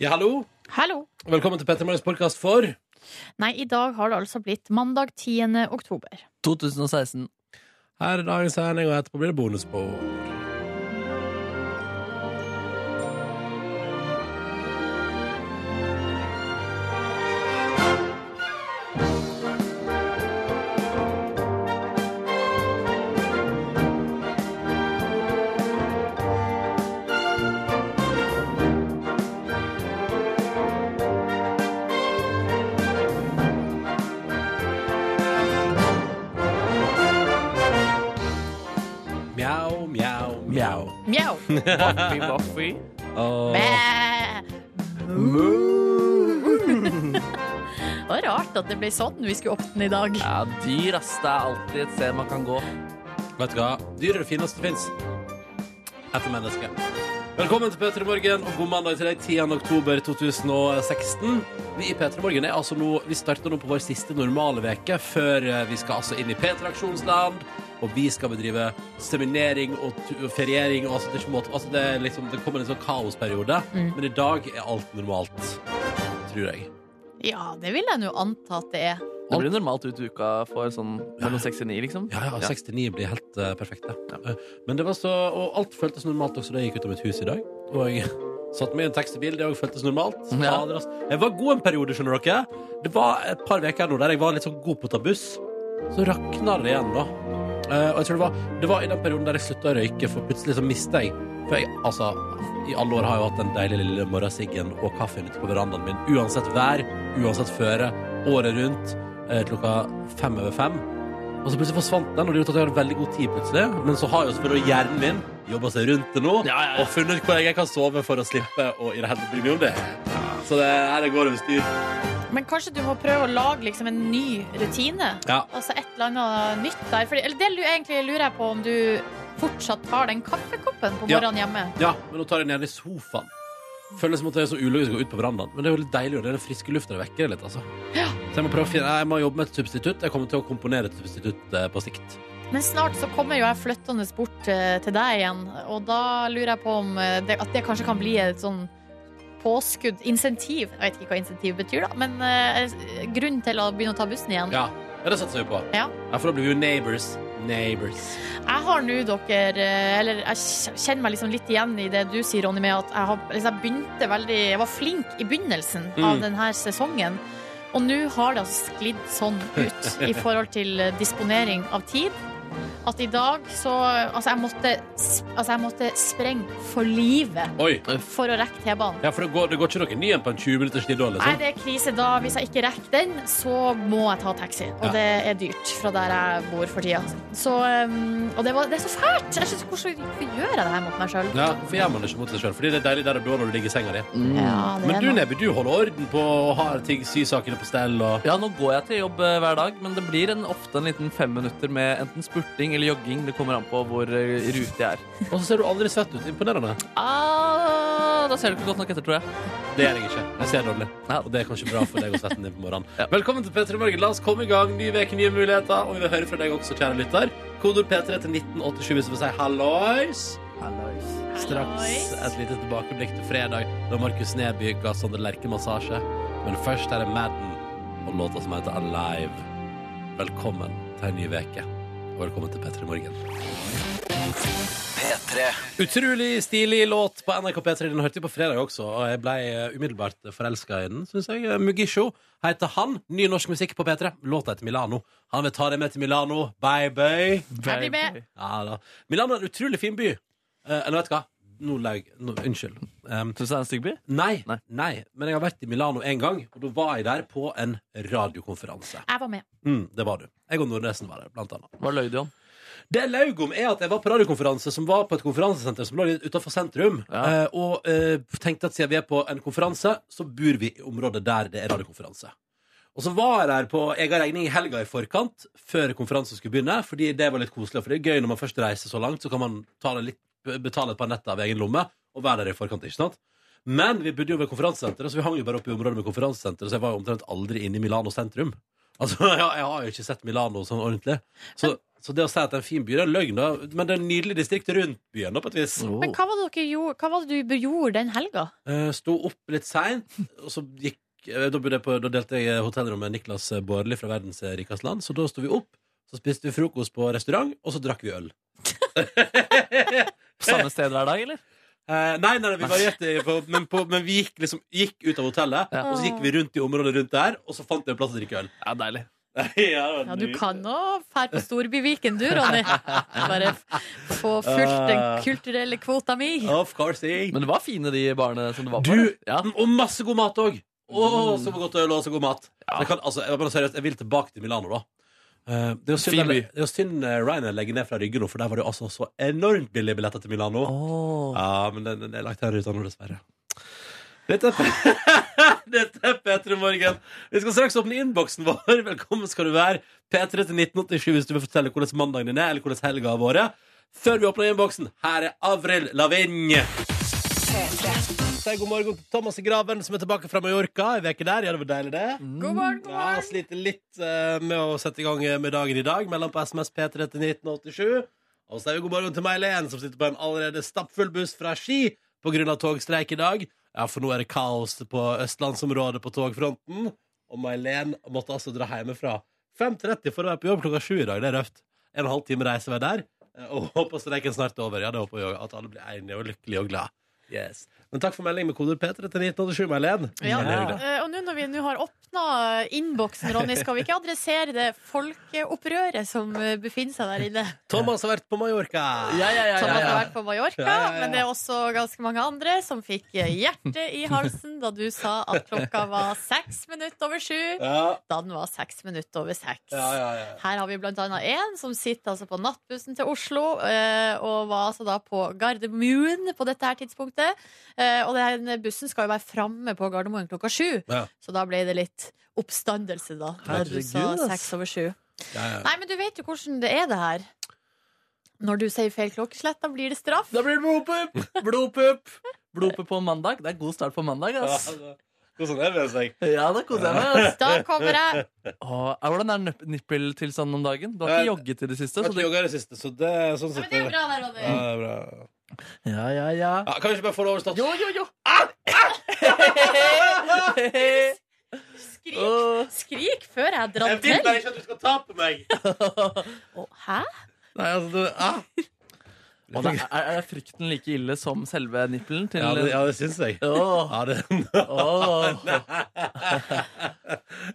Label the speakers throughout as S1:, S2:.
S1: Ja, hallo.
S2: Hallo.
S1: Velkommen til Petter Morgens podkast for
S2: Nei, i dag har det altså blitt mandag 10. oktober.
S3: 2016.
S1: Her er dagens sending, og etterpå blir det bonusspor. Mjau, mjau, mjau.
S2: Mjau.
S3: Waffi, waffi.
S1: Åh.
S2: Bæ. Det var rart at det ble sånn vi skulle åpne i dag.
S3: Ja, dyr, ass. Det er alltid et sted man kan gå.
S1: Vet du hva? Dyr er det fineste fins. Etter mennesket. Velkommen til P3 Morgen og god mandag til deg 10. oktober 2016. Vi i P3 Morgen er altså nå Vi starter nå på vår siste normale veke før eh, vi skal altså inn i P3 Aksjonsland. Og vi skal bedrive seminering og, tu- og feriering. Og altså, det, er ikke måte, altså det, er liksom, det kommer en sånn kaosperiode.
S2: Mm.
S1: Men i dag er alt normalt. Tror jeg.
S2: Ja, det vil jeg nå anta at det er.
S3: Det blir normalt ut i uka for sånn mellom 6 og 9, liksom.
S1: Ja, ja,
S3: Ja.
S1: 69 blir helt eh, perfekt. det. Eh, Men det var så, og alt føltes normalt også da jeg gikk ut av mitt hus i dag. Og jeg satt med i en taxibil, det også føltes normalt.
S3: Ja.
S1: Fader, ass. Jeg var god en periode, skjønner dere. Det var et par uker nå der jeg var litt sånn god på å ta buss. Så rakna det igjen, da. Eh, og jeg tror det var, det var i den perioden der jeg slutta å røyke, for plutselig så mista jeg For jeg, altså, i alle år har jeg jo hatt den deilige lille morgensiggen og kaffen ute på verandaen min. Uansett vær, uansett føre, året rundt, eh, klokka fem over fem. Og så plutselig forsvant den, og det gjorde at jeg hadde veldig god tid plutselig. Men så har jo selvfølgelig hjernen min jobba seg rundt det nå,
S3: Ja, ja, ja.
S1: og funnet ut hvor jeg kan sove for å slippe å i det hele tatt bry meg om det. Så det her det går over styr.
S2: Men kanskje du må prøve å lage liksom en ny rutine?
S1: Ja.
S2: Altså et eller annet nytt der. Fordi, eller det lu- egentlig lurer jeg på om du fortsatt tar den kaffekoppen på
S1: Ja.
S2: morgenen hjemme.
S1: ja, men nå tar jeg den gjerne i sofaen. Føles som at det er så ulogisk å gå ut på verandaen. Men det er jo litt deilig, og det er den friske lufta det vekker litt, altså. Så jeg må prøve å finne Jeg må jobbe med et substitutt. Jeg kommer til å komponere et substitutt eh, på sikt.
S2: Men snart så kommer jo jeg flyttende bort eh, til deg igjen, og da lurer jeg på om eh, det, at det kanskje kan bli et sånn påskudd, insentiv, jeg vet ikke hva insentiv betyr da, men eh, grunn til å begynne å ta bussen igjen.
S1: Ja, ja det satser vi på.
S2: Ja.
S1: for da blir vi jo neighbors. Neighbors.
S2: Jeg har nå dere, eh, eller jeg kj- kjenner meg liksom litt igjen i det du sier, Ronny, med at jeg, har, liksom, jeg begynte veldig, jeg var flink i begynnelsen
S1: Mm.
S2: av denne sesongen, og nå har det altså sklidd sånn ut i forhold til eh, disponering av tid, at i dag så, altså jeg måtte, sp- altså jeg måtte sprenge for livet
S1: Oi.
S2: for å rekke T-banen.
S1: Ja, for det går, det går ikke noe ny en på en 20 minutters tid da,
S2: Nei,
S1: liksom?
S2: det er krise da. Hvis jeg ikke rekker den, så må jeg ta taxi. Og
S1: Ja.
S2: det er dyrt fra der jeg bor for tida. Så, um, og det, var, det er så fælt! Jeg synes, hvordan, hvorfor gjør jeg det her mot meg sjøl?
S1: Ja, hvorfor gjør man det ikke mot seg sjøl? Fordi det er deilig der og da når du ligger i senga di.
S3: Mm.
S1: Men du,
S2: det,
S1: Nebby, du holder orden på å ha ting, sysakene på stell og
S3: Ja, nå går jeg til jobb eh, hver dag, men det blir en, ofte en liten fem minutter med enten spurting eller jogging. Det kommer an på hvor eh, i rute jeg er.
S1: Og så ser du aldri svett ut. Imponerende.
S3: Ah, da ser du ikke godt nok etter, tror jeg.
S1: Det gjør jeg ikke. Jeg ser dårlig.
S3: Ja.
S1: Og det er kanskje bra for deg og svetten din på morgenen.
S3: Ja.
S1: Velkommen til P3 Morgen. La oss komme i gang. Ny uke, nye muligheter. Og vi vil høre fra deg også, kjære lytter. Kodord P3 til 1987 hvis du vil si hallois. Straks
S2: Hallois.
S1: et lite tilbakeblikk til fredag, da Markus Neby ga Sondre Lerche massasje. Men først er det Madden og låta som heter Alive. Velkommen til en ny uke, og velkommen til P3 Morgen. Utrolig stilig låt på NRK P3. Den hørte jeg på fredag også, og jeg ble eh, umiddelbart forelska i den, syns jeg. Eh, Mugisho heter han. Ny norsk musikk på P3. Låta heter Milano. Han vil ta deg med til Milano. Bye, bye.
S2: Jeg blir med.
S1: Ja, da. Milano er en utrolig fin by. Eh, eller vet du hva? Nå laug nå, Unnskyld. Um,
S3: Syns du det er en stygg by?
S1: nei, nei.
S3: Nei.
S1: Men jeg har vært i Milano en gang, og da var jeg der på en radiokonferanse.
S2: Jeg var med.
S1: Mm, det var du. Jeg og Nordnesen var der, blant annet.
S3: Hva løy du om?
S1: Det jeg laug om, er at jeg var på radiokonferanse som var på et konferansesenter som lå litt utafor sentrum.
S3: Ja.
S1: eh, og eh, tenkte at siden vi er på en konferanse, så bor vi i området der det er radiokonferanse. Og så var jeg der på egen regning i helga i forkant, før konferansen skulle begynne. Fordi det var litt koselig, for det er gøy når man først reiser så langt, så kan man ta det litt, betale et par netter av egen lomme og være der i forkant. ikke sant? Men vi bodde jo ved konferansesenteret, så vi hang jo bare oppe i området med konferansesenteret, så jeg var jo omtrent aldri inne i Milano sentrum. Altså, jeg, jeg har jo ikke sett Milano sånn ordentlig. Så, så det å si at det er en fin by, det er løgn, da. Men det er en nydelig distrikt rundt byen, da, på et vis.
S2: Men hva var det, dere gjorde, hva var det du gjorde den helga?
S1: Eh, Sto opp litt seint, og så gikk eh, Da, bodde jeg på, da delte jeg hotellrom med Niklas Bårli fra verdens eh, rikeste land, så da sto vi opp. Så spiste vi frokost på restaurant, og så drakk vi øl.
S3: På samme sted hver dag, eller?
S1: Eh, nei, nei, nei, vi varierte, i- på, men, på, men vi gikk, liksom, gikk ut av hotellet,
S3: Ja.
S1: og så gikk vi rundt i området rundt der, og så fant vi en plass å drikke øl.
S3: Ja, deilig.
S1: Ja, det var
S2: Ja, du
S1: nydelig.
S2: kan nå fære på Storbyviken, du, Ronny. Bare f- få fulgt
S1: Ah.
S2: den kulturelle kvota mi.
S1: Of course, eh.
S3: Men det var fine, de barene som det var på.
S1: Du,
S3: eller? ja.
S1: Mm,
S3: Mm.
S1: og masse god mat òg! Å, så godt øl og så god mat.
S3: Ja.
S1: Jeg, kan, altså, jeg, bare, seriøst, jeg vil tilbake til Milano, da. Eh, det er jo synd,
S3: Fin by.
S1: det er jo synd eh, Ryanair legger ned fra Rygge nå, for der var det jo altså så enormt billige billetter til Milano.
S3: Åh.
S1: Ja, men den, den er lagt her ute nå, dessverre. Dette er, Dette er P3 Morgen. Vi skal straks åpne innboksen vår. Velkommen skal du være. P3 til 1987 hvis du vil fortelle hvordan mandagen din er, eller hvordan helga har vært. Før vi åpner innboksen, her er Avril Lavigne. Si god morgen til Thomas i Graven, som er tilbake fra Mallorca i veke der. Ja, det var deilig, det.
S2: God morgen, god
S1: Ja,
S2: morgen.
S1: sliter litt eh, med å sette i gang eh, med dagen i dag. Mellom på SMS P3 til 1987. Og så er vi god morgen til May-Len, som sitter på en allerede stappfull buss fra Ski pga. togstreik i dag. Ja, for nå er det kaos på østlandsområdet på togfronten. Og May-Len måtte altså dra hjemmefra 5.30 for å være på jobb klokka 7 i dag. Det er røft. En og en halv time reise hver der. Eh, Og håper streiken snart er over. Ja, det håper jeg også. At alle blir enige og lykkelige og glad. Yes. Men takk for melding med kodeord P3 til 1987, May-Len.
S2: Ja.
S1: Veldig hyggelig.
S2: Eh, Og nå når vi nå har åpna innboksen, Ronny, skal vi ikke adressere det folkeopprøret som eh, befinner seg der inne?
S1: Thomas har vært på Mallorca.
S3: Ja, ja, ja,
S2: Som
S3: ja,
S2: har
S3: ja.
S2: vært på Mallorca,
S1: Ja, ja, ja.
S2: men det er også ganske mange andre som fikk eh, hjertet i halsen da du sa at klokka var seks minutter over sju.
S1: Ja.
S2: Da den var seks minutter over seks.
S1: Ja, ja, ja.
S2: Her har vi blant annet en som sitter altså på nattbussen til Oslo, eh, og var altså da på Gardermoen på dette her tidspunktet. Eh, og den bussen skal jo være framme på Gardermoen klokka sju,
S1: Ja.
S2: så da ble det litt oppstandelse, da. Da du sa
S3: Herregud, ass.
S2: seks over sju.
S1: Ja, ja.
S2: Nei, men du vet jo hvordan det er, det her. Når du sier feil klokkeslett, da blir det straff.
S3: Da blir det blodpupp! Blodpupp! Blodpupp på mandag. Det er god start på mandag, ass.
S1: Hvordan er sånn det med seg?
S3: Ja, da koser jeg meg. ass.
S2: Da kommer jeg!
S3: Åh, er- hvordan er nipp- nippeltilstanden om dagen? Du har
S1: Eh,
S3: ikke jogget i det siste?
S1: Jeg
S3: Så
S1: har ikke
S3: du...
S1: jogga i det siste, så det er sånn
S2: Ja, men
S1: sett
S2: det er
S1: ja,
S2: jo bra der,
S1: det
S2: Ronny.
S1: er bra.
S3: Ja, ja, ja.
S1: Ja, kan vi ikke bare få det overstått?
S3: Jo, jo, jo!
S2: Skrik,
S3: Åh.
S2: skrik før jeg drar
S1: Jeg vil
S2: til.
S1: bare ikke at du skal ta på meg!
S2: Å, Hæ?
S1: Nei, altså, det, ah.
S3: Og det er, er frykten like ille som selve nippelen til
S1: ja, det, ja, det syns jeg.
S3: Åh,
S1: Ja, det
S3: åh.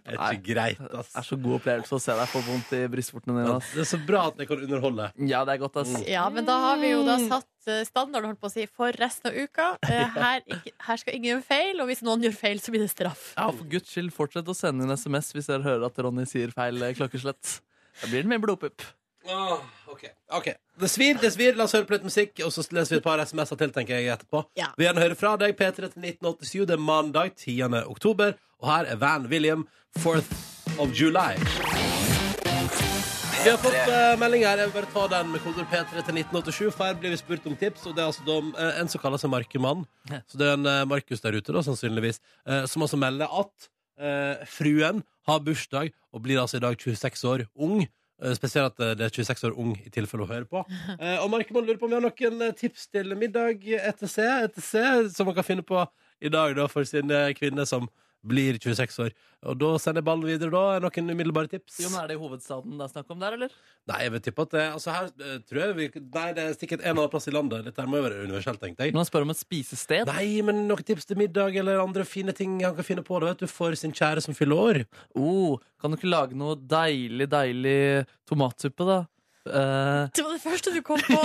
S1: er ikke greit, ass.
S3: Det er så god opplevelse å se deg få vondt i brystvortene
S1: Ja,
S3: dine. ass.
S1: Det er så bra at jeg kan underholde.
S3: Ja, det er godt, ass.
S2: Ja, men da har vi jo da satt eh, standard holdt på å si, for resten av uka. Eh, Her, ikke, her skal ingen gjøre feil, og hvis noen gjør feil, så blir det straff.
S3: Ja, for guds skyld, fortsett å sende inn SMS hvis dere hører at Ronny sier feil eh, klokkeslett. Da blir det mye blodpupp.
S1: ok. Det svir, det svir. La oss høre på litt musikk, og så leser vi et par SMS-er til, tenker jeg, etterpå.
S2: Ja.
S1: Vi gjerne hører fra deg, P3 til 1987. Det er mandag 10. oktober, og her er Van William, 4th of July. Vi har fått eh, melding her. Jeg vil bare ta den med koder P3 til 1987. For her blir vi spurt om tips, og det er altså da, eh, en som kaller seg Markemann. Så det er en eh, Markus der ute, da, sannsynligvis, eh, som altså melder at eh, fruen har bursdag og blir altså i dag 26 år ung. Eh, Spesielt at eh, det er 26 år ung i tilfelle hun hører på. Eh, og Markemann lurer på om vi har noen eh, tips til middag etter C, etter C som man kan finne på i dag da, for sin eh, kvinne som blir 26 år. Og da sender jeg ballen videre, da. Er det Noen umiddelbare tips?
S3: Jon, er det i hovedstaden det er snakk om der, eller?
S1: Nei, jeg vil tippe at det Altså her eh, tror jeg vi Nei, det er sikkert en eller annen plass i landet. Dette her må jo være universelt, tenkte jeg.
S3: Når han spør om et spisested.
S1: Nei, men noen tips til middag eller andre fine ting han kan finne på da, vet du, for sin kjære som fyller år?
S3: Oh, kan du ikke lage noe deilig, deilig tomatsuppe, da? Eh,
S2: Det var det første du kom på.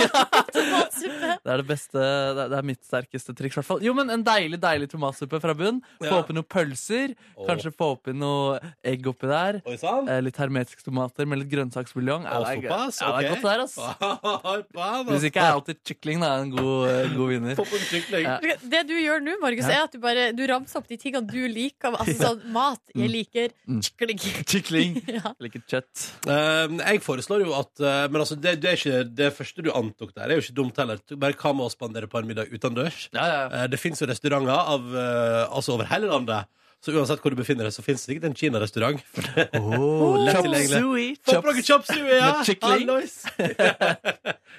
S2: Tomatsuppe.
S3: det er det beste, det er- det er mitt sterkeste triks, i hvert fall. Jo, men en deilig, deilig tomatsuppe fra bunn. Få
S1: Ja.
S3: oppi noen pølser.
S1: Åh.
S3: Kanskje få oppi noe egg oppi der.
S1: Oi sann!
S3: Eh, litt hermetiske tomater med litt grønnsaksbuljong. Ja, det er gøy.
S1: Såpass?
S3: Ja, det er
S1: Ok.
S3: godt der, ass.
S1: Faen,
S3: Hvis ikke er alltid kykling da, en god, eh, god vinner.
S1: Få på en sykling.
S3: Ja.
S2: Det du gjør nå, Markus, er at du bare du ramser opp de tingene du liker. Altså sånn mat jeg liker.
S3: Mm.
S2: Klikk.
S3: Kykling.
S2: Ja.
S3: Liker kjøtt.
S1: Eh, jeg foreslår jo at eh, Men altså, det, det er ikke det første du antok der, er jo ikke dumt heller. Bare hva med å spandere på en middag utendørs?
S3: Ja, ja.
S1: Eh, Det fins jo restauranter av, eh, altså over hele landet Så uansett hvor du befinner deg, så fins det sikkert en kinarestaurant.
S3: Oh,
S1: lett
S3: chop
S1: tilgjengelig.
S3: suey.
S1: Få på
S3: Chop-
S1: noe chop suey, ja!
S3: Med kykling.
S1: Hallois!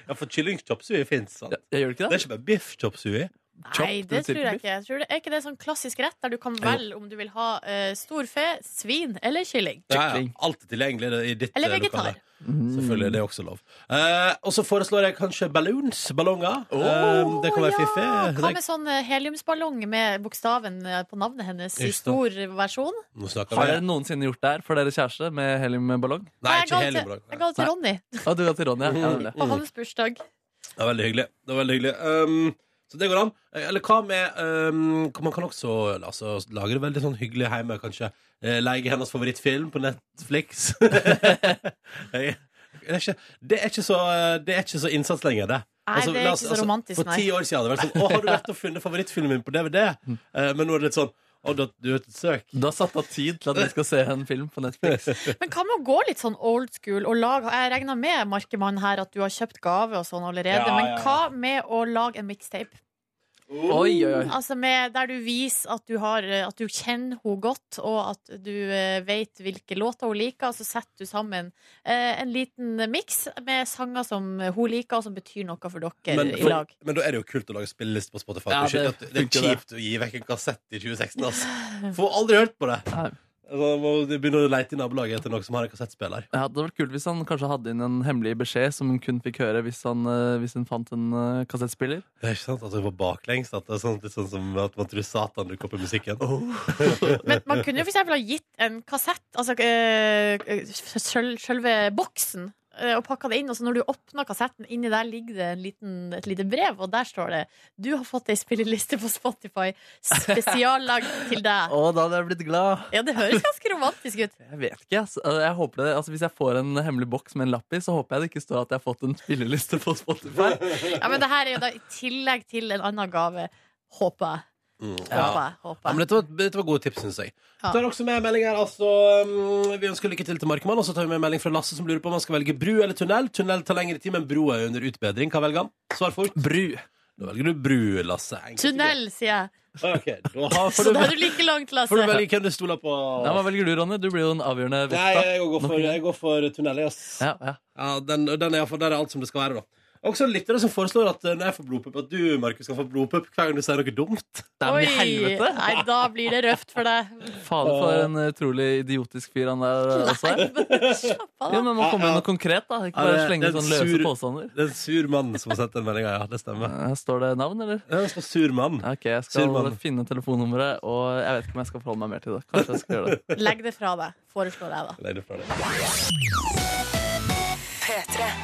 S1: ja, for kylling chop suey fins, sant?
S3: Ja, Jeg gjør ikke
S1: Det
S3: det?
S1: er ikke bare biff chop suey.
S2: Nei,
S3: Chopped
S2: det tror jeg
S3: sirkelbiff.
S2: ikke. Jeg tror det, er ikke det en sånn klassisk rett der du kan velge om du vil ha eh, storfe, svin eller kylling?
S1: Ja, ja.
S3: Kykling.
S1: Alt er tilgjengelig i ditt
S2: Eller
S1: eh, lokale.
S2: vegetar.
S1: Selvfølgelig, det er også lov. Eh, og så foreslår jeg kanskje balloons, ballonger. Eh, det kan være fiffig.
S2: Hva
S1: Det-
S2: med sånn eh, heliumsballong med bokstaven eh, på navnet hennes i
S1: Just det.
S2: stor versjon?
S1: Nå snakker
S3: Har
S1: vi.
S3: dere noensinne gjort det her for dere kjæreste med heliumballong?
S1: Nei,
S2: jeg
S1: ikke
S2: ga det
S1: helium.
S2: til, jeg ga det til Ronny
S3: Ja, du ga til Ronny, ja. ja. det er det.
S2: på hans bursdag.
S1: Det var veldig hyggelig. Det var veldig hyggelig. Um, så det går an. Eh, Eller hva med um, hva- Man kan også altså, lage det veldig sånn hyggelig hjemme, kanskje. Eh, Leie hennes favorittfilm på Netflix. Jeg- det, er ikke, det, er ikke så, eh, det er ikke så innsats lenger, det. Altså,
S2: Nei, det er
S1: la oss-
S2: ikke så romantisk,
S1: For
S2: nei.
S1: ti år siden hadde det vært sånn Å, har du vært og funnet favorittfilmen min på DVD?
S2: Mm.
S1: Eh, men nå er det litt sånn Å, du, du er et søk.
S3: Du har satt av tid til at dere skal se en film på Netflix.
S2: Men hva med å gå litt sånn old school og lage Jeg regner med, Markemann, her at du har kjøpt gave og sånn allerede,
S1: Ja, ja,
S2: men
S1: ja.
S2: hva med å lage en mixtape?
S3: Oi, oi, oi.
S2: Altså med, der du viser at du, har, eh, at du kjenner henne godt, og at du eh, vet hvilke låter hun liker. Og så setter du sammen eh, en liten miks med sanger som hun liker, og som betyr noe for dere
S1: Men,
S2: i lag.
S1: men da er det jo kult å lage spilleliste på Spotify.
S3: Ja,
S1: det, er ikke-
S3: det
S1: det, det er
S3: funker det.
S1: kjipt å gi vekk en kassett i 2016, altså. Får aldri hørt på det.
S3: Nei.
S1: Altså, må du begynne å leite i nabolaget etter noen som har en kassettspiller.
S3: Ja, det hadde vært kult hvis han kanskje hadde inn en hemmelig beskjed som hun kun fikk høre hvis han, eh, hvis hun fant en eh, kassettspiller.
S1: Det er ikke sant at det var baklengs. At det er sånn, litt sånn som at man tror Satan dukker opp i musikken.
S2: Oh. Men man kunne jo for eksempel ha gitt en kassett, altså eh, sjøl- sjølve boksen, eh, og pakka det inn. Og så når du åpner kassetten, inni der ligger det en liten, et lite brev, og der står det 'Du har fått ei spilleliste på Spotify spesiallagd til deg'.
S3: Å, da hadde jeg blitt glad!
S2: Ja, det høres ganske romantisk ut.
S3: Jeg vet ikke, ass. Altså, jeg håper det, altså, Hvis jeg får en hemmelig boks med en lapp i, så håper jeg det ikke står at jeg har fått en spilleliste på Spotify.
S2: Ja, men det her er jo da i tillegg til en annen gave. Håper jeg.
S1: Mm. Ja.
S2: Håper jeg.
S1: Ja,
S2: Håper
S1: men
S2: jeg.
S1: dette var, dette var gode tips, syns jeg.
S2: Ja.
S1: Tar også med en melding her, altså, um, Vi ønsker lykke til til Markmann. Og så tar vi med en melding fra Lasse, som lurer på om han skal velge bru eller tunnel. Tunnel tar lengre tid, men bro er under utbedring. Hva velger han? Svar fort.
S3: Bru.
S1: Da velger du bru, Lasse. Enkelt.
S2: Tunnel, sier jeg.
S1: Ok, da har, får,
S2: Så
S1: du,
S2: da er du like langt,
S1: får du
S2: Lasse.
S1: velge hvem du stoler på.
S3: Ja, Hva velger du, Ronny? Du blir jo en avgjørende
S1: Nei,
S3: vekta.
S1: jeg går for, jeg går for tunnel, ass.
S3: Ja, ja.
S1: Ja, den, den er, i hvert fall- der er alt som det skal være, da. Også lyttere som foreslår at eh, når jeg får blodpupp, at du Markus, skal få blodpupp hver gang du sier noe dumt.
S3: Nei, men i helvete!
S2: Nei, da blir det røft for deg.
S3: Fader, for en utrolig idiotisk fyr han der eh, også
S2: Nei,
S3: er.
S2: men slapp av,
S3: Ja,
S2: da.
S3: men Man må komme med noe konkret, da. Ikke
S1: Ja,
S3: bare
S1: det-
S3: slenge
S1: det er
S3: sånn
S1: en
S3: løse
S1: sur-
S3: påstander.
S1: Det er en sur mann som har sendt den meldinga, ja. Det stemmer.
S3: Eh, Står det navn, eller?
S1: Det er en sånn sur mann.
S3: Ja, Ok, jeg skal
S1: Sylvan.
S3: finne telefonnummeret, og jeg vet ikke om jeg skal forholde meg mer til det. Kanskje jeg skal gjøre det.
S2: Legg det fra deg, foreslår jeg da.
S1: Legg det fra deg.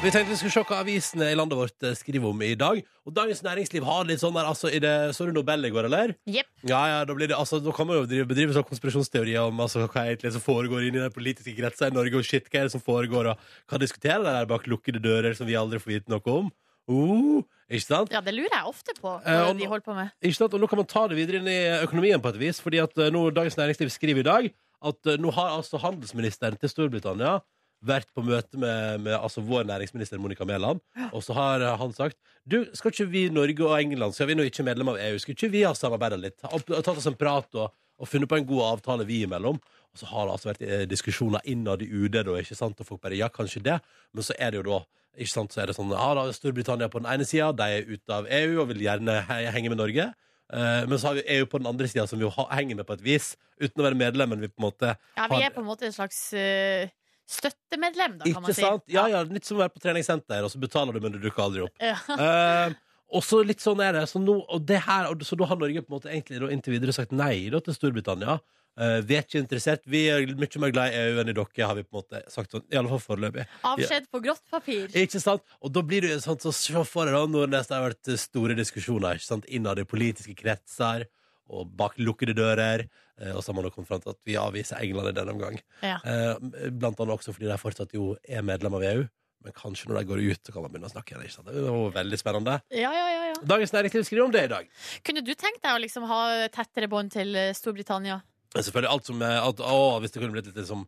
S1: Vi tenkte vi skulle se hva avisene i landet vårt eh, skriver om i dag. Og Dagens Næringsliv har litt sånn der, altså i det, Så du Nobel i går, eller?
S2: Jepp.
S1: Ja, ja, da, blir det, altså, da kan man jo drive, bedrive sånn konspirasjonsteorier om altså, hva er egentlig som foregår inni den politiske kretsen i Norge, og shit, hva er det som foregår, og hva diskuterer de der bak lukkede dører som vi aldri får vite noe om? Oh, ikke sant?
S2: Ja, det lurer jeg ofte på,
S1: Eh,
S2: hva
S1: og nå-
S2: de holder på med.
S1: Ikke sant? Og nå kan man ta det videre inn i økonomien på et vis, fordi at eh, nå, Dagens Næringsliv skriver i dag at eh, nå har altså handelsministeren til Storbritannia vært på møte med, med altså vår næringsminister Monica Mæland, og så har eh, han sagt du, skal ikke vi Norge og England, så er vi nå ikke medlem av EU, skal ikke vi ha samarbeidet litt? Ha- ha Tatt oss en prat og, og funnet på en god avtale vi imellom. Og så har det altså vært eh, diskusjoner innad i UD, da, ikke sant? og folk bare ja, kanskje det, men så er det jo da ikke sant, så er det sånn, ja da er Storbritannia på den ene sida, de er ute av EU og vil gjerne he henge med Norge. Eh, men så har vi EU på den andre sida, som vi jo ha- henger med på et vis, uten å være medlem. Men vi på en måte
S2: Ja, vi
S1: har-
S2: er på en måte en slags eh, støttemedlem, da, kan
S1: Ikke
S2: man si.
S1: sant? Ja, ja, Litt som å være på treningssenter, og så betaler du, men du dukker aldri opp.
S2: Ja.
S1: Eh, og så litt sånn er det. Så, nå, og det her, og så da har Norge på en måte egentlig da, inntil videre sagt nei da, til Storbritannia. Eh, vi er ikke interessert. Vi er mye mer glad i EU enn i dere, har vi på en måte sagt sånn. I alle fall foreløpig.
S2: Avskjed på grått papir.
S1: Ikke sant? Og da blir det jo sånn, så se for deg da, når det har vært eh, store diskusjoner ikke sant? innad i politiske kretser og bak lukkede dører. eh, Og så har man da kommet fram til at vi avviser England i denne omgang.
S2: Ja.
S1: Eh, Blant annet også fordi de fortsatt jo er medlem av EU. Men kanskje når de går ut, så kan man begynne å snakke igjen. ikke sant? Det var jo veldig spennende.
S2: Ja, ja, ja, ja.
S1: Dagens Næringsliv skriver om det i dag.
S2: Kunne du tenkt deg å liksom ha tettere bånd til eh, Storbritannia?
S1: Men Selvfølgelig alt som er at, å, Hvis det kunne blitt litt liksom,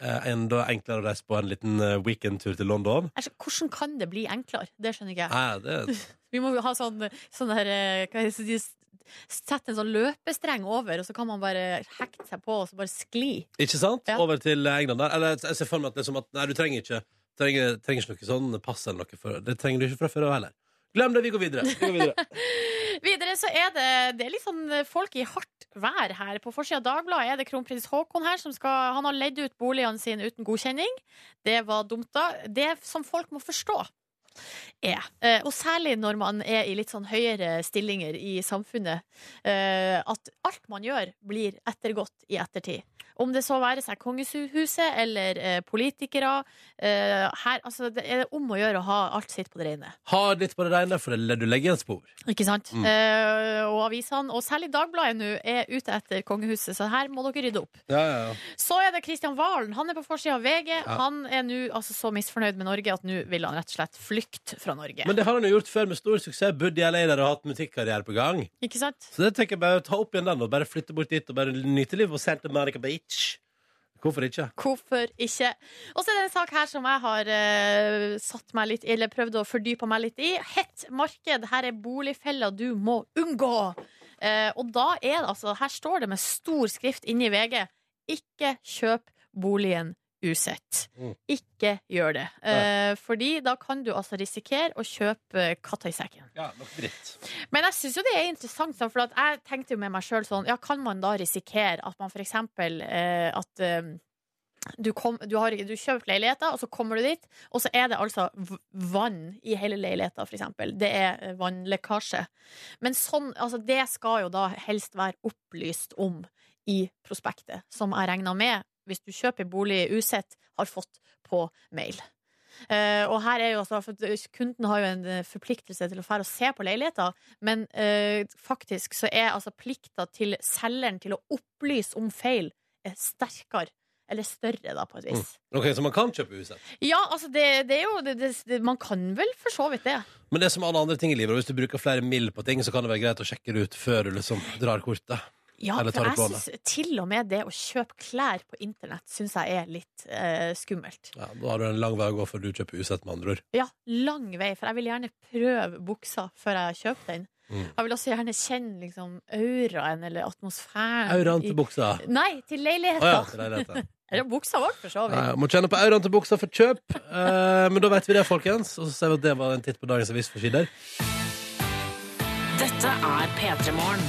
S1: eh, enda enklere å reise på en liten eh, weekendtur til London
S2: Altså, hvordan kan det bli enklere? Det skjønner ikke jeg.
S1: Nei, det,
S2: Vi må jo ha sånn, sånn der, eh, hva heter det, sette en sånn løpestreng over, og så kan man bare hekte seg på og så bare skli.
S1: Ikke sant?
S2: Ja.
S1: Over til England der. Eller jeg ser for meg at, det er som at nei, du trenger ikke, trenger, trenger ikke noe sånn pass eller noe. For, det trenger du ikke fra før av heller. Glem det, vi går videre. Vi går videre.
S2: Videre så er det, det er litt sånn folk i hardt vær her. På forsida av Dagbladet er det kronprins Haakon her som skal Han har leid ut boligene sine uten godkjenning. Det var dumt, da. Det som folk må forstå, er, eh, og særlig når man er i litt sånn høyere stillinger i samfunnet, eh, at alt man gjør, blir ettergått i ettertid. Om det så være seg kongehuset eller eh, politikere. eh, Her, altså, det er om å gjøre å ha alt sitt på det rene.
S1: Ha litt på det reine, for det- du legger en spor.
S2: Ikke sant?
S1: Mm.
S2: Eh, og avisene, og særlig Dagbladet nå, er ute etter kongehuset, så her må dere rydde opp.
S1: Ja, ja, ja.
S2: Så er det Kristian Valen. Han er på forsida av VG. Han er nå altså, så misfornøyd med Norge at nå vil han rett og slett flykte fra Norge.
S1: Men det har han jo gjort før med stor suksess. Bodd i LA der og hatt musikkarriere på gang.
S2: Ikke sant?
S1: Så det tenker jeg bare ta opp igjen den og bare flytte bort dit og bare nyte livet på Santa Monica Beach. Hvorfor ikke?
S2: Hvorfor ikke? Og så er det en sak her som jeg har eh, satt meg litt Eller prøvd å fordype meg litt i. Hett marked. Her er boligfeller du må unngå. Eh, og da er det altså Her står det med stor skrift inne i VG. Ikke kjøp boligen usett.
S1: Mm.
S2: Ikke gjør det. Eh, fordi da kan du altså risikere å kjøpe katta i sekken.
S1: Ja, nok dritt.
S2: Men jeg syns jo det er interessant, da, for at jeg tenkte jo med meg sjøl sånn Ja, kan man da risikere at man for eksempel eh, at eh, du, kom, du har du kjøpt leiligheter, og så kommer du dit, og så er det altså v- vann i hele leiligheta, for eksempel. Det er eh, vannlekkasje. Men sånn, altså det skal jo da helst være opplyst om i prospektet, som jeg regna med, hvis du kjøper bolig usett, har fått på mail. Eh, og her er jo altså, for Kunden har jo en eh, forpliktelse til å fære og se på leiligheter, men eh, faktisk så er altså plikta til selgeren til å opplyse om feil er sterkere, eller større, da, på et vis.
S1: Ok, Så man kan kjøpe huset.
S2: Ja, altså, det, det er jo det, det, det, Man kan vel for så vidt det.
S1: Men det er som alle andre ting i livet. og Hvis du bruker flere mill på ting, så kan det være greit å sjekke det ut før du liksom drar kortet.
S2: Ja,
S1: Eller tar
S2: for
S1: du
S2: jeg
S1: på lånet?
S2: synes til og med det å kjøpe klær på internett syns jeg er litt eh, skummelt.
S1: Ja, Da har du en lang vei å gå før du kjøper usett, med andre ord.
S2: Ja, lang vei, for jeg vil gjerne prøve buksa før jeg kjøper den.
S1: Mm.
S2: Jeg vil også gjerne kjenne liksom auraen eller atmosfæren.
S1: Auraen
S2: i-
S1: til buksa.
S2: Nei, til
S1: Å ja,
S2: leiligheta.
S1: til leiligheten.
S2: Eller buksa vår, for så vidt.
S1: Ja, må kjenne på auraen til buksa for kjøp. Eh, men da vet vi det, folkens. Og så ser vi at det var en titt på dagens avisforsider.
S4: Dette er P3 Morgen.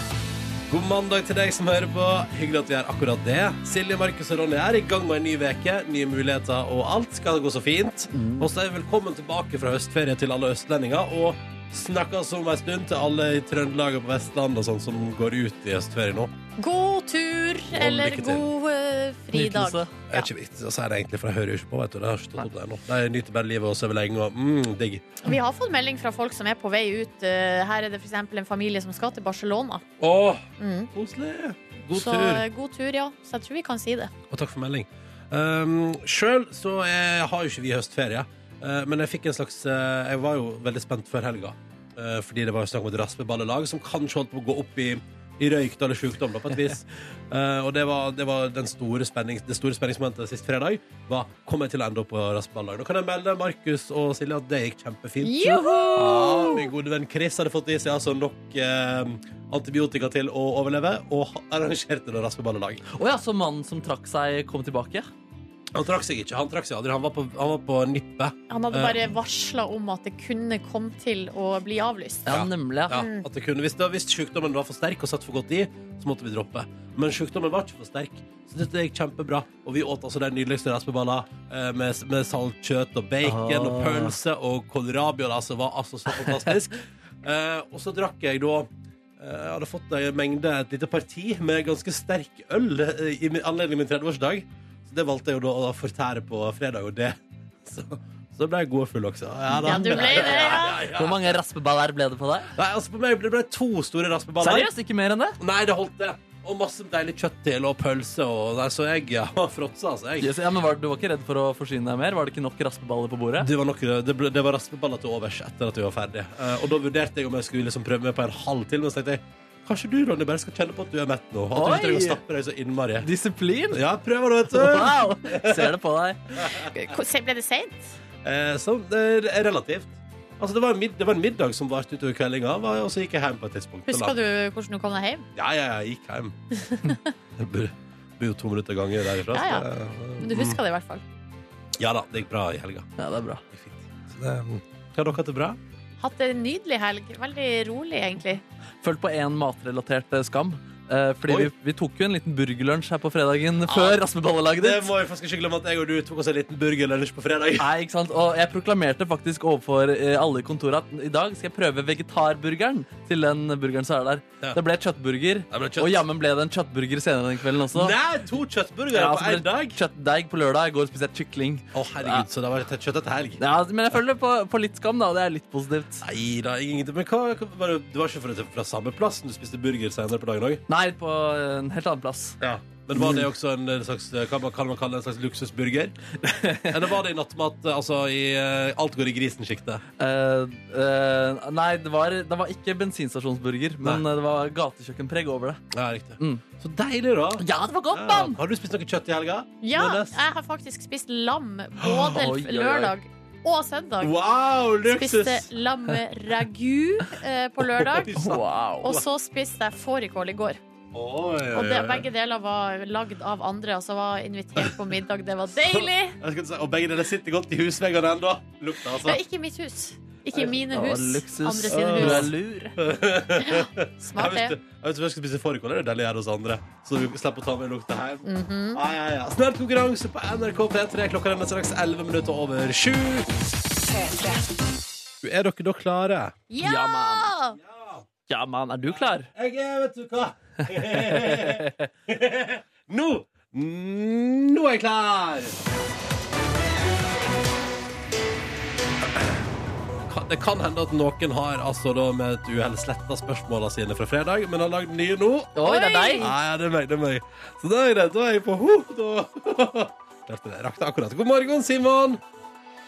S1: God mandag til deg som hører på. Hyggelig at vi gjør akkurat det. Silje, Markus og Ronny er i gang med en ny veke, nye muligheter og alt. Skal det gå så fint? Og så er vi velkommen tilbake fra høstferie til alle østlendinger. Og snakkes om ei stund til alle i Trøndelag og på Vestlandet og sånn som går ut i høstferie nå.
S2: God tur, eller
S1: lykke til.
S2: god eh, fridag.
S3: Nytelse.
S1: Det er ikke viktig å si det egentlig, for jeg hører jo ikke på, vet du. Det har stått opp der nå. Jeg nyter bare livet og sover lenge og mm, digg.
S2: Vi har fått melding fra folk som er på vei ut. Eh, Her er det f.eks. en familie som skal til Barcelona.
S1: Å,
S2: Mm.
S1: koselig. God
S2: så
S1: tur.
S2: eh, god tur, ja. Så jeg tror vi kan si det.
S1: Og takk for melding. Um, Sjøl så eh, har jo ikke vi høstferie, eh, men jeg fikk en slags eh, Jeg var jo veldig spent før helga, eh, fordi det var jo snakk om et raspeballelag som kanskje holdt på å gå opp i i røykt eller sjukdom, da, på et vis. Eh, og det var, det var den store spenning, det store spenningsmomentet sist fredag. Var, Kommer jeg til å ende opp på raspeballag? Nå kan jeg melde Markus og Silje at det gikk kjempefint. Ja, min gode venn Chris hadde fått i seg altså nok eh, antibiotika til å overleve, og ha- arrangerte da raspeballelag.
S3: Å ja, så mannen som trakk seg, kom tilbake?
S1: Han trakk seg ikke. Han trakk seg aldri. Han var på, han var på nippet.
S2: Han hadde bare varsla om at det kunne komme til å bli avlyst.
S3: Ja,
S1: Ja.
S3: nemlig. Ja.
S1: Ja, at det kunne. Hvis, det, hvis sykdommen var for sterk og satt for godt i, så måtte vi droppe. Men sykdommen var ikke for sterk, så dette gikk kjempebra. Og vi åt altså den nydeligste raspeballa eh, med, med saltkjøtt og bacon
S3: Ah.
S1: og pølse og kålrabi. og Det altså, var altså så fantastisk. eh, og så drakk jeg da eh, jeg hadde fått en mengde, et lite parti med ganske sterk øl eh, i min- anledning min 30-årsdag. Så det valgte jeg jo da å fortære på fredag, og det Så, så ble jeg god og full også. da.
S2: Ja, du ble det, ja.
S3: Hvor mange raspeballer ble det på deg?
S1: Nei, altså på meg ble det ble to store raspeballer.
S3: Seriøst, ikke mer enn det?
S1: Nei, det holdt det. Og masse deilig kjøtt til, og pølse og nei, Så jeg ja, fråtsa, altså. Jeg.
S3: Ja, men var, Du var ikke redd for å forsyne deg mer? Var det ikke nok raspeballer på bordet?
S1: Det var, nok, det, ble, det var raspeballer til overs etter at vi var ferdige. Eh, og da vurderte jeg om jeg skulle liksom prøve meg på en halv til, men så tenkte jeg kanskje du Ronny, bare skal kjenne på at du er mett nå. At du
S3: Oi!
S1: ikke trenger å stappe deg så innmari.
S3: Disiplin!
S1: Ja, prøver du, vet du.
S3: Wow! Ser det på deg.
S2: Ko- se- Ble det seint?
S1: Eh, så det er relativt. Altså, det var en, mid det var en middag som varte utover kveldinga, var- og så gikk jeg hjem på et tidspunkt.
S2: Husker du hvordan du kom deg hjem?
S1: Ja, ja, jeg gikk hjem. Det bor- bor jo to minutter gange derifra. så
S2: Ja, ja.
S1: det-
S2: Men du husker det i hvert fall.
S1: Ja da, det gikk bra i helga.
S3: Ja, det er bra.
S1: Det gikk fint. Så det, mm. har dere hatt det bra?
S2: Hatt en nydelig helg. Veldig rolig, egentlig.
S3: Følg på én matrelatert eh, skam. Eh, fordi
S1: Oi.
S3: vi, vi tok jo en liten burgerlunsj her på fredagen før raspeballelaget
S1: Det
S3: ditt.
S1: må jeg faktisk ikke glemme at jeg og du tok oss en liten burgerlunsj på fredag.
S3: Nei, ikke sant? Og jeg proklamerte faktisk overfor eh, alle i kontoret at i dag skal jeg prøve vegetarburgeren til den burgeren som er der.
S1: Ja.
S3: Det ble kjøttburger,
S1: Det ble kjøtt.
S3: og jammen ble det en kjøttburger senere den kvelden også.
S1: Nei, to kjøttburgere
S3: Ja, så
S1: på
S3: ble
S1: én dag!
S3: det Kjøttdeig på lørdag. I går spiste jeg kykling.
S1: altså, Å, herregud, så det var et kjøtt etter helg.
S3: Ja, men jeg føler på, på litt skam, da. og Det er litt positivt.
S1: Nei da, ingenting. Men hva, hva, var det- det var ikke fra, fra samme plass du spiste burger senere på dagen òg?
S3: Nei, på en helt annen plass.
S1: Ja. Men var det også en slags hva man- kan man kalle det, en slags luksusburger? Eller var det i nattmat, altså i eh, alt går i grisen-sjiktet?
S3: Eh, eh, nei, det var, det var ikke bensinstasjonsburger, men eh, det var gatekjøkkenpreg over det.
S1: Ja, riktig.
S3: Mm.
S1: Så deilig, da.
S3: Ja, det var godt,
S1: Ja. Har du spist noe kjøtt i helga?
S2: Ja,
S1: Nordnes?
S2: jeg har faktisk spist lam både
S3: Oi, oi, oi.
S2: lørdag og søndag.
S1: Wow, luksus!
S2: Spiste lammeragu eh, på lørdag.
S3: Wow.
S2: Og så spiste jeg fårikål i går.
S1: Oi,
S2: Og det, begge deler var lagd av andre. Altså var invitert på middag. Det var deilig!
S1: Jeg skal ikke si- Og begge deler sitter godt i husveggene ennå. Lukter, altså.
S2: Ja, ikke i mitt hus. Ikke i mine
S3: Ja,
S2: hus.
S3: luksus.
S2: Andre
S3: Du
S2: sine
S3: er
S2: hus.
S3: lur.
S1: Jeg
S2: Smart
S1: vet,
S2: det.
S1: du- jeg vet du, jeg skal spise fårikål, det er deilig her hos andre. Så vi slipper å ta med lukta hjem.
S2: Mhm.
S1: ja, ja, ja. Snart konkurranse på NRK P3. Klokka er straks 11 minutter over sju. Er dere da klare?
S3: Ja,
S2: Ja!
S3: Ja, mann, er du klar?
S1: Jeg er, vet du hva Nå! Nå er jeg klar! Det kan hende at noen har altså da med et uhell sletta spørsmåla sine fra fredag, men har lagd nye nå.
S3: Oi, det er
S2: Oi!
S3: deg!
S1: Nei, ja, det er meg, det er meg. Så da er det, da er jeg på ho, da. Klarte det, rakk det akkurat. God morgen, Simon.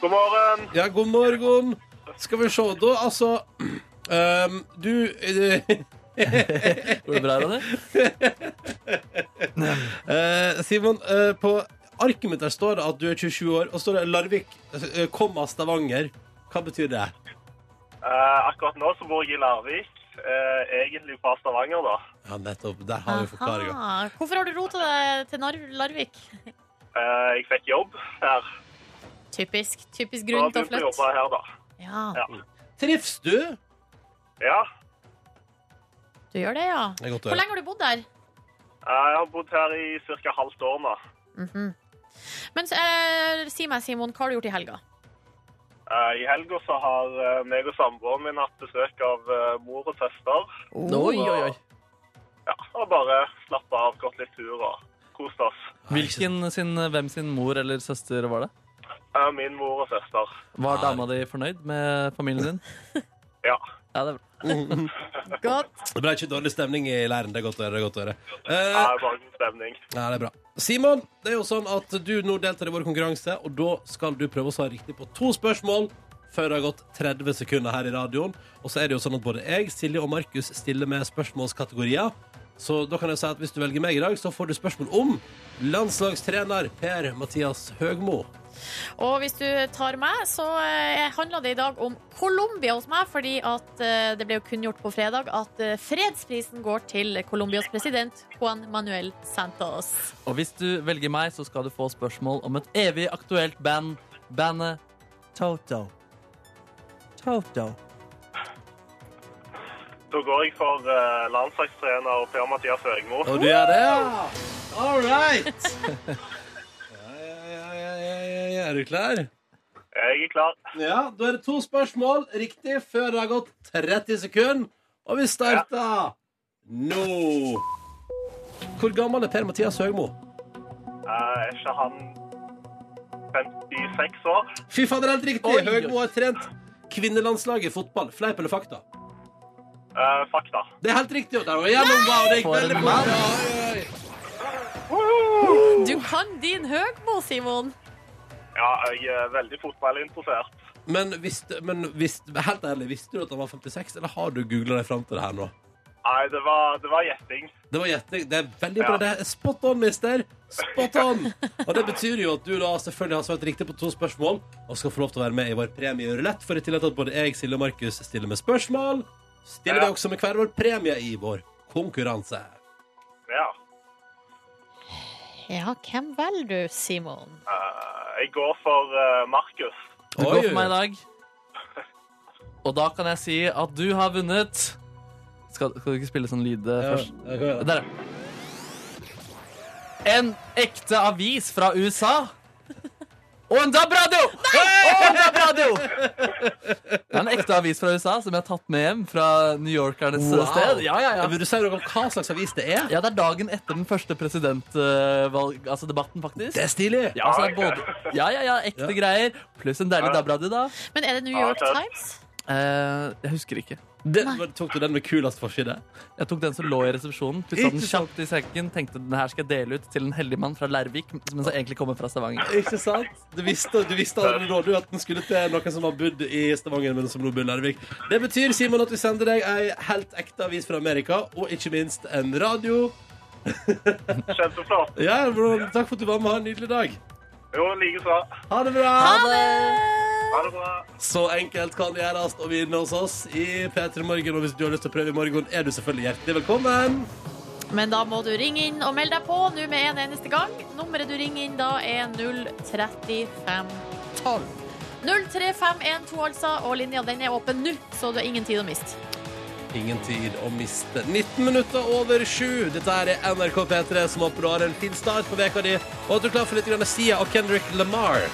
S4: God morgen.
S1: Ja, god morgen. Skal vi se, da, altså ehm, Du
S3: Går det bra, Ronny?
S1: eh, Simon, eh, på arket mitt der står det at du er 27 år, og står det Larvik, eh, komma Stavanger. Hva betyr det?
S4: Eh, akkurat nå så bor jeg i Larvik. Eh, egentlig fra Stavanger, da.
S1: Ja, nettopp. Der har vi forklaringa.
S2: Aha. Hvorfor har du rota deg til Nar Larvik?
S4: Eh, jeg fikk jobb her.
S2: Typisk. Typisk
S4: Så
S2: grunn til å
S4: begynte
S2: flytte.
S4: jeg å jobbe her, da.
S2: Ja,
S4: Ja.
S1: Trives du? Det
S4: ja.
S2: du gjør det, ja.
S1: er godt å
S2: Hvor
S1: høre.
S2: lenge har du bodd der?
S4: Eh, jeg har bodd her i ca. halvt år nå.
S2: Men eh, si meg, Simon, hva har du gjort i helga?
S4: Eh, I helga så har eh, meg og samboeren min hatt besøk av eh, mor og søster.
S3: Oi, oi, oi.
S4: Ja, og bare slappa av, gått litt tur og kost oss.
S3: Hvilken sin, hvem sin mor eller søster var det?
S4: Eh, min mor og søster.
S3: Var dama di fornøyd med familien din?
S4: Ja.
S3: Ja, det er bra.
S2: Godt.
S1: Det ble ikke dårlig stemning i leiren. Det er godt å høre. Det er godt å høre.
S4: Det
S1: Eh,
S4: er bare god stemning.
S1: Ja, det er bra. Simon, det er jo sånn at du nå deltar i vår konkurranse, og da skal du prøve å svare riktig på to spørsmål før det har gått 30 sekunder her i radioen. Og så er det jo sånn at både jeg, Silje og Markus stiller med spørsmålskategorier. Så da kan jeg si at hvis du velger meg i dag, så får du spørsmål om landslagstrener Per Mathias Høgmo.
S2: Og hvis du tar meg, så eh, handler det i dag om Colombia hos meg, fordi at eh, det ble jo kunngjort på fredag at eh, fredsprisen går til Colombias president Juan Manuel Santos.
S3: Og hvis du velger meg, så skal du få spørsmål om et evig aktuelt band. Bandet Toto. Toto.
S4: Da går jeg for eh, landslagstrener Per-Mathias Høgmo.
S1: Og du gjør det, ja? All right! Ja, ja, ja, ja, ja, ja. Er du klar?
S4: Jeg er klar.
S1: Ja, da er det to spørsmål riktig før det har gått 30 sekunder. Og vi starter nå. Hvor gammel er Per-Mathias Høgmo?
S4: Eh, Er ikke han 56 år?
S1: Fy faen, det er helt riktig!
S3: Oi.
S1: Høgmo har trent kvinnelandslaget i fotball. Fleip eller fakta?
S4: Eh, fakta.
S1: Det er helt riktig. og Der var jeg gjennom, wow, det gikk
S3: For
S1: veldig
S3: en
S1: bra.
S3: mann.
S1: Oi, oi.
S2: Du kan din Høgmo, Simon.
S4: Ja, jeg er veldig fotballinteressert.
S1: Men, visste, men visste, helt ærlig, visste du at han var 56, eller har du googla deg fram til det her nå?
S4: Nei, det var, det var gjetting.
S1: Det var gjetting. Det er veldig bra.
S4: Ja.
S1: Det er spot on, mister. Spot on! Og det betyr jo at du da selvfølgelig har svart riktig på to spørsmål og skal få lov til å være med i vår premierulett, for i tillegg til at både jeg, Silje og Markus stiller med spørsmål, stiller
S4: Ja.
S1: vi også med hver vår premie i vår konkurranse.
S4: Ja.
S2: Ja, hvem velger du, Simon?
S4: Eh, jeg går for eh, Markus.
S3: Det går for meg i dag. Og da kan jeg si at du har vunnet Skal, skal du ikke spille sånn lyd eh,
S1: Ja,
S3: først?
S1: jeg kan gjøre det.
S3: Der, ja. En ekte avis fra USA. Og en DAB-radio! Og en DAB-radio! Det er en ekte avis fra USA som jeg har tatt med hjem fra New Yorkernes eh, sted. Ja, ja, ja.
S1: Vil du si noe om hva slags avis det er?
S3: Ja, Det er dagen etter den første presidentdebatten, altså debatten, faktisk.
S1: Det er stilig!
S3: Ja, altså, det er både, ja, ja, ja, ekte
S1: Ja.
S3: greier. Pluss en deilig
S4: Ja.
S3: DAB-radio, da.
S2: Men er det New
S4: Ja,
S2: York
S4: klart.
S2: Times?
S3: Eh, jeg husker ikke.
S1: Det, tok du den med kulest forside?
S3: Jeg tok den som lå i resepsjonen, putta den
S1: Ikke sant.
S3: kjapt i sekken, tenkte den her skal jeg dele ut til en heldig mann fra Lærvik, men som egentlig kommer fra Stavanger.
S1: Ikke sant? Du visste, du visste allerede da du at den skulle til noen som har bodd i Stavanger, men som nå bor i Larvik. Det betyr Simon, at vi sender deg ei helt ekte avis fra Amerika, og ikke minst en radio.
S4: Kjempeflott.
S1: Ja, bro, Takk for at du var med. Ha en nydelig dag.
S4: Jo, likeså.
S1: Ha det bra!
S4: Ha det bra.
S1: Så enkelt kan det gjøres å vinne hos oss i P3 Morgen. Og hvis du har lyst til å prøve i morgen, er du selvfølgelig hjertelig velkommen.
S2: Men da må du ringe inn og melde deg på nå med en eneste gang. Nummeret du ringer inn da er 03512. 03512 altså, og linja den er åpen nå, så du har ingen tid å miste.
S1: Ingen tid å miste. 19 minutter over sju. Dette her er NRK P3, som håper du har en fin start på veka di, og at du er klar for litt grann Sia og Kendrick Lamar.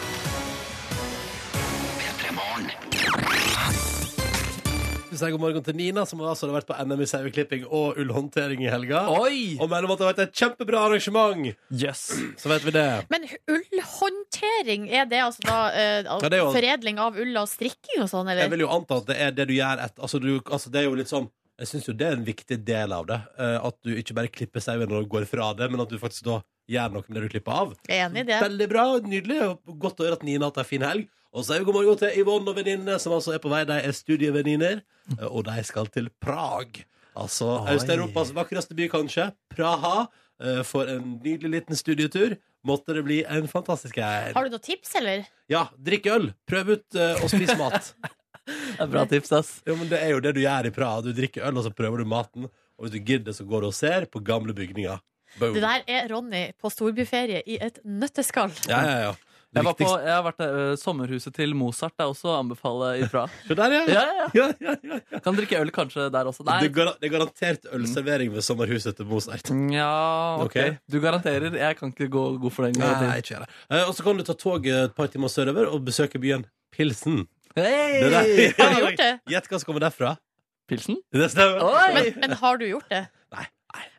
S1: Vi sier god morgen til Nina, som altså har vært på NM i saueklipping og ullhåndtering i helga.
S3: Oi!
S1: Og mellom at det har vært et kjempebra arrangement,
S3: Jøss. Yes.
S1: så vet vi det.
S2: Men ullhåndtering, er det altså da eh,
S1: det er jo-
S2: foredling av ulla og strikking og sånn,
S1: Jeg
S2: eller?
S1: vil jo anta at det er det du gjør et, altså, du, altså det er jo litt sånn Jeg syns jo det er en viktig del av det. eh, At du ikke bare klipper sauen og går fra det, men at du faktisk da gjør noe med det du klipper av.
S2: Enig i det.
S1: Veldig bra, nydelig. og Godt å høre at Nina har hatt ei en fin helg. Og så er vi god morgen til Yvonne og venninnene, som altså er på vei. De er studievenninner, eh, og de skal til Prag. Altså
S3: Oi.
S1: Øst-Europas vakreste by, kanskje. Praha. eh, For en nydelig liten studietur. Måtte det bli en fantastisk helg.
S2: Har du noen tips, eller?
S1: Ja, drikk øl, prøv ut eh, og spis mat.
S3: Bra tips, ass.
S1: Jo, men Det er jo det du gjør i Praha. Du drikker øl, og så prøver du maten. Og hvis du gidder, så går du og ser på gamle bygninger. Boom.
S2: Det der er Ronny på storbyferie i et nøtteskall.
S1: Ja, ja, ja. Det
S3: Jeg, var på,
S1: viktigste-
S3: jeg har vært der, ø, sommerhuset til Mozart. Det er også å anbefale ifra.
S1: Se der, ja.
S3: Ja, ja,
S1: ja, ja, ja, ja.
S3: ja. Kan drikke øl kanskje der også.
S1: Det,
S3: Nei. Mm.
S1: er gar- det er garantert ølservering ved sommerhuset til Mozart.
S3: Ja, ok.
S1: Ok.
S3: Du garanterer. Jeg kan ikke gå god for den.
S1: Nei,
S3: garantien.
S1: ikke gjør det. Eh, Og så kan du ta toget et par timer sørover og besøke byen Pilsen. Det der.
S3: Hey!
S2: Har du gjort det?
S1: Gjett hva som kommer derfra.
S3: Pilsen?
S1: Det stemmer.
S3: Oi!
S2: Men, men har du gjort det?
S1: Nei,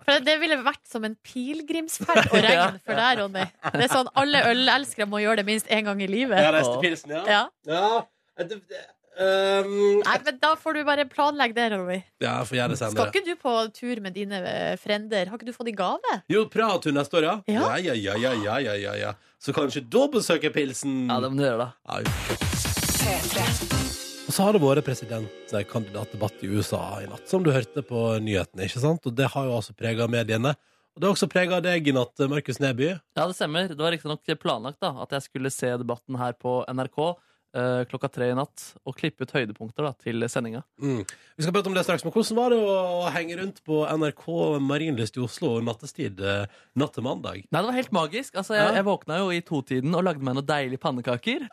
S2: For det ville vært som en pilegrimsferd å
S3: Ja.
S2: regne for deg, Ronny. Det er sånn Alle ølelskere må gjøre det minst én gang i
S1: Jeg
S2: livet.
S1: reiste til Pilsen, ja.
S2: Ja.
S1: Ja, eh, det- det- ehm,
S2: Nei, men Da får du bare planlegge det, Ronny.
S1: ja, jeg får gjøre det
S2: Skal
S1: senere.
S2: ikke du på tur med dine eh, frender? Har ikke du fått i gave?
S1: Jo, Praha-tur neste år, ja.
S2: Ja.
S1: Ja, ja, ja, ja, ja, ja, ja, ja. Så kanskje da besøker Pilsen.
S3: Ja, det må du gjøre, da.
S1: Au. Og så har det vært presidentkandidatdebatt i USA i natt, som du hørte på nyhetene. ikke sant? Og det har jo altså prega mediene. Og det har også prega deg i natt, Markus Neby.
S3: Ja, det stemmer. Det var riktignok planlagt da, at jeg skulle se debatten her på NRK eh, klokka tre i natt og klippe ut høydepunkter da, til sendinga.
S1: Mm. Vi skal prate om det straks, men hvordan var det å henge rundt på NRK Marienlyst i Oslo nattestid eh, natt til mandag?
S3: Nei, det var helt magisk. Altså,
S1: Ja.
S3: jeg, jeg våkna jo i totiden og lagde meg noen deilige pannekaker.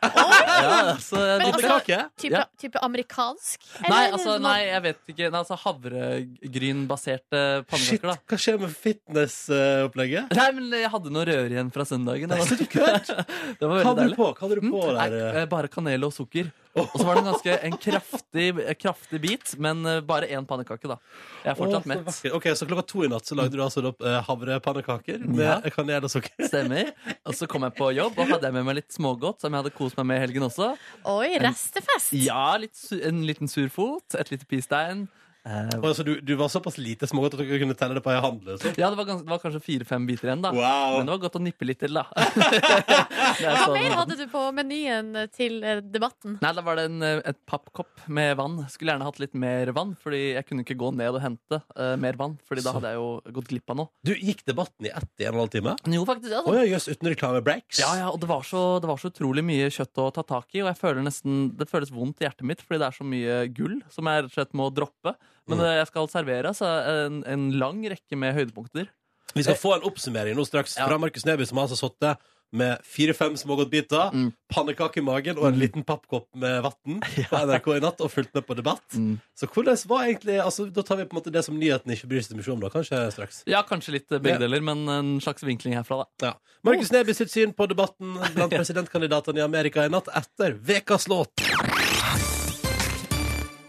S3: Ja, altså, jeg-
S2: Men altså-
S1: Kake?
S2: Type,
S3: Ja.
S2: type amerikansk?
S3: nei,
S2: Eller
S3: altså,
S2: noe-
S3: nei, jeg vet ikke. Nei, altså Havregrynbaserte
S1: Shit,
S3: pannekaker, da.
S1: hva skjer med eh, fitnessopplegget?
S3: Nei, men jeg hadde noe røre igjen fra søndagen.
S1: Nei,
S3: Det var,
S1: slutt å kødde!
S3: det var
S1: Hva
S3: veldig
S1: hadde du
S3: deilig.
S1: på? Hva hadde du på
S3: Mm,
S1: der?
S3: nei,
S1: eh?
S3: eh, bare kanel og sukker. Og så var det en ganske en kraftig, kraftig bit, men eh, bare én pannekake, da. Jeg er
S1: Å,
S3: fortsatt
S1: så
S3: mett.
S1: vakkert. Ok, Så klokka to i natt så lagde du altså opp havrepannekaker med
S3: Ja.
S1: kanel og sukker?
S3: Stemmer. Og så kom jeg på jobb, og hadde jeg med meg litt smågodt som jeg hadde kost meg med i helgen også.
S2: Oi, restefest!
S3: Ja, litt, su- En liten surfot, et lite pistein. Eh,
S1: Og altså, du, du var såpass lite smågodt at dere kunne telle det på ei hand? liksom.
S3: ja, det var, gans, det var kanskje fire-fem biter igjen, da.
S1: Wow.
S3: Men det var godt å nippe litt til, da. sånn-
S2: Hva mer hadde du på menyen til eh, debatten?
S3: Nei, da var det en, eh, et pappkopp med vann. Skulle gjerne hatt litt mer vann, Fordi jeg kunne ikke gå ned og hente eh, mer vann. Fordi da
S1: Så.
S3: hadde jeg jo gått glipp av noe.
S1: Du, Gikk debatten i ett i en og en halv time?
S3: Men Jo, faktisk.
S1: Å
S3: Altså.
S1: ja, jøss, uten reklamebreaks?
S3: Ja, ja, og det var, så, det var så utrolig mye kjøtt å ta tak i, og jeg føler nesten, det føles vondt i hjertet mitt fordi det er så mye gull som jeg rett og slett må droppe. Men
S1: Mm.
S3: eh, jeg skal servere altså, en, en lang rekke med høydepunkter.
S1: Vi skal få en oppsummering nå straks
S3: Ja.
S1: fra Markus Neby, som har altså sittet med fire-fem smågodtbiter,
S3: Mm.
S1: pannekake i magen og en liten pappkopp med vann på NRK i natt og fulgt med på debatt.
S3: Mm.
S1: Så hvordan var egentlig altså, Da tar vi på en måte det som nyheten ikke bryr seg så mye om, da, kanskje straks.
S3: Ja, kanskje litt eh,
S1: Ja.
S3: begge deler, men en slags vinkling herfra, da.
S1: Ja. Markus
S3: Oh.
S1: Neby sitt syn på debatten blant presidentkandidatene i Amerika i natt etter Vekas låt.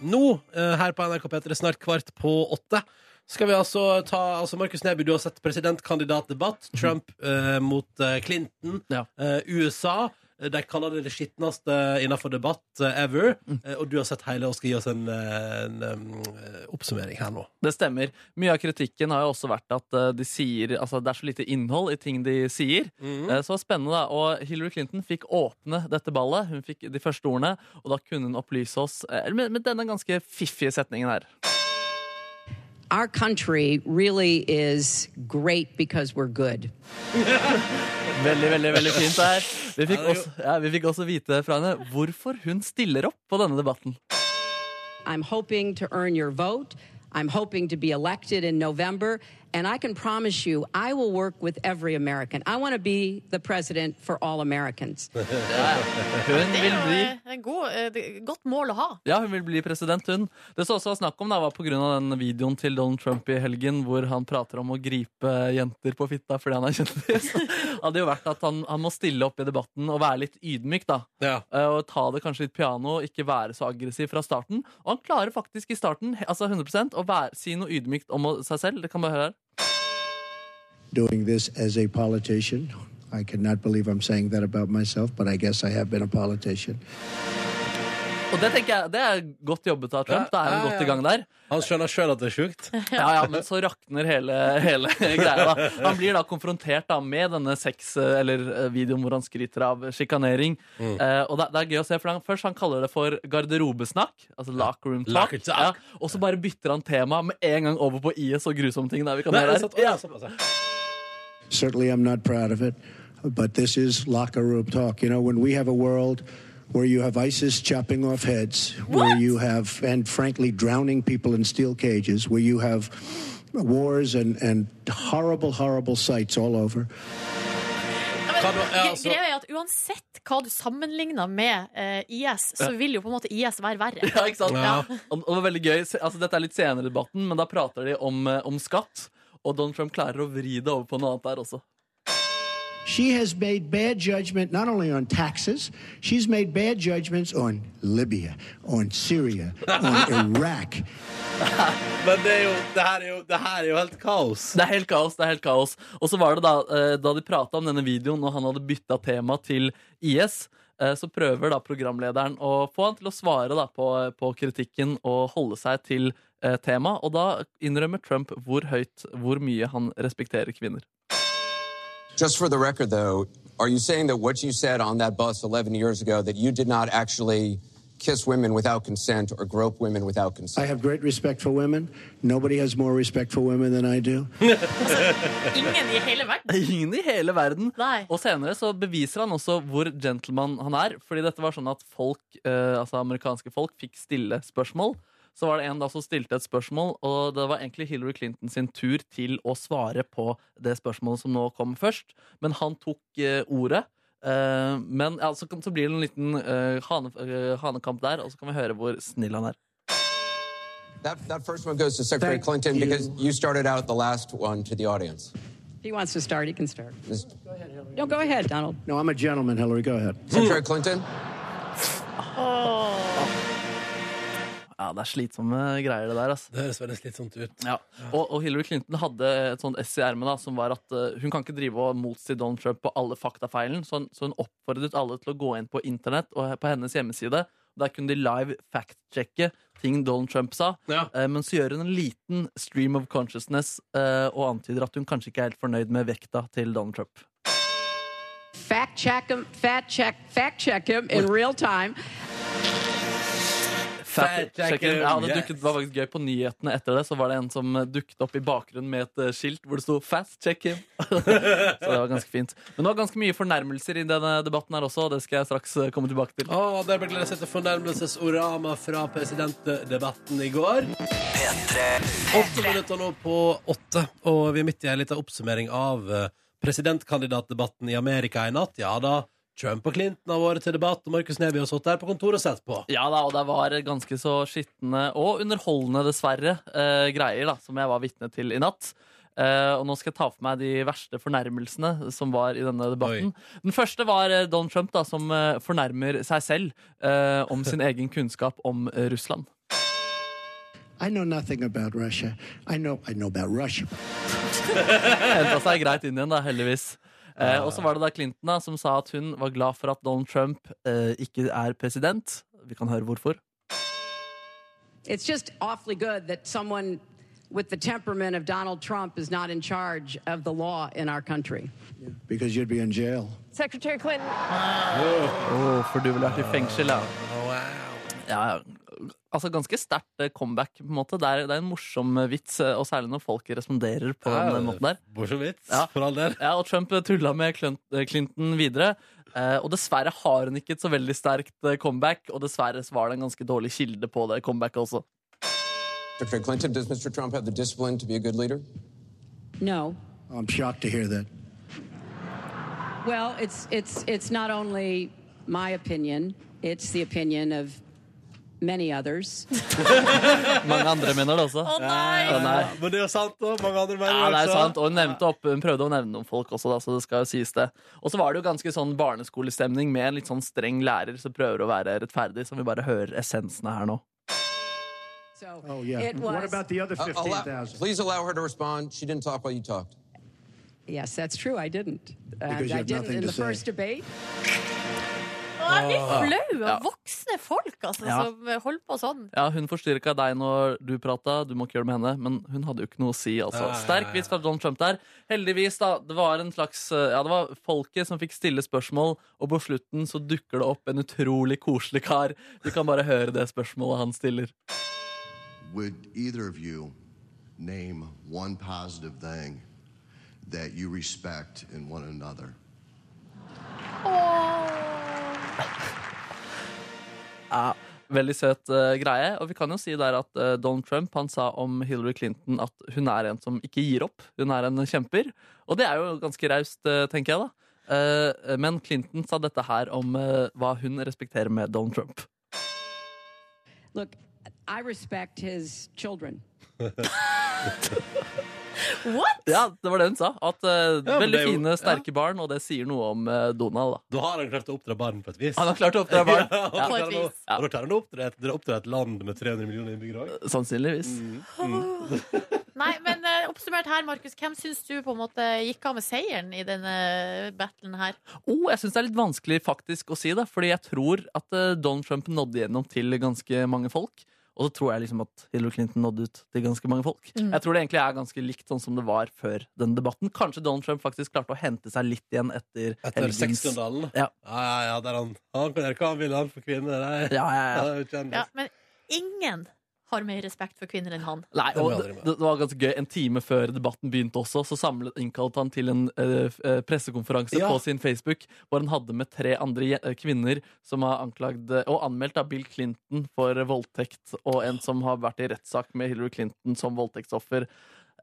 S1: Nå, eh, her på NRK P3, snart kvart på åtte, skal vi altså ta altså Markus Neby, du har sett presidentkandidatdebatt. Trump eh, mot eh, Clinton.
S3: Mhm. Ja.
S1: Eh, USA. eh, De kaller det det skitneste innenfor debatt eh, ever.
S3: Mm.
S1: Eh, og du har sett hele og skal gi oss en, eh, en, eh, oppsummering her nå.
S3: Det stemmer. Mye av kritikken har jo også vært at eh, de sier, altså, det er så lite innhold i ting de sier. Eh, Så spennende, da. Og Hillary Clinton fikk åpne dette ballet. Hun fikk de første ordene, og da kunne hun opplyse oss eh, med, med denne ganske fiffige setningen her.
S5: our country really is great because we're good.
S3: Veldig, veldig veldig fint der. Vi
S1: Ja,
S3: fikk,
S1: det er
S3: også, ja, vi fikk også vite fra henne hvorfor hun stiller opp på denne debatten.
S5: I'm hoping to earn your vote. I'm hoping to be elected in November. And I can promise you, I will work with every American. I want to be the president for all Americans.
S3: Hun
S2: Det er
S3: vil
S2: jo
S3: bli,
S2: eh, en god, eh, det- godt mål å ha.
S3: ja, hun vil bli president, hun. Det som også var snakk om, da, var pga. den videoen til Donald Trump i helgen hvor han prater om å gripe jenter på fitta fordi han er kjendis. hadde jo vært at han, han må stille opp i debatten og være litt ydmyk, da.
S1: Ja.
S3: Eh, Og ta det kanskje litt piano, ikke være så aggressiv fra starten. Og han klarer faktisk i starten he- altså 100 å være, si noe ydmykt om å- seg selv. Det kan man høre her.
S6: doing this as a politician. I cannot believe I'm saying that about myself, but I guess I have been a politician.
S3: Og det tenker jeg, det er godt jobbet av Trump. Da er han
S1: Ja, ja,
S3: godt
S1: ja.
S3: i gang der.
S1: Han skjønner sjøl at det er sjukt.
S3: Ja, ja, Men så rakner hele, hele greia. da Han blir da konfrontert da med denne sex- eller eh, videoen hvor han skryter av sjikanering.
S1: Mm.
S3: Eh, og det, det er gøy å se, for han, Først han kaller det for garderobesnakk. Altså locker room talk.
S1: Locker talk.
S3: Ja, og så bare bytter han tema med en gang over på IS og grusomme ting. Der vi kan
S1: Nei, altså,
S3: gjøre
S1: sant? Å,
S3: her.
S1: ja, såpass, ja.
S6: Certainly, I'm not proud of it, but this is locker room talk. You know, when we have a world where you have ISIS chopping off heads, where you have, and frankly, drowning people in steel cages, where you have wars and, and horrible, horrible sights all over.
S1: Hva da? Ja,
S2: Gre-
S1: altså-
S2: Greia er at uansett hva du sammenligner med eh, IS, så vil jo på en måte IS være verre.
S3: Ja, ikke sant?
S1: Ja.
S3: Og, og det var veldig gøy. Se- Altså, dette er litt senere i debatten, men da prater de om, eh, om skatt. Og Donald Trump klarer å vri det over på noe annet der også.
S6: She has made bad judgment not only on taxes, she's made bad judgments on Libya, on Syria, on Iraq.
S1: Men det, er jo, det, her er jo, det her er jo helt kaos.
S3: Det er helt kaos. det er helt kaos Og så var det da eh, da de prata om denne videoen, og han hadde bytta tema til IS, eh, så prøver da programlederen å få han til å svare da på, på kritikken og holde seg til eh, tema, og da innrømmer Trump hvor høyt, hvor mye han respekterer kvinner.
S7: Just for the record, though, are you saying that what you said on that bus 11 years ago, that you did not actually kiss women without consent or grope women without
S6: I
S7: consent?
S6: have great respect for women. Nobody has more respect for women than I do.
S2: Ingen i hele verden.
S3: Ingen i hele verden.
S2: Nei.
S3: Og senere så beviser han også hvor gentleman han er. Fordi dette var sånn at folk, eh, altså amerikanske folk fikk stille spørsmål. Så var det en da som stilte et spørsmål, og det var egentlig Hillary Clinton sin tur til å svare på det spørsmålet som nå kom først. Men han tok eh, ordet. Eh, men ja, så, kan- så blir det en liten eh, hane, eh, hanekamp der, og så kan vi høre hvor snill han er.
S7: That, that first one goes to Secretary
S6: Thank
S7: Clinton
S6: you.
S7: because you started out the last one to the audience.
S5: If he wants to start, he can start.
S7: Ms.
S5: No, go ahead, Donald.
S6: No, I'm a gentleman, Hillary. Go ahead.
S7: Secretary Clinton?
S3: Ja, det er slitsomme greier, det der. altså
S1: Det høres veldig slitsomt ut.
S3: Ja. Og, og Hillary Clinton hadde et sånt ess i ermet da, som var at eh, hun kan ikke drive og motsi Donald Trump på alle faktafeilen, så, hun- så hun oppfordret alle til å gå inn på internett og på hennes hjemmeside Der kunne de live fact-sjekke ting Donald Trump sa.
S1: Ja.
S3: Eh, Men så gjør hun en liten stream of consciousness eh, og antyder at hun kanskje ikke er helt fornøyd med vekta til Donald Trump.
S5: Fact check him, fact check, fact check him in real time.
S1: Fact-checker,
S3: Fact-checker. Ja, det,
S1: yes.
S3: dukket, det var faktisk gøy På nyhetene etter det Så var det en som eh, dukket opp i bakgrunnen med et eh, skilt hvor det sto 'Fast check him'. så det var ganske fint. Men det var ganske mye fornærmelser i denne debatten her også, og det skal jeg straks eh, komme tilbake til.
S1: Å, der ble gledet seg til fornærmelsesorama fra presidentdebatten i går. Åtte minutter nå på åtte, og vi er midt i en liten oppsummering av eh, presidentkandidatdebatten i Amerika i natt. Ja da, Trump og Clinton har vært til debatt, og Markus Neby har sittet her på kontoret og sett på.
S3: Ja da, og det var ganske så skitne og underholdende, dessverre, eh, greier da, som jeg var vitne til i natt. Eh, og nå skal jeg ta for meg de verste fornærmelsene som var i denne debatten. Den første var eh, Donald Trump, da, som eh, fornærmer seg selv eh, om sin egen kunnskap om eh, Russland.
S6: I know nothing about Russia. I know I know about Russia.
S3: henta seg greit inn igjen, da, heldigvis. Eh, og så var det da Clinton da, som sa at hun var glad for at Donald Trump eh, ikke er president. Vi kan høre hvorfor.
S5: It's just awfully good that someone with the temperament of Donald Trump is not in charge of the law in our country.
S6: Because you'd be in jail.
S8: Secretary Clinton.
S3: Oh, for du ville vært i fengsel, ja. ja. ja. Altså Ganske sterkt eh, comeback. på en måte Det er, det er en morsom eh, vits, eh, og særlig når folk responderer på den eh, måten der.
S1: Morsom vits,
S3: Ja.
S1: for all del.
S3: Ja, og Trump tulla med Clun- eh, Clinton videre. Eh, og dessverre har hun ikke et så veldig sterkt eh, comeback, og dessverre så var det en ganske dårlig kilde på det comebacket også.
S7: Secretary Clinton, does Mr. Trump have the discipline to be a good leader?
S5: No.
S6: I'm shocked to hear that.
S5: Well, it's it's it's not only my opinion, it's the opinion of many others.
S3: Mange andre mener det også.
S2: Å nei!
S3: Ja, nei.
S1: Men det er jo sant, og mange andre mener
S3: Ja, det er
S1: også.
S3: sant, og hun, nevnte opp, hun prøvde å nevne noen folk også, da, så det skal jo sies det. Og så var det jo ganske sånn barneskolestemning med en litt sånn streng lærer som prøver å være rettferdig, som vi bare hører essensen av her nå.
S5: So
S6: Oh yeah.
S5: it was
S6: What about the other
S7: Uh, allow-
S6: 15,000?
S7: please allow her to respond. She didn't talk while you talked.
S5: Yes, that's true. I didn't. Uh,
S6: Because you
S5: I
S6: have
S5: didn't
S6: nothing
S5: in
S6: to
S5: the
S6: say.
S5: first debate.
S2: Å, Jeg blir flau
S3: Ja.
S2: av voksne folk altså,
S3: Ja.
S2: som holder på sånn.
S3: Ja, Hun forstyrka deg når du prata, du må ikke gjøre det med henne. Men hun hadde jo ikke noe å si. altså.
S1: Nei, nei,
S3: Sterk vits fra Donald Trump der. Heldigvis, da. Det var en slags, eh, ja, det var folket som fikk stille spørsmål, og på slutten så dukker det opp en utrolig koselig kar. Vi kan bare høre det spørsmålet han stiller.
S9: Would either of you name one positive thing that you respect in one another?
S3: Veldig søt eh, greie. Og vi kan jo si der at eh, Donald Trump han sa om Hillary Clinton at hun er en som ikke gir opp. Hun er en kjemper. Og det er jo ganske raust, eh, tenker jeg, da. Eh, men Clinton sa dette her om eh, hva hun respekterer med Donald Trump.
S5: Look, I respect his children.
S2: What?!
S3: Ja, det var det hun sa. At eh,
S1: Ja, men
S3: Veldig
S1: det er jo-
S3: fine, sterke barn, og det sier noe om eh, Donald, da.
S1: Da har han klart å oppdra barn på et vis.
S3: Han har klart å oppdra barn.
S1: Ja, og
S3: Ja,
S1: da klarer han å-
S2: på et vis.
S1: og da klarer han å oppdra et, oppdra et land med 300 millioner innbyggere også.
S3: sannsynligvis.
S2: Nei, men eh, oppsummert her, Markus, hvem syns du på en måte gikk av med seieren i denne battlen her?
S3: Oh, jeg syns det er litt vanskelig faktisk å si det, fordi jeg tror at eh, Donald Trump nådde gjennom til ganske mange folk. Og så tror jeg liksom at Hillary Clinton nådde ut til ganske mange folk. Jeg tror det egentlig er ganske likt sånn som det var før denne debatten. Kanskje Donald Trump faktisk klarte å hente seg litt igjen etter,
S1: Etter
S3: helgens-
S1: sexskandalen.
S3: Ja.
S1: ja, ja, ja, der han Han kan gjøre hva han vil, han for kvinner. Nei.
S3: Ja, ja, ja.
S1: Han er jo kjendis.
S2: Ja, men ingen har mer respekt for kvinner enn han.
S3: Nei,
S1: Den
S3: og
S1: må jeg
S3: det,
S1: aldri med.
S3: det var ganske gøy. En time før debatten begynte også, så samlet, innkalte han til en eh, f- eh, pressekonferanse
S1: Ja.
S3: på sin Facebook, hvor han hadde med tre andre je- eh, kvinner som har anklagd eh, og anmeldt av Bill Clinton for eh, voldtekt, og en som har vært i rettssak med Hillary Clinton som voldtektsoffer.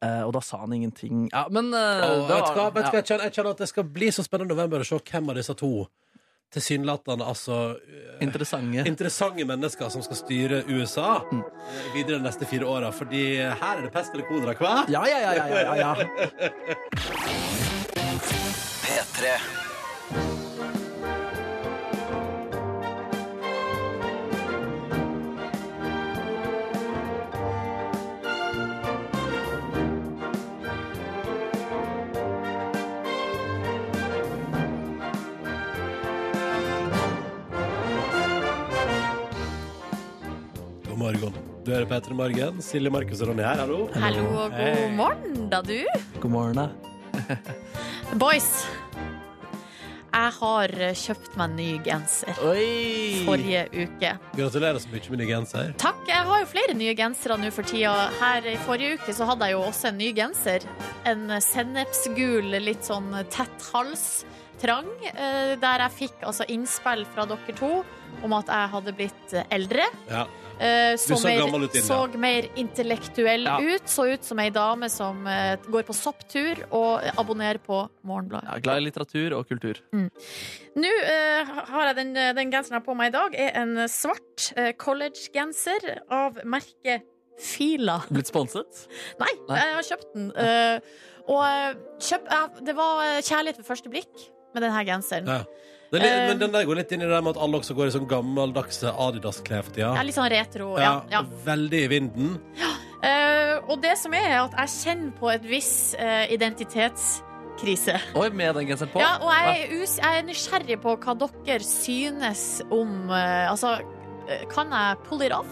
S3: Eh, og da sa han ingenting. Ja, men eh,
S1: Og,
S3: det
S1: vet du hva,
S3: var-
S1: vet du hva,
S3: ja.
S1: jeg, kjenner, jeg kjenner at det skal bli så spennende i november å se hvem av disse to tilsynelatende altså eh,
S3: Interessante.
S1: interessante mennesker som skal styre USA eh, videre de neste fire åra. Fordi her er det pest eller kolera, hva?
S3: Ja, ja, ja, ja, ja, ja, ja.
S1: Du hører Petter Morgen. Silje, Markus og Ronny her, hallo.
S2: Hallo og
S1: Hei.
S2: god morgen, da, du.
S3: God morgen, da.
S2: Boys. Jeg har kjøpt meg ny genser
S3: Oi!
S2: forrige uke.
S1: Gratulerer så mye med ny genser.
S2: Takk. Jeg har jo flere nye gensere nå for tida. Her i forrige uke så hadde jeg jo også en ny genser. En sennepsgul, litt sånn tett hals, trang, eh, der jeg fikk altså innspill fra dere to om at jeg hadde blitt eh, eldre.
S1: Ja.
S2: Eh, så,
S1: så gammel
S2: mer,
S1: ut, Ida.
S2: så mer intellektuell
S3: Ja.
S2: ut. Så ut som ei dame som eh, går på sopptur og abonnerer på Morgenbladet.
S3: Jeg er glad i litteratur og kultur.
S2: Nå eh, har jeg den, den genseren jeg har på meg i dag, er en svart eh, collegegenser av merket Fila.
S3: Blitt sponset?
S2: Nei,
S3: Nei.
S2: jeg har kjøpt den. eh, og eh, kjøp, eh, det var eh, kjærlighet ved første blikk med denne genseren.
S1: Ja. Det er litt,
S2: Eh.
S1: men den der går litt inn i det der med at alle også går i sånn gammeldagse Adidas-klær for tida.
S2: Jeg er litt sånn retro. Ja, ja.
S1: Veldig i vinden.
S2: Eh, og det som er, er at jeg kjenner på et viss eh, identitetskrise.
S3: Oi, med den genseren på?
S2: Ja, og jeg er, us jeg er nysgjerrig på hva dere synes om eh, Altså, eh, kan jeg pull it off?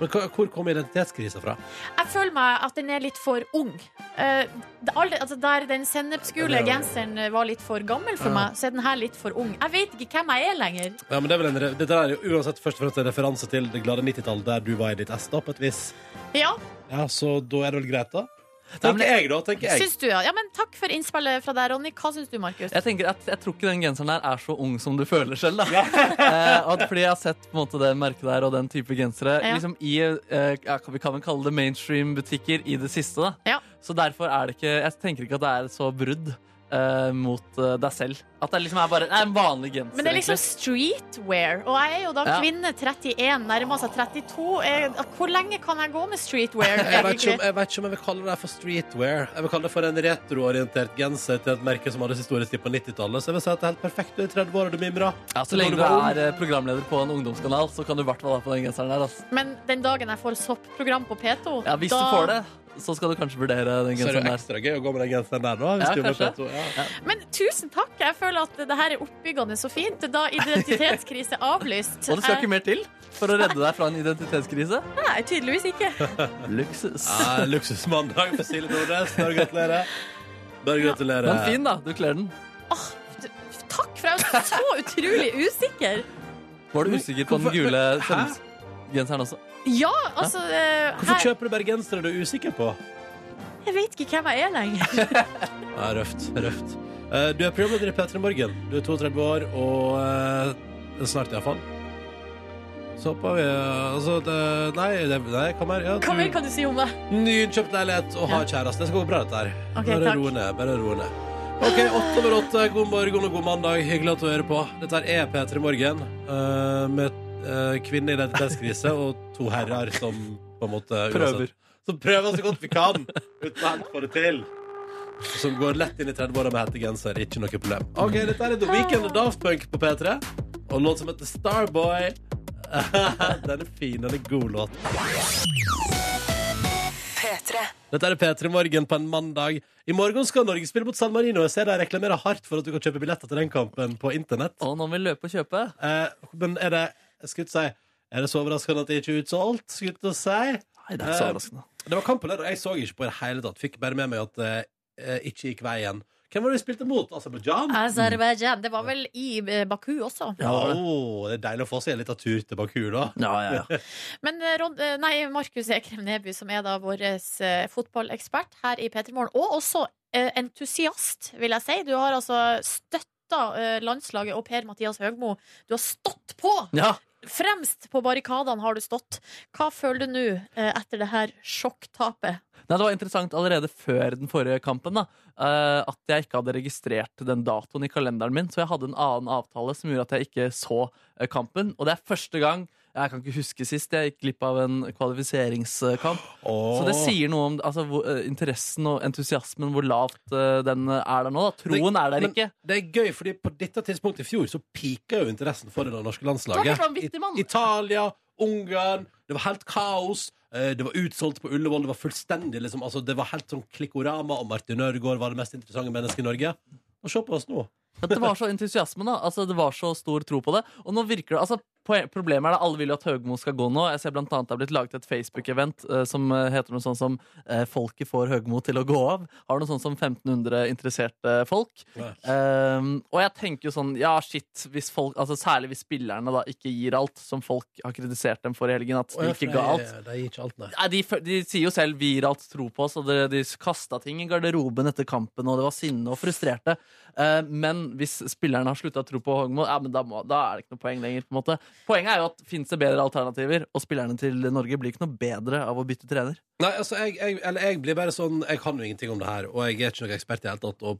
S1: Men hva- hvor kom identitetskrisa fra?
S2: Jeg føler meg at den er litt for ung. Eh, det- alle- altså der den sennepsgule
S1: Ja, det er-
S2: genseren eh, var litt for gammel for
S3: Ja.
S2: meg, så er den her litt for ung. Jeg vet ikke hvem jeg er lenger.
S1: Ja, men det er vel en, re- Dette er jo uansett først og fremst en referanse til det glade 90-tallet, der du var i ditt ess, da, på et vis.
S2: Ja,
S1: Ja, Så da er det vel greit, da?
S3: Nei, men
S1: Tenker jeg, da. tenker jeg
S2: syns du, ja. ja men takk for innspillet fra deg, Ronny. Hva syns du, Markus?
S3: Jeg tenker at jeg tror ikke den genseren der er så ung som du føler selv. Da. eh, og at fordi jeg har sett på en måte det merket der og den type gensere
S2: Ja.
S3: liksom i eh, ja, kan vi kan vel kalle det mainstream-butikker i det siste. Da.
S2: Ja.
S3: Så derfor er det ikke Jeg tenker ikke at det er så brudd eh, mot eh, deg selv. At det liksom er bare det er en vanlig genser.
S2: Men det er liksom
S3: egentlig.
S2: streetwear, og jeg er jo da
S3: Ja.
S2: kvinne 31, nærmer seg 32. Jeg, Eh, hvor lenge kan jeg gå med streetwear?
S1: Jeg vet, ikke om,
S2: egentlig?
S1: jeg vet ikke om jeg vil kalle det for streetwear. Jeg vil kalle det for en retroorientert genser til et merke som hadde sin store tid på 90-tallet. Så jeg vil si at det er helt perfekt. Du er 30 år og du mimrer.
S3: ja, Så
S1: Når
S3: lenge
S1: du
S3: du
S1: var ung.
S3: er eh, programleder på en ungdomskanal, så kan du i hvert fall ha på den genseren der. Altså.
S2: Men den dagen jeg får soppprogram på P2
S3: Ja, hvis
S2: da-
S3: du får det, så skal du kanskje vurdere
S1: Så
S3: den
S1: er det
S3: genseren
S1: jo
S3: der.
S1: ekstra gøy å gå med den genseren der, da. Hvis
S3: Ja,
S1: du jobber
S3: kanskje.
S1: på et- ja.
S2: Men tusen takk. Jeg føler at det her er oppbyggende og fint. Da identitetskrise er avlyst.
S3: Og det skal ikke
S2: Eh,
S3: mer til for å redde deg fra en identitetskrise.
S2: Nei, tydeligvis ikke.
S3: Luksus.
S1: Ja, Ah, Luksusmandag for Silje Nordnes. Bare gratulerer. Bare gratulerer.
S3: Men fin, da. Du kler den.
S2: Takk, for jeg er så utrolig usikker.
S3: Var du usikker på den
S1: hvorfor-
S3: gule
S1: Hæ?
S3: sendes- genseren også?
S2: Ja, altså eh,
S1: Hvorfor
S2: her,
S1: kjøper du bare gensere du er usikker på?
S2: Jeg vet ikke hvem jeg er lenger.
S1: Ja, røft. røft. Eh, Du er programleder i P3 Morgen. Du er 32 år, og eh, snart iallfall. Så håper vi eh, Altså, det, nei, det, nei, hva mer? Ja,
S2: Hva mer
S1: du,
S2: kan du si om det?
S3: Mm.
S1: nyinnkjøpt leilighet og har kjæreste. Det skal gå bra, dette her.
S2: Ok,
S1: bare
S2: takk.
S1: ro ned. Bare ro ned. OK, åtte over åtte. God morgen og god mandag. Hyggelig at du hører på. Dette her er P3 Morgen eh, med uh, kvinne i identitetskrise og to herrer som på en måte
S3: Prøver.
S1: Som prøver så godt vi kan uten å helt få det til. Som går lett inn i 30-åra med hettegenser. Ikke noe problem. OK, dette er The Weekend og Daft Punk på P3. Og en låt som heter Starboy. den er fin. Den er god låt. Dette er P3 Morgen på en mandag. I morgen skal Norge spille mot San Marino. Jeg ser de reklamerer hardt for at du kan kjøpe billetter til den kampen på internett.
S3: Og nå må vi løpe og kjøpe.
S1: Eh, men er det jeg skulle ikke si, er det så overraskende at det ikke er utsolgt? Skulle ikke si.
S3: Nei,
S1: det er ikke så
S3: overraskende.
S1: Det var kamp på lørdag. Jeg så ikke på i det hele tatt. Fikk bare med meg at det eh, ikke gikk veien. Hvem var det vi spilte mot? Aserbajdsjan?
S2: Aserbajdsjan. Det var vel i eh, Baku også.
S1: Ja, åh, det er deilig å få seg en liten tur til Baku, da.
S3: Ja, ja, ja.
S2: Men eh, Ron, eh, nei, Markus Ekrem Neby, som er da vår eh, fotballekspert her i P3 Morgen, og også eh, entusiast, vil jeg si. Du har altså støtta eh, landslaget og Per-Mathias Høgmo. Du har stått på!
S3: ja.
S2: Fremst på barrikadene har du stått. Hva føler du nå eh, etter det her sjokktapet?
S3: Nei, det var interessant allerede før den forrige kampen da, eh, at jeg ikke hadde registrert den datoen i kalenderen min, så jeg hadde en annen avtale som gjorde at jeg ikke så eh, kampen. Og det er første gang jeg kan ikke huske sist jeg gikk glipp av en kvalifiseringskamp. Så det sier noe om altså, hvor, eh, interessen og entusiasmen, hvor lavt eh, den er der nå. Da. Troen er der
S1: Men
S3: ikke.
S1: det er gøy, fordi på dette tidspunktet i fjor så pika jo interessen for det norske landslaget.
S3: Da var det vanvittig, mann.
S1: I- Italia, Ungarn, det var helt kaos. eh, Det var utsolgt på Ullevål, det var fullstendig liksom, altså, Det var helt sånn klikkorama, og Martin Ødegaard var det mest interessante mennesket i Norge. Og se på oss nå.
S3: At det var så entusiasme, da. Altså, det var så stor tro på det. Og nå virker det altså, poen- Problemet er at alle vil jo at Høgmo skal gå nå. Jeg ser blant annet Det er blitt laget et Facebook-event eh, som eh, heter noe sånn som eh, 'Folket får Høgmo til å gå av'. Har noe sånn som 1500 interesserte folk.
S1: Ja.
S3: Ehm, og jeg tenker jo sånn Ja, shit, hvis folk, altså særlig hvis spillerne da ikke gir alt, som folk har kritisert dem for i helgen, at de ikke ga alt.
S1: De gir ikke alt, nei.
S3: Nei, de, fø- de sier jo selv 'vi gir alt tro på oss', og de, de kasta ting i garderoben etter kampen, og det var sinne og frustrerte. Eh, men hvis spillerne har slutta å tro på Hogmo, ja, men da, må, da er det ikke noe poeng lenger. på en måte Poenget er jo at fins det bedre alternativer, og spillerne til Norge blir ikke noe bedre av å bytte trener.
S1: Nei, altså, jeg, jeg, eller jeg blir bare sånn Jeg kan jo ingenting om det her, og jeg er ikke noen ekspert i det hele tatt, og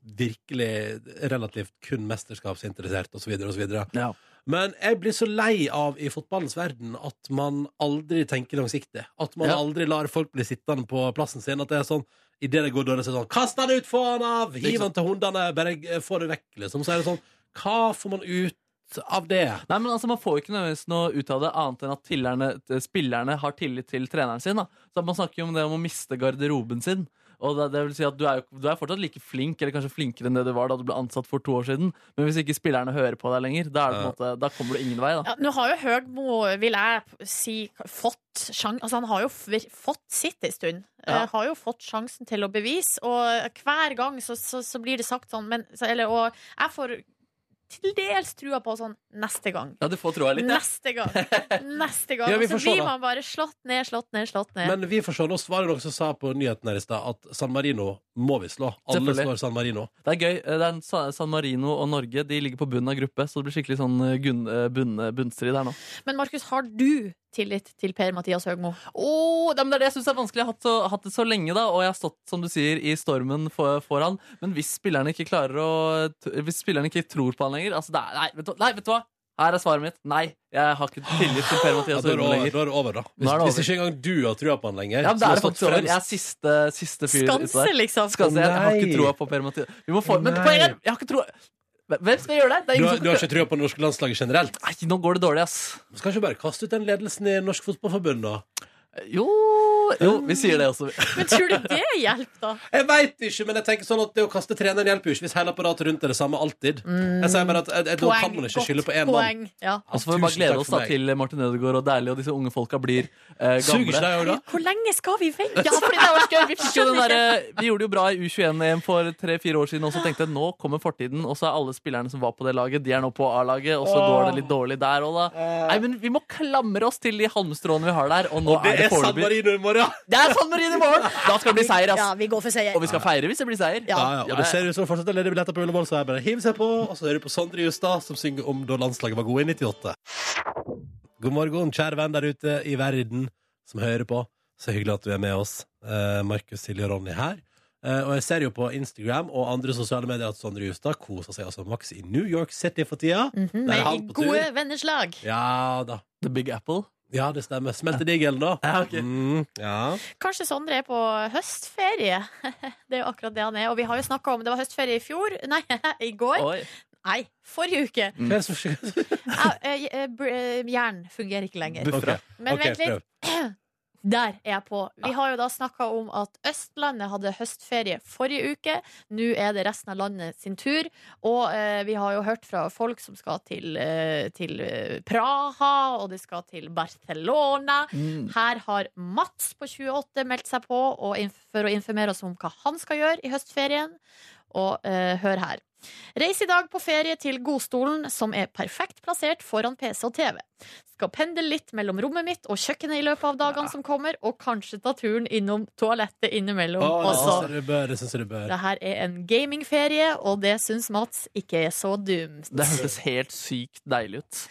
S1: virkelig relativt kun mesterskapsinteressert, osv., osv.
S3: Ja.
S1: Men jeg blir så lei av i fotballens verden at man aldri tenker langsiktig. At man
S3: Ja.
S1: aldri lar folk bli sittende på plassen sin. At det er sånn idet det går dårlig, så er det sånn Kast han ut! Få han av! Hiv han til hundene! Bare eh, få det vekk, liksom. Så er det sånn Hva får man ut av det?
S3: Nei, men altså Man får jo ikke nødvendigvis noe ut av det, annet enn at tillerne- spillerne har tillit til treneren sin. da Så Man snakker jo om det om å miste garderoben sin. Og det, det vil si at du er, jo- du er fortsatt like flink, eller kanskje flinkere enn det du var da du ble ansatt for to år siden. Men hvis ikke spillerne hører på deg lenger, da, er det på en måte, da kommer du ingen vei. da
S2: Ja, nå har jo Høgmo, vil jeg si, fått sjang... Altså, han har jo vir- fått sitt en stund.
S3: Ja.
S2: Eh, har jo fått sjansen til å bevise, og hver gang så, så, så blir det sagt sånn, men så, Eller, og jeg får til dels trua på sånn neste gang.
S3: Ja, du får troa litt. Ja.
S2: Neste gang. Neste gang.
S1: Ja, vi
S2: og
S1: får
S2: så
S1: se,
S2: blir
S1: da.
S2: man bare slått ned, slått ned, slått ned.
S1: Men vi får se. Nå var det noen som sa på nyheten her i stad at San Marino må vi slå. Alle
S3: Selvfølgelig.
S1: slår San Marino.
S3: Det er gøy. eh, Det er en Sa- San Marino og Norge de ligger på bunnen av gruppe, så det blir skikkelig sånn eh, gunn- eh, bunn- eh, bunnstrid her nå.
S2: Men Markus, har du tillit til Per-Mathias Høgmo?
S3: Åh, nei, men det er det jeg syns er vanskelig. Jeg har hatt, så, hatt det så lenge, da, og jeg har stått som du sier, i stormen for, foran. Men hvis spillerne ikke klarer å Hvis spillerne ikke tror på han lenger altså, det er, nei, vet du, nei, vet du hva? Her er svaret mitt. Nei, jeg har ikke tillit til
S1: Ja,
S3: Per-Mathias
S1: da, er det
S3: Høgmo
S1: over,
S3: lenger.
S1: da er det over, da. Hvis,
S3: Nå er det
S1: hvis
S3: over.
S1: ikke engang du har trua på han lenger.
S3: Ja, men
S1: som
S3: det
S1: har
S3: er
S1: stått
S3: faktisk over.
S1: fremst.
S3: Jeg er siste, siste fyr ute
S2: Skanse,
S3: der.
S2: liksom.
S3: Skanse, jeg, jeg har
S1: Nei.
S3: ikke troa på Per-Mathias. Vi må få Men
S1: Nei.
S3: poenget er, jeg har ikke troa Hvem skal gjøre det? det
S1: Du
S3: er ingen
S1: har,
S3: som
S1: du har ikke trua på det norske landslaget generelt?
S3: Nei, nå går det dårlig, ass.
S1: Man Skal ikke bare kaste ut den ledelsen i Norsk Fotballforbund, da?
S3: Jo, jo vi sier det også.
S2: Men tror du det hjelper, da?
S1: Jeg veit ikke, men jeg tenker sånn at det å kaste treneren hjelper jo ikke hvis hele apparatet rundt er det samme alltid. Jeg sier bare at eh, da kan man ikke
S2: Godt
S1: skylde på én mann.
S2: poeng. Ja.
S3: Og så får vi bare
S1: Tusen takk
S3: glede oss
S1: for
S3: da
S1: meg.
S3: til Martin Ødegaard og Deilig og disse unge folka blir
S1: Suger
S3: eh,
S1: ikke
S3: gamle.
S1: deg òg, da?
S2: Hvor lenge skal vi vente?
S3: Ja, fordi det har vært gøy. Vi, fikk jo den
S2: Skjønner
S3: derre- vi gjorde det jo bra i U21-EM for tre-fire år siden, og så tenkte jeg nå kommer fortiden, og så er alle spillerne som var på det laget, de er nå på A-laget, og så går det litt dårlig der òg, da. Nei, men vi må klamre oss til de halmstråene vi har der, og nå
S1: Det
S3: er det
S1: er San
S3: foreløpig.
S1: Marino i morgen!
S3: Det er San Marino i morgen! Da skal det bli seier,
S2: Ja,
S3: ass.
S2: vi går for seier.
S3: Og vi skal feire hvis det blir seier.
S1: Ja, ja, og det ser ut som det fortsatt er ledige billetter på Ullevål, så jeg bare hiver seg på. Og så hører du på Sondre Justad, som synger om da landslaget var gode i 98. God morgen, kjære venn der ute i verden som hører på. Så hyggelig at du er med oss. Eh, Markus, Silje og Ronny her. Eh, og jeg ser jo på Instagram og andre sosiale medier at Sondre Justad koser seg altså maks i New York City for tida.
S2: Mhm,
S1: Der er han
S2: Med
S1: på tur.
S2: gode venners lag.
S1: Ja da.
S3: The Big Apple.
S1: Ja, det stemmer. Smelte digelen, da.
S3: Ja, ok.
S1: Mm, ja.
S2: Kanskje Sondre er på høstferie. Det er jo akkurat det han er. Og vi har jo snakka om det var høstferie i fjor. Nei, i går.
S3: Oi.
S2: Nei, forrige uke.
S1: Hva er det som skjer?
S2: Au, eh, eh, br- eh, Hjernen fungerer ikke lenger.
S1: Ok,
S2: Men
S1: ok,
S2: vent litt.
S1: prøv.
S2: Der er jeg på. Vi har jo da snakka om at Østlandet hadde høstferie forrige uke. Nå er det resten av landet sin tur. Og eh, vi har jo hørt fra folk som skal til, eh, til eh, Praha, og de skal til Barcelona.
S3: Mm.
S2: Her har Mats på 28 meldt seg på og inf- for å informere oss om hva han skal gjøre i høstferien. Og eh, hør her. Reis i dag på ferie til Godstolen, som er perfekt plassert foran PC og TV. Skal pendle litt mellom rommet mitt og kjøkkenet i løpet av dagene som kommer, og kanskje ta turen innom toalettet innimellom
S1: Å, det
S2: også.
S1: syns jeg du bør. Det syns jeg du bør.
S2: Det her er en gamingferie, og det syns Mats ikke er så dumt.
S3: Det hørtes helt sykt deilig ut.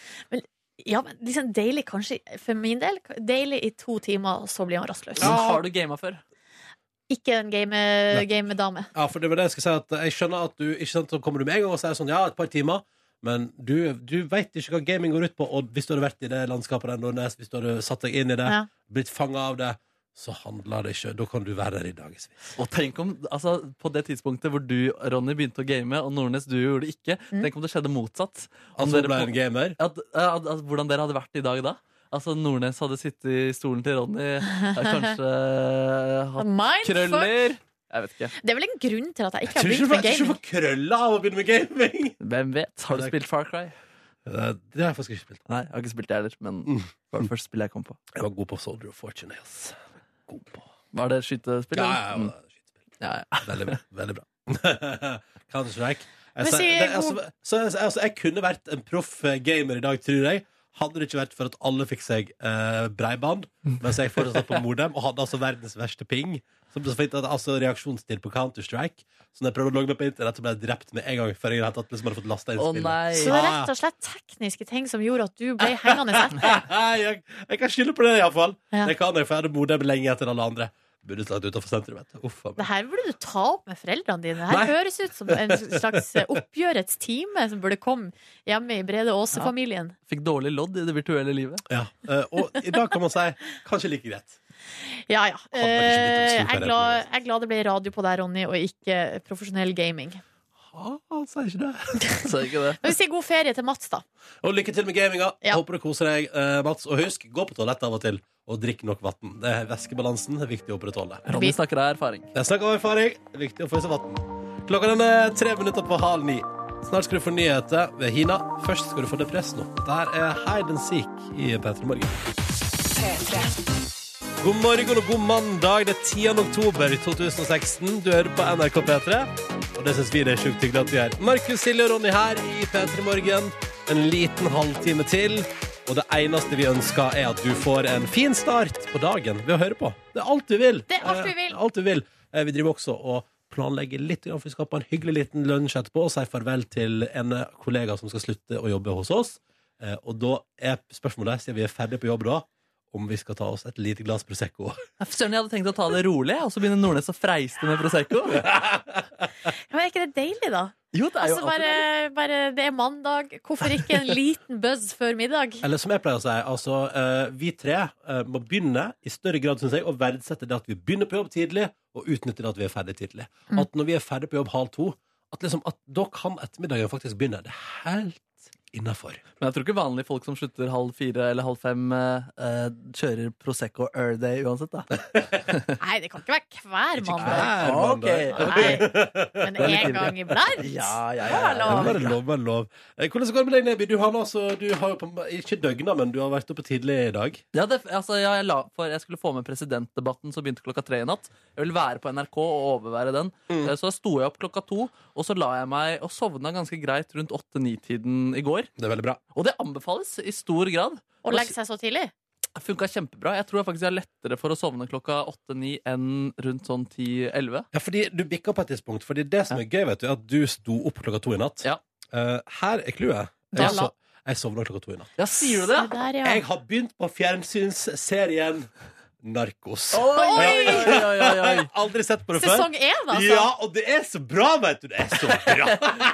S2: Ja, men liksom Deilig kanskje, for min del, deilig i to timer, og så blir han rastløs.
S3: Men har du gama før?
S2: Ikke en game, gamedame.
S1: Ja, for det var det jeg skulle si at Jeg skjønner at du ikke sant, så kommer du med en gang og sier sånn Ja, et par timer Men du, du vet ikke hva gaming går ut på Og hvis du hadde vært i det landskapet der Nordnes Hvis du hadde satt deg inn i det
S2: Ja.
S1: Blitt fanget av det Så handler det ikke Da kan du være der i dagesvis
S3: Og tenk om, altså På det tidspunktet hvor du Ronny, begynte å game, og Nordnes du gjorde det ikke, tenk om det skjedde motsatt. Om
S1: Altså
S3: dere
S1: ble
S3: på-
S1: en gamer
S3: at, at, at, hvordan dere hadde vært i dag da? Altså Nordnes hadde sittet i stolen til Ronny, eh, kanskje hatt
S2: Mindfuck!
S3: krøller Jeg vet ikke.
S2: Det er vel en grunn til at jeg ikke
S1: Tror
S2: har
S1: du ikke
S2: begynt
S1: du får- tror du ikke
S2: med gaming.
S1: du får krølla av å begynne med gaming
S3: Hvem vet? Har du spilt Far Cry?
S1: Eh, Det har jeg faktisk ikke spilt.
S3: Nei, jeg har ikke spilt det heller, men det var det første spillet jeg kom på.
S1: Jeg var god på Soldier of Fortune. Yes. God på.
S3: Var det skytespill?
S1: Ja,
S3: eller?
S1: ja,
S3: Mm.
S1: ja, skytespill.
S3: ja, ja.
S1: Veldig bra. Veldig bra. Counter-Strike. Jeg,
S2: Men
S1: sa-
S2: si
S1: det- altså,
S2: god-
S1: så, jeg- altså, jeg kunne vært en proff eh, gamer i dag, tror jeg. Hadde det ikke vært for at alle fikk seg eh, breiband, mens jeg fortsatt satt på modem og hadde altså verdens verste ping. Som ble så fint at altså reaksjonstid på Counter-Strike. Så når jeg prøvde å logge meg på internett, så ble jeg drept med en gang før jeg hadde tatt, liksom, hadde fått lasta inn
S3: Å
S1: spillet.
S3: nei!
S2: Så det er rett og slett tekniske ting som gjorde at du ble hengende etter.
S1: jeg, jeg kan skylde på det, iallfall.
S2: Ja.
S1: Det kan jeg, for jeg hadde modem lenge etter alle andre. Burde slått utenfor sentrum. vet du. Uff, faen meg.
S2: Det her burde du ta opp med foreldrene dine. Det
S1: Nei.
S2: her høres ut som en slags eh, oppgjørets time som burde komme hjemme i Brede Aase-familien.
S3: Fikk dårlig lodd i det virtuelle livet.
S1: Ja. eh, og i dag kan man si kanskje like greit.
S2: Ja, ja.
S1: Hadde ikke blitt en
S2: Eh, Jeg
S1: stor
S2: er glad, jeg er glad det ble radio på deg, Ronny, og ikke profesjonell gaming.
S1: Ha, han sier ikke det.
S3: Så ikke det.
S2: Men vi sier god ferie til Mats, da.
S1: Og lykke til med gaminga.
S2: Ja.
S1: Håper du koser deg, eh, Mats. Og husk, gå på toalettet av og til, og drikk nok vann. Væskebalansen er viktig å opprettholde.
S3: Ronny snakker av erfaring.
S1: Jeg snakker om erfaring. Viktig å få i seg vann. Klokka den er tre minutter på halv ni. Snart skal du få nyheter ved Hina. Først skal du få Depresso. Der er Hide and Seek i P3 Morgen. God morgen og god mandag. Det er 10. oktober 2016. Du hører på NRK P3, og det syns vi det er sjukt hyggelig at du gjør. Markus, Silje og Ronny her i P3 Morgen. En liten halvtime til. Og det eneste vi ønsker, er at du får en fin start på dagen ved å høre på. Det er alt du vil.
S2: Det er alt vi
S1: Eh,
S2: vil.
S1: alt du vil. Eh, Vi driver også og planlegger litt, grann, for vi skal på en hyggelig liten lunsj etterpå og si farvel til en eh, kollega som skal slutte å jobbe hos oss. Eh, Og da er spørsmålet, siden vi er ferdige på jobb da, om vi skal ta oss et lite glass Prosecco.
S3: Søren, jeg hadde tenkt å ta det rolig, og så begynner Nordnes å freiste med Prosecco.
S2: Ja, Men er ikke det deilig, da?
S3: Jo, det er jo
S2: Altså bare, bare Det er mandag. Hvorfor ikke en liten buzz før middag?
S1: Eller som jeg pleier å si, altså, eh, vi tre eh, må begynne i større grad, synes jeg, å verdsette det at vi begynner på jobb tidlig, og utnytte det at vi er ferdig tidlig. At når vi er ferdig på jobb halv to, at, liksom, at da kan ettermiddagen faktisk begynne. Det er helt innafor.
S3: Men jeg tror ikke vanlige folk som slutter halv fire eller halv fem, eh, kjører Prosecco Air Day uansett, da.
S2: Nei, det kan ikke være hver mandag.
S3: Ok.
S2: Nei, men én gang iblant?
S3: Ja, ja,
S2: Det
S3: ja,
S2: var
S1: Ja,
S3: ja.
S2: lov.
S1: bare lov, bare lov. Eh, Hvordan går det med deg, Neby? Du har, nå altså, du har jo på, ikke døgna, men du har vært oppe tidlig i dag.
S3: Ja, det, altså, ja, jeg, la, for jeg skulle få med presidentdebatten som begynte klokka tre i natt. Jeg ville være på NRK og overvære den. Eh, Så da sto jeg opp klokka to, og så la jeg meg og sovna ganske greit rundt åtte-ni-tiden i går.
S1: Det er veldig bra.
S3: Og det anbefales i stor grad.
S2: Å legge seg så tidlig?
S3: Funka kjempebra. Jeg tror jeg faktisk jeg har lettere for å sovne klokka åtte-ni enn rundt sånn ti-elleve.
S1: Ja, fordi du bikka på et tidspunkt. Fordi det som er gøy, vet du, er at du sto opp klokka to i natt.
S3: Ja.
S1: Eh, her er clouet.
S2: Da
S1: Jeg,
S2: la-
S1: so- jeg sovna klokka to i natt.
S3: Ja, sier du det?
S2: Se Der, ja.
S1: Jeg har begynt på fjernsynsserien Narkos.
S3: Oi, oi, oi, oi, oi.
S1: Jeg har aldri sett på det før.
S2: Sesong én, altså.
S1: Ja, og det er så bra, vet du! Det er så bra!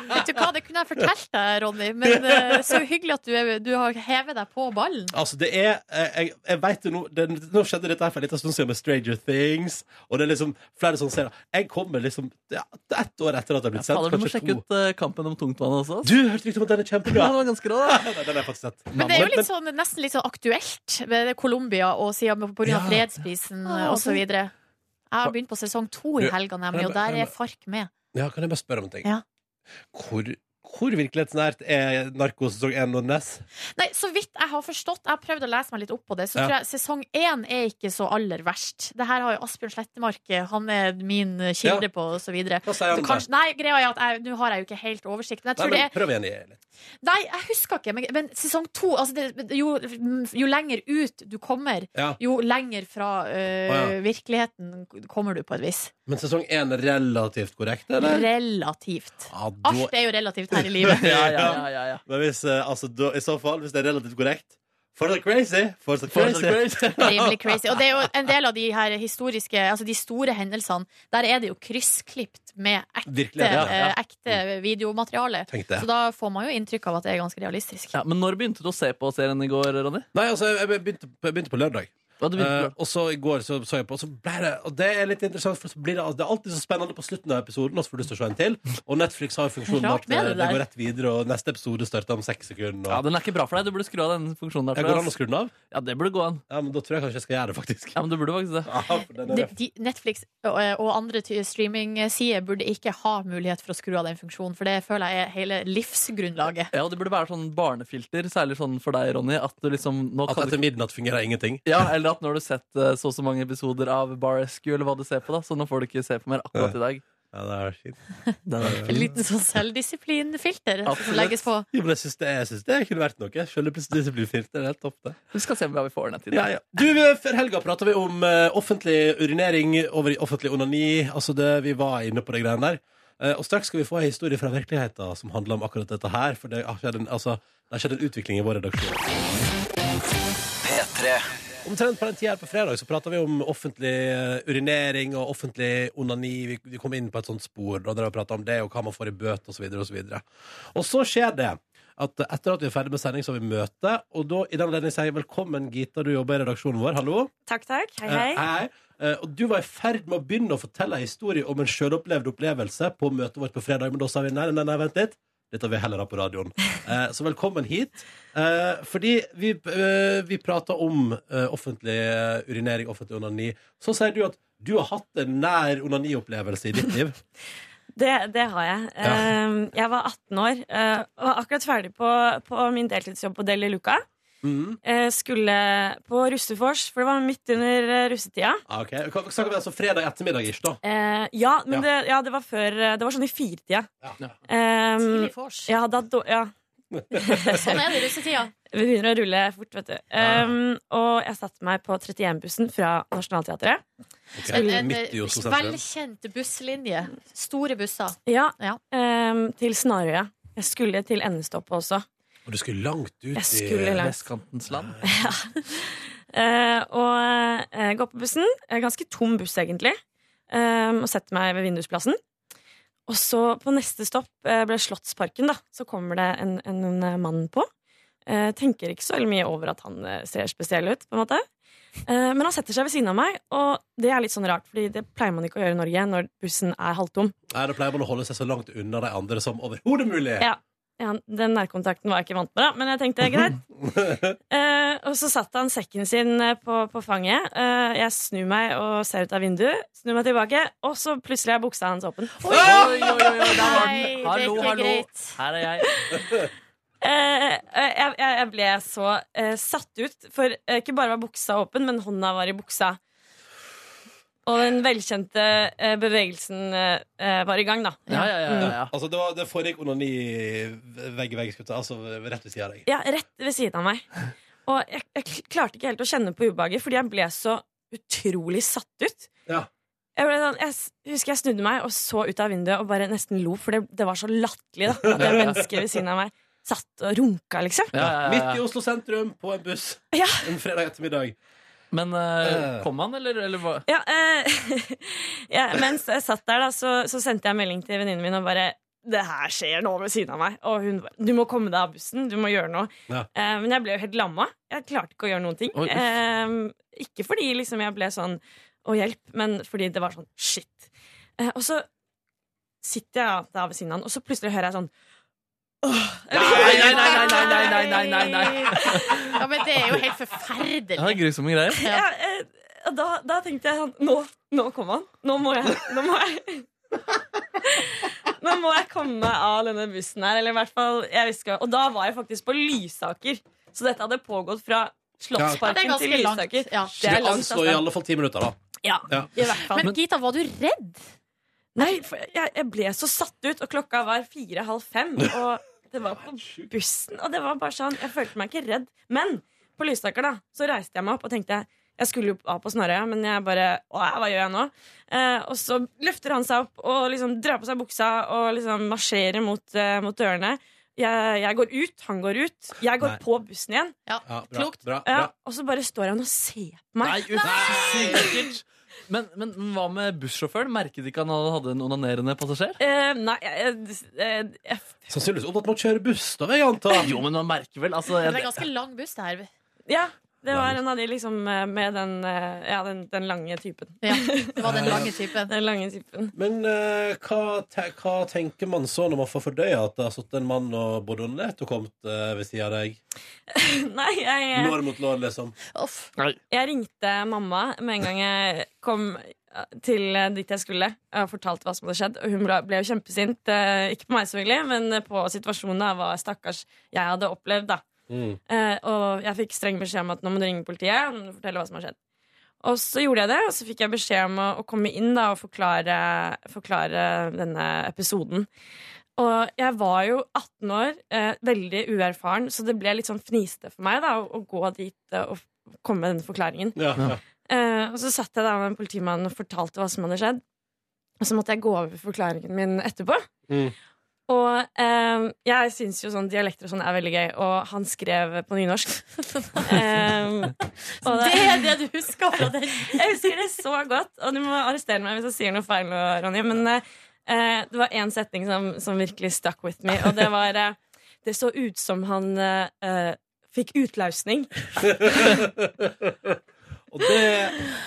S2: Vet du hva, Det kunne jeg fortalt deg, Ronny, men eh, så hyggelig at du, er, du har hevet deg på ballen.
S1: Altså, det er eh, Jeg, jeg vet jo nå det, Nå skjedde dette her for en liten stund siden med Stranger Things, og det er liksom flere sånne serier. Jeg kommer liksom ja, ett år etter at det har blitt sendt.
S3: Fader, du må
S1: Kanskje
S3: sjekke
S1: to.
S3: ut eh, Kampen om tungtvann også.
S1: Du hørte rykte om at den er
S3: Ja,
S1: kjempebra!
S3: den var ganske rå, da.
S1: Nei, den har jeg faktisk sett.
S2: Men det er jo litt sånn, nesten litt sånn aktuelt med det Colombia og siden med- på grunn av
S1: Ja.
S2: fredsprisen eh, og så videre Jeg har begynt på sesong to
S1: Du,
S2: i helga, nemlig,
S1: jeg
S2: og
S1: bare-
S2: der
S1: jeg
S2: er Fark med.
S1: Ja, kan jeg bare spørre om en ting?
S2: sånn- Ja.
S1: Hvor, hvor virkelighetsnært er Narkos sesong 1 og Ness?
S2: Nei, Så vidt jeg har forstått, jeg har prøvd å lese meg litt opp på det, så
S1: Ja.
S2: tror jeg sesong én er ikke så aller verst. Det her har jo Asbjørn Slettemark, eh, han er min eh, kilde
S1: Ja.
S2: på, og så videre.
S1: Hva sier han
S2: Så
S1: om
S2: kanskje, nei, greia er at jeg, nå har jeg jo ikke helt oversikt, men jeg
S1: Nei,
S2: tror det
S1: men
S2: er
S1: prøv igjen i litt.
S2: Nei, jeg husker ikke, men, men sesong to altså det, jo, jo lenger ut du kommer,
S1: Ja.
S2: jo lenger fra eh,
S1: Å, ja.
S2: virkeligheten kommer du, på et vis.
S1: Men sesong 1 er relativt korrekt, eller?
S2: Relativt.
S1: Ja, da-
S2: Alt er jo relativt her i livet.
S3: Ja, ja, ja, ja, ja.
S1: Men hvis, eh, altså, da, i så fall, hvis det er relativt korrekt Fortsatt crazy! Fortsatt crazy.
S2: Rimelig crazy. Og det er jo en del av de her historiske, altså de store hendelsene, der er det jo kryssklipt med ekte,
S1: Virkelig, ja, ja.
S2: eh, ekte videomateriale.
S1: Tenk det.
S2: Så da får man jo inntrykk av at det er ganske realistisk.
S3: Ja, men når begynte du å se på serien i går, Ronny?
S1: Nei, altså, jeg jeg begynte, jeg begynte på lørdag.
S3: Hva hadde vi
S1: Eh,
S3: gjort?
S1: og så i går så, så jeg på, og så ble det Og det er litt interessant, for så blir det, altså, det er alltid så spennende på slutten av episoden. Og så får du lyst til å se en til. Og Netflix har jo funksjonen
S2: Rart
S1: at
S2: med
S1: det,
S2: det
S1: det
S2: der.
S1: går rett videre, og neste episode starter om seks sekunder.
S3: Ja,
S1: Og,
S3: Den er ikke bra for deg. Du burde skru av den funksjonen. der
S1: jeg
S3: tror
S1: går
S3: jeg,
S1: an å
S3: ass.
S1: skru den av?
S3: Ja, det burde gå an.
S1: Ja, men Da tror jeg kanskje jeg skal gjøre det, faktisk.
S3: Ja, men du burde faktisk det.
S1: Ja, for den er
S2: De,
S1: røff.
S2: de, Netflix og, og andre ty- streamingsider burde ikke ha mulighet for å skru av den funksjonen, for det føler jeg er hele livsgrunnlaget.
S3: Ja, og Det burde være sånn barnefilter, særlig sånn for deg, Ronny. At du liksom, nå
S1: At
S3: kan du
S1: etter midnatt fungerer ingenting.
S3: ja, Eller at nå har du sett eh, så og så mange episoder av Bar Rescue, eller hva du ser på, da, så nå får du ikke se på mer akkurat i dag.
S1: Ja, det er fint.
S2: En liten sånn selvdisiplinfilter som
S3: Absolutt.
S2: legges på.
S1: Jo, men jeg syns det, jeg synes det kunne vært noe. Sjølprisdisiplinfilter, det er helt topp, det.
S3: Vi skal se hva vi får ned til.
S1: Ja, ja. Du, vi- Før helga prata vi om eh, offentlig urinering over i offentlig onani. Altså det, Vi var inne på det greiene der. Eh, og straks skal vi få en historie fra virkeligheten som handler om akkurat dette her. For det har skjedd en, altså, det har skjedd en utvikling i vår redaksjon. Omtrent på den tida her på fredag så prata vi om offentlig eh, urinering og offentlig onani. Vi, vi kom inn på et sånt spor og drev og prata om det og hva man får i bøter osv. Og, så videre. og så skjer det at eh, etter at vi er ferdig med sending, så har vi møte. Og da i den anledning sier jeg velkommen, Gita, du jobber i redaksjonen vår. Hallo.
S10: Takk, takk. Hei,
S1: Eh,
S10: hei.
S1: hei. Eh, og du var i ferd med å begynne å fortelle en historie om en sjølopplevd opplevelse på møtet vårt på fredag, men da sa vi nei, nei, nei, vent litt. Dette vil jeg heller ha på radioen. Eh, så velkommen hit. Eh, fordi vi, eh, vi prater om eh, offentlig eh, urinering, offentlig onani. Så sier du at du har hatt en nær onaniopplevelse i ditt liv.
S10: Det, det har jeg.
S1: Ja.
S10: Um, jeg var 18 år uh, og var akkurat ferdig på, på min deltidsjobb på Deli Luca.
S1: Mhm.
S10: Uh, skulle på russefors, for det var midt under uh, russetida.
S1: Ah, Ok, Kan- Snakker vi altså fredag ettermiddag, ish, da?
S10: Uh, ja, men
S1: Ja.
S10: Det, ja, det var før uh, Det var sånn i firetida.
S1: Ja.
S10: Um,
S2: Tidlig vors.
S10: jeg hadde hatt dår- Ja.
S2: Sånn er det i russetida.
S10: Vi begynner å rulle fort, vet du. Um, og jeg satte meg på 31-bussen fra Nationaltheatret.
S1: Ok,
S2: En, en
S1: Midt i
S10: Eh,
S1: Oslo sentrum.
S2: velkjent busslinje. Store busser.
S10: Ja,
S2: Ja.
S10: um, til Snarøya. Jeg skulle til endestoppet også.
S1: Og du skulle langt ut
S10: Jeg skulle
S1: i
S10: langt.
S3: Vestkantens land.
S10: Eh, og eh, går på bussen. Eh, ganske tom buss, egentlig. Eh, og setter meg ved vindusplassen. Og så på neste stopp eh, ble Slottsparken, da. Så kommer det en, en, eh, mann på. Eh, tenker ikke så veldig mye over at han eh, ser spesiell ut, på en måte. Eh, men han setter seg ved siden av meg, og det er litt sånn rart, Fordi det pleier man ikke å gjøre i Norge når bussen er halvtom.
S1: Nei, Da pleier man å holde seg så langt unna de andre som overhodet mulig.
S10: Ja. Ja, den nærkontakten var jeg ikke vant med, da, men jeg tenkte greit. Eh, og så satt han sekken sin eh, på, på fanget. Eh, jeg snur meg og ser ut av vinduet, snur meg tilbake, og så plutselig er buksa hans åpen.
S3: Oi, oi, oi, oi, der var
S2: Nei, det
S3: den.
S2: er
S3: Hallo,
S2: ikke
S3: hallo.
S2: greit.
S3: Her er jeg.
S10: Eh, eh, jeg, jeg jeg ble så eh, satt ut, for eh, ikke bare var buksa åpen, men hånda var i buksa. Og den velkjente eh, bevegelsen eh, eh, var i gang, da.
S3: Ja, ja, ja, ja, ja.
S1: Altså, det, var, det foregikk onani vegg i vegg, skulle jeg ta, altså rett ved siden av deg.
S10: Ja, rett ved siden av meg. Og jeg, jeg kl- klarte ikke helt å kjenne på ubehaget, fordi jeg ble så utrolig satt ut.
S1: Ja.
S10: Jeg, ble sånn, jeg s- husker jeg snudde meg og så ut av vinduet og bare nesten lo, for det, det var så latterlig. da. Det mennesket ved siden av meg satt og runka, liksom.
S3: Ja, ja, ja,
S1: Midt i
S3: ja.
S1: Oslo sentrum, på en buss,
S10: Ja.
S1: en fredag ettermiddag.
S3: Men eh,
S1: Eh.
S3: kom han, eller, eller hva?
S10: Ja, eh, ja, mens jeg satt der, da, så, så sendte jeg melding til venninnen min og bare det her skjer nå ved siden av meg. Og hun bare Du må komme deg av bussen. Du må gjøre noe.
S1: Ja.
S10: Eh, men jeg ble jo helt lamma. Jeg klarte ikke å gjøre noen ting.
S3: Oi, uff.
S10: Eh, ikke fordi liksom, jeg ble sånn Å, hjelp. Men fordi det var sånn Shit. Eh, og så sitter jeg da ved siden av han, og så plutselig hører jeg sånn
S3: Nei, nei, nei, nei, nei, nei, nei, nei, nei.
S2: Ja, men det er jo helt forferdelig.
S3: Ja, det er grusomme greier.
S2: Ja.
S10: ja, eh, og da, da tenkte jeg sånn Nå, nå kom han. Nå må jeg Nå må jeg Nå må jeg komme meg av denne bussen her. Eller i hvert fall jeg visste ikke- Og da var jeg faktisk på Lysaker. Så dette hadde pågått fra
S2: Det er
S10: Slottsparken til
S2: ganske langt.
S10: Lysaker.
S2: Ja.
S1: Du
S10: Det er langt.
S1: anslår i
S10: ass.
S1: alle fall ti minutter, da.
S10: Ja,
S1: Ja.
S10: i hvert fall.
S2: Men Gita, var du redd?
S10: Nei, for jeg, jeg ble så satt ut, og klokka var fire-halv fem. Og det var på bussen, og det var bare sånn Jeg følte meg ikke redd. Men på Lysaker, da, så reiste jeg meg opp og tenkte jeg skulle jo av på Snarøya, men jeg bare Åh, hva gjør jeg nå? Eh, og så løfter han seg opp og liksom drar på seg buksa og liksom marsjerer mot, eh, mot dørene. Jeg, jeg går ut, han går ut. Jeg går
S1: Nei.
S10: på bussen igjen.
S2: Ja.
S1: Ja, bra,
S2: Klokt.
S1: Bra,
S10: Ja,
S1: bra.
S10: og så bare står han og ser på
S3: Nei,
S10: meg.
S3: usikkert. Men, men hva med bussjåføren? Merket ikke han at han hadde en onanerende passasjer?
S10: Eh, nei, jeg, jeg, jeg,
S1: Sannsynligvis opptatt med å kjøre buss, da, vil jeg anta.
S3: Jo, men man merker vel altså,
S2: Det
S3: jeg,
S2: er ganske lang buss, det her.
S10: Ja, Det var en av de liksom eh, med den, eh, ja, den, den lange typen.
S2: Ja, det var den lange typen.
S10: Den lange typen.
S1: Men eh, hva, te hva tenker man så når man får fordøya at det har sittet en mann og både onanert og kommet eh, ved sida av deg?
S10: Nei, jeg, eh,
S1: Lår mot lår, liksom.
S2: Uff.
S10: Jeg ringte mamma med en gang jeg kom til eh, dit jeg skulle og fortalte hva som hadde skjedd. Og hun ble- ble jo kjempesint. eh, Ikke på meg, selvfølgelig, men på situasjonen av hva stakkars jeg hadde opplevd. da.
S1: Mm.
S10: Eh, Og jeg fikk streng beskjed om at nå må du ringe politiet og fortelle hva som har skjedd. Og så gjorde jeg det, og så fikk jeg beskjed om å, å komme inn da, og forklare, forklare denne episoden. Og jeg var jo 18 år, eh, veldig uerfaren, så det ble litt sånn fniste for meg da, å, å gå dit eh, og f- komme med denne forklaringen.
S1: Ja, ja.
S10: Eh, og så satt jeg da med en politimann og fortalte hva som hadde skjedd. Og så måtte jeg gå over forklaringen min etterpå.
S1: Mm.
S10: Og eh, jeg syns jo sånn dialekter og sånn er veldig gøy, og han skrev på nynorsk. Eh, og
S2: Det er det du husker fra den.
S10: jeg husker det så godt, og du må arrestere meg hvis jeg sier noe feil nå, Ronny. Men eh, eh, det var én setning som, som virkelig stuck with me, og det var eh, Det så ut som han eh, eh, fikk utlausning.
S1: Og det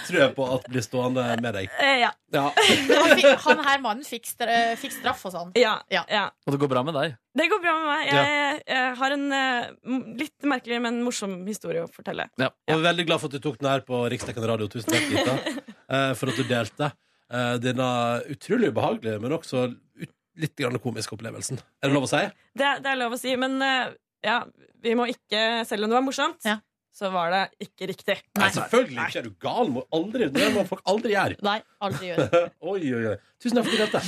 S1: tror jeg på at blir stående med deg.
S10: Eh, ja,
S1: Ja.
S2: Han, fikk, han her mannen fikk, stra eh, fikk straff og sånn.
S10: ja,
S2: Ja.
S10: ja.
S3: Og det går bra med deg.
S10: Det går bra med meg. Jeg, eh, har en eh, m- litt merkelig, men morsom historie å fortelle.
S1: Og jeg er veldig glad for at du tok den her på Riksdekkende radio. Tusen takk, Gita, eh, for at du delte eh, denne utrolig ubehagelige, men også ut litt grann komiske opplevelsen. Er det lov å si?
S10: Det, er- det er lov å si, men eh, ja, vi må ikke Selv om det var morsomt,
S2: Ja.
S10: så var det ikke riktig.
S1: Nei, selvfølgelig ikke. Er du gal? Må aldri, det må folk aldri gjøre.
S2: Nei, aldri gjør det.
S1: Oi, oi, oi. Tusen takk for at du delte.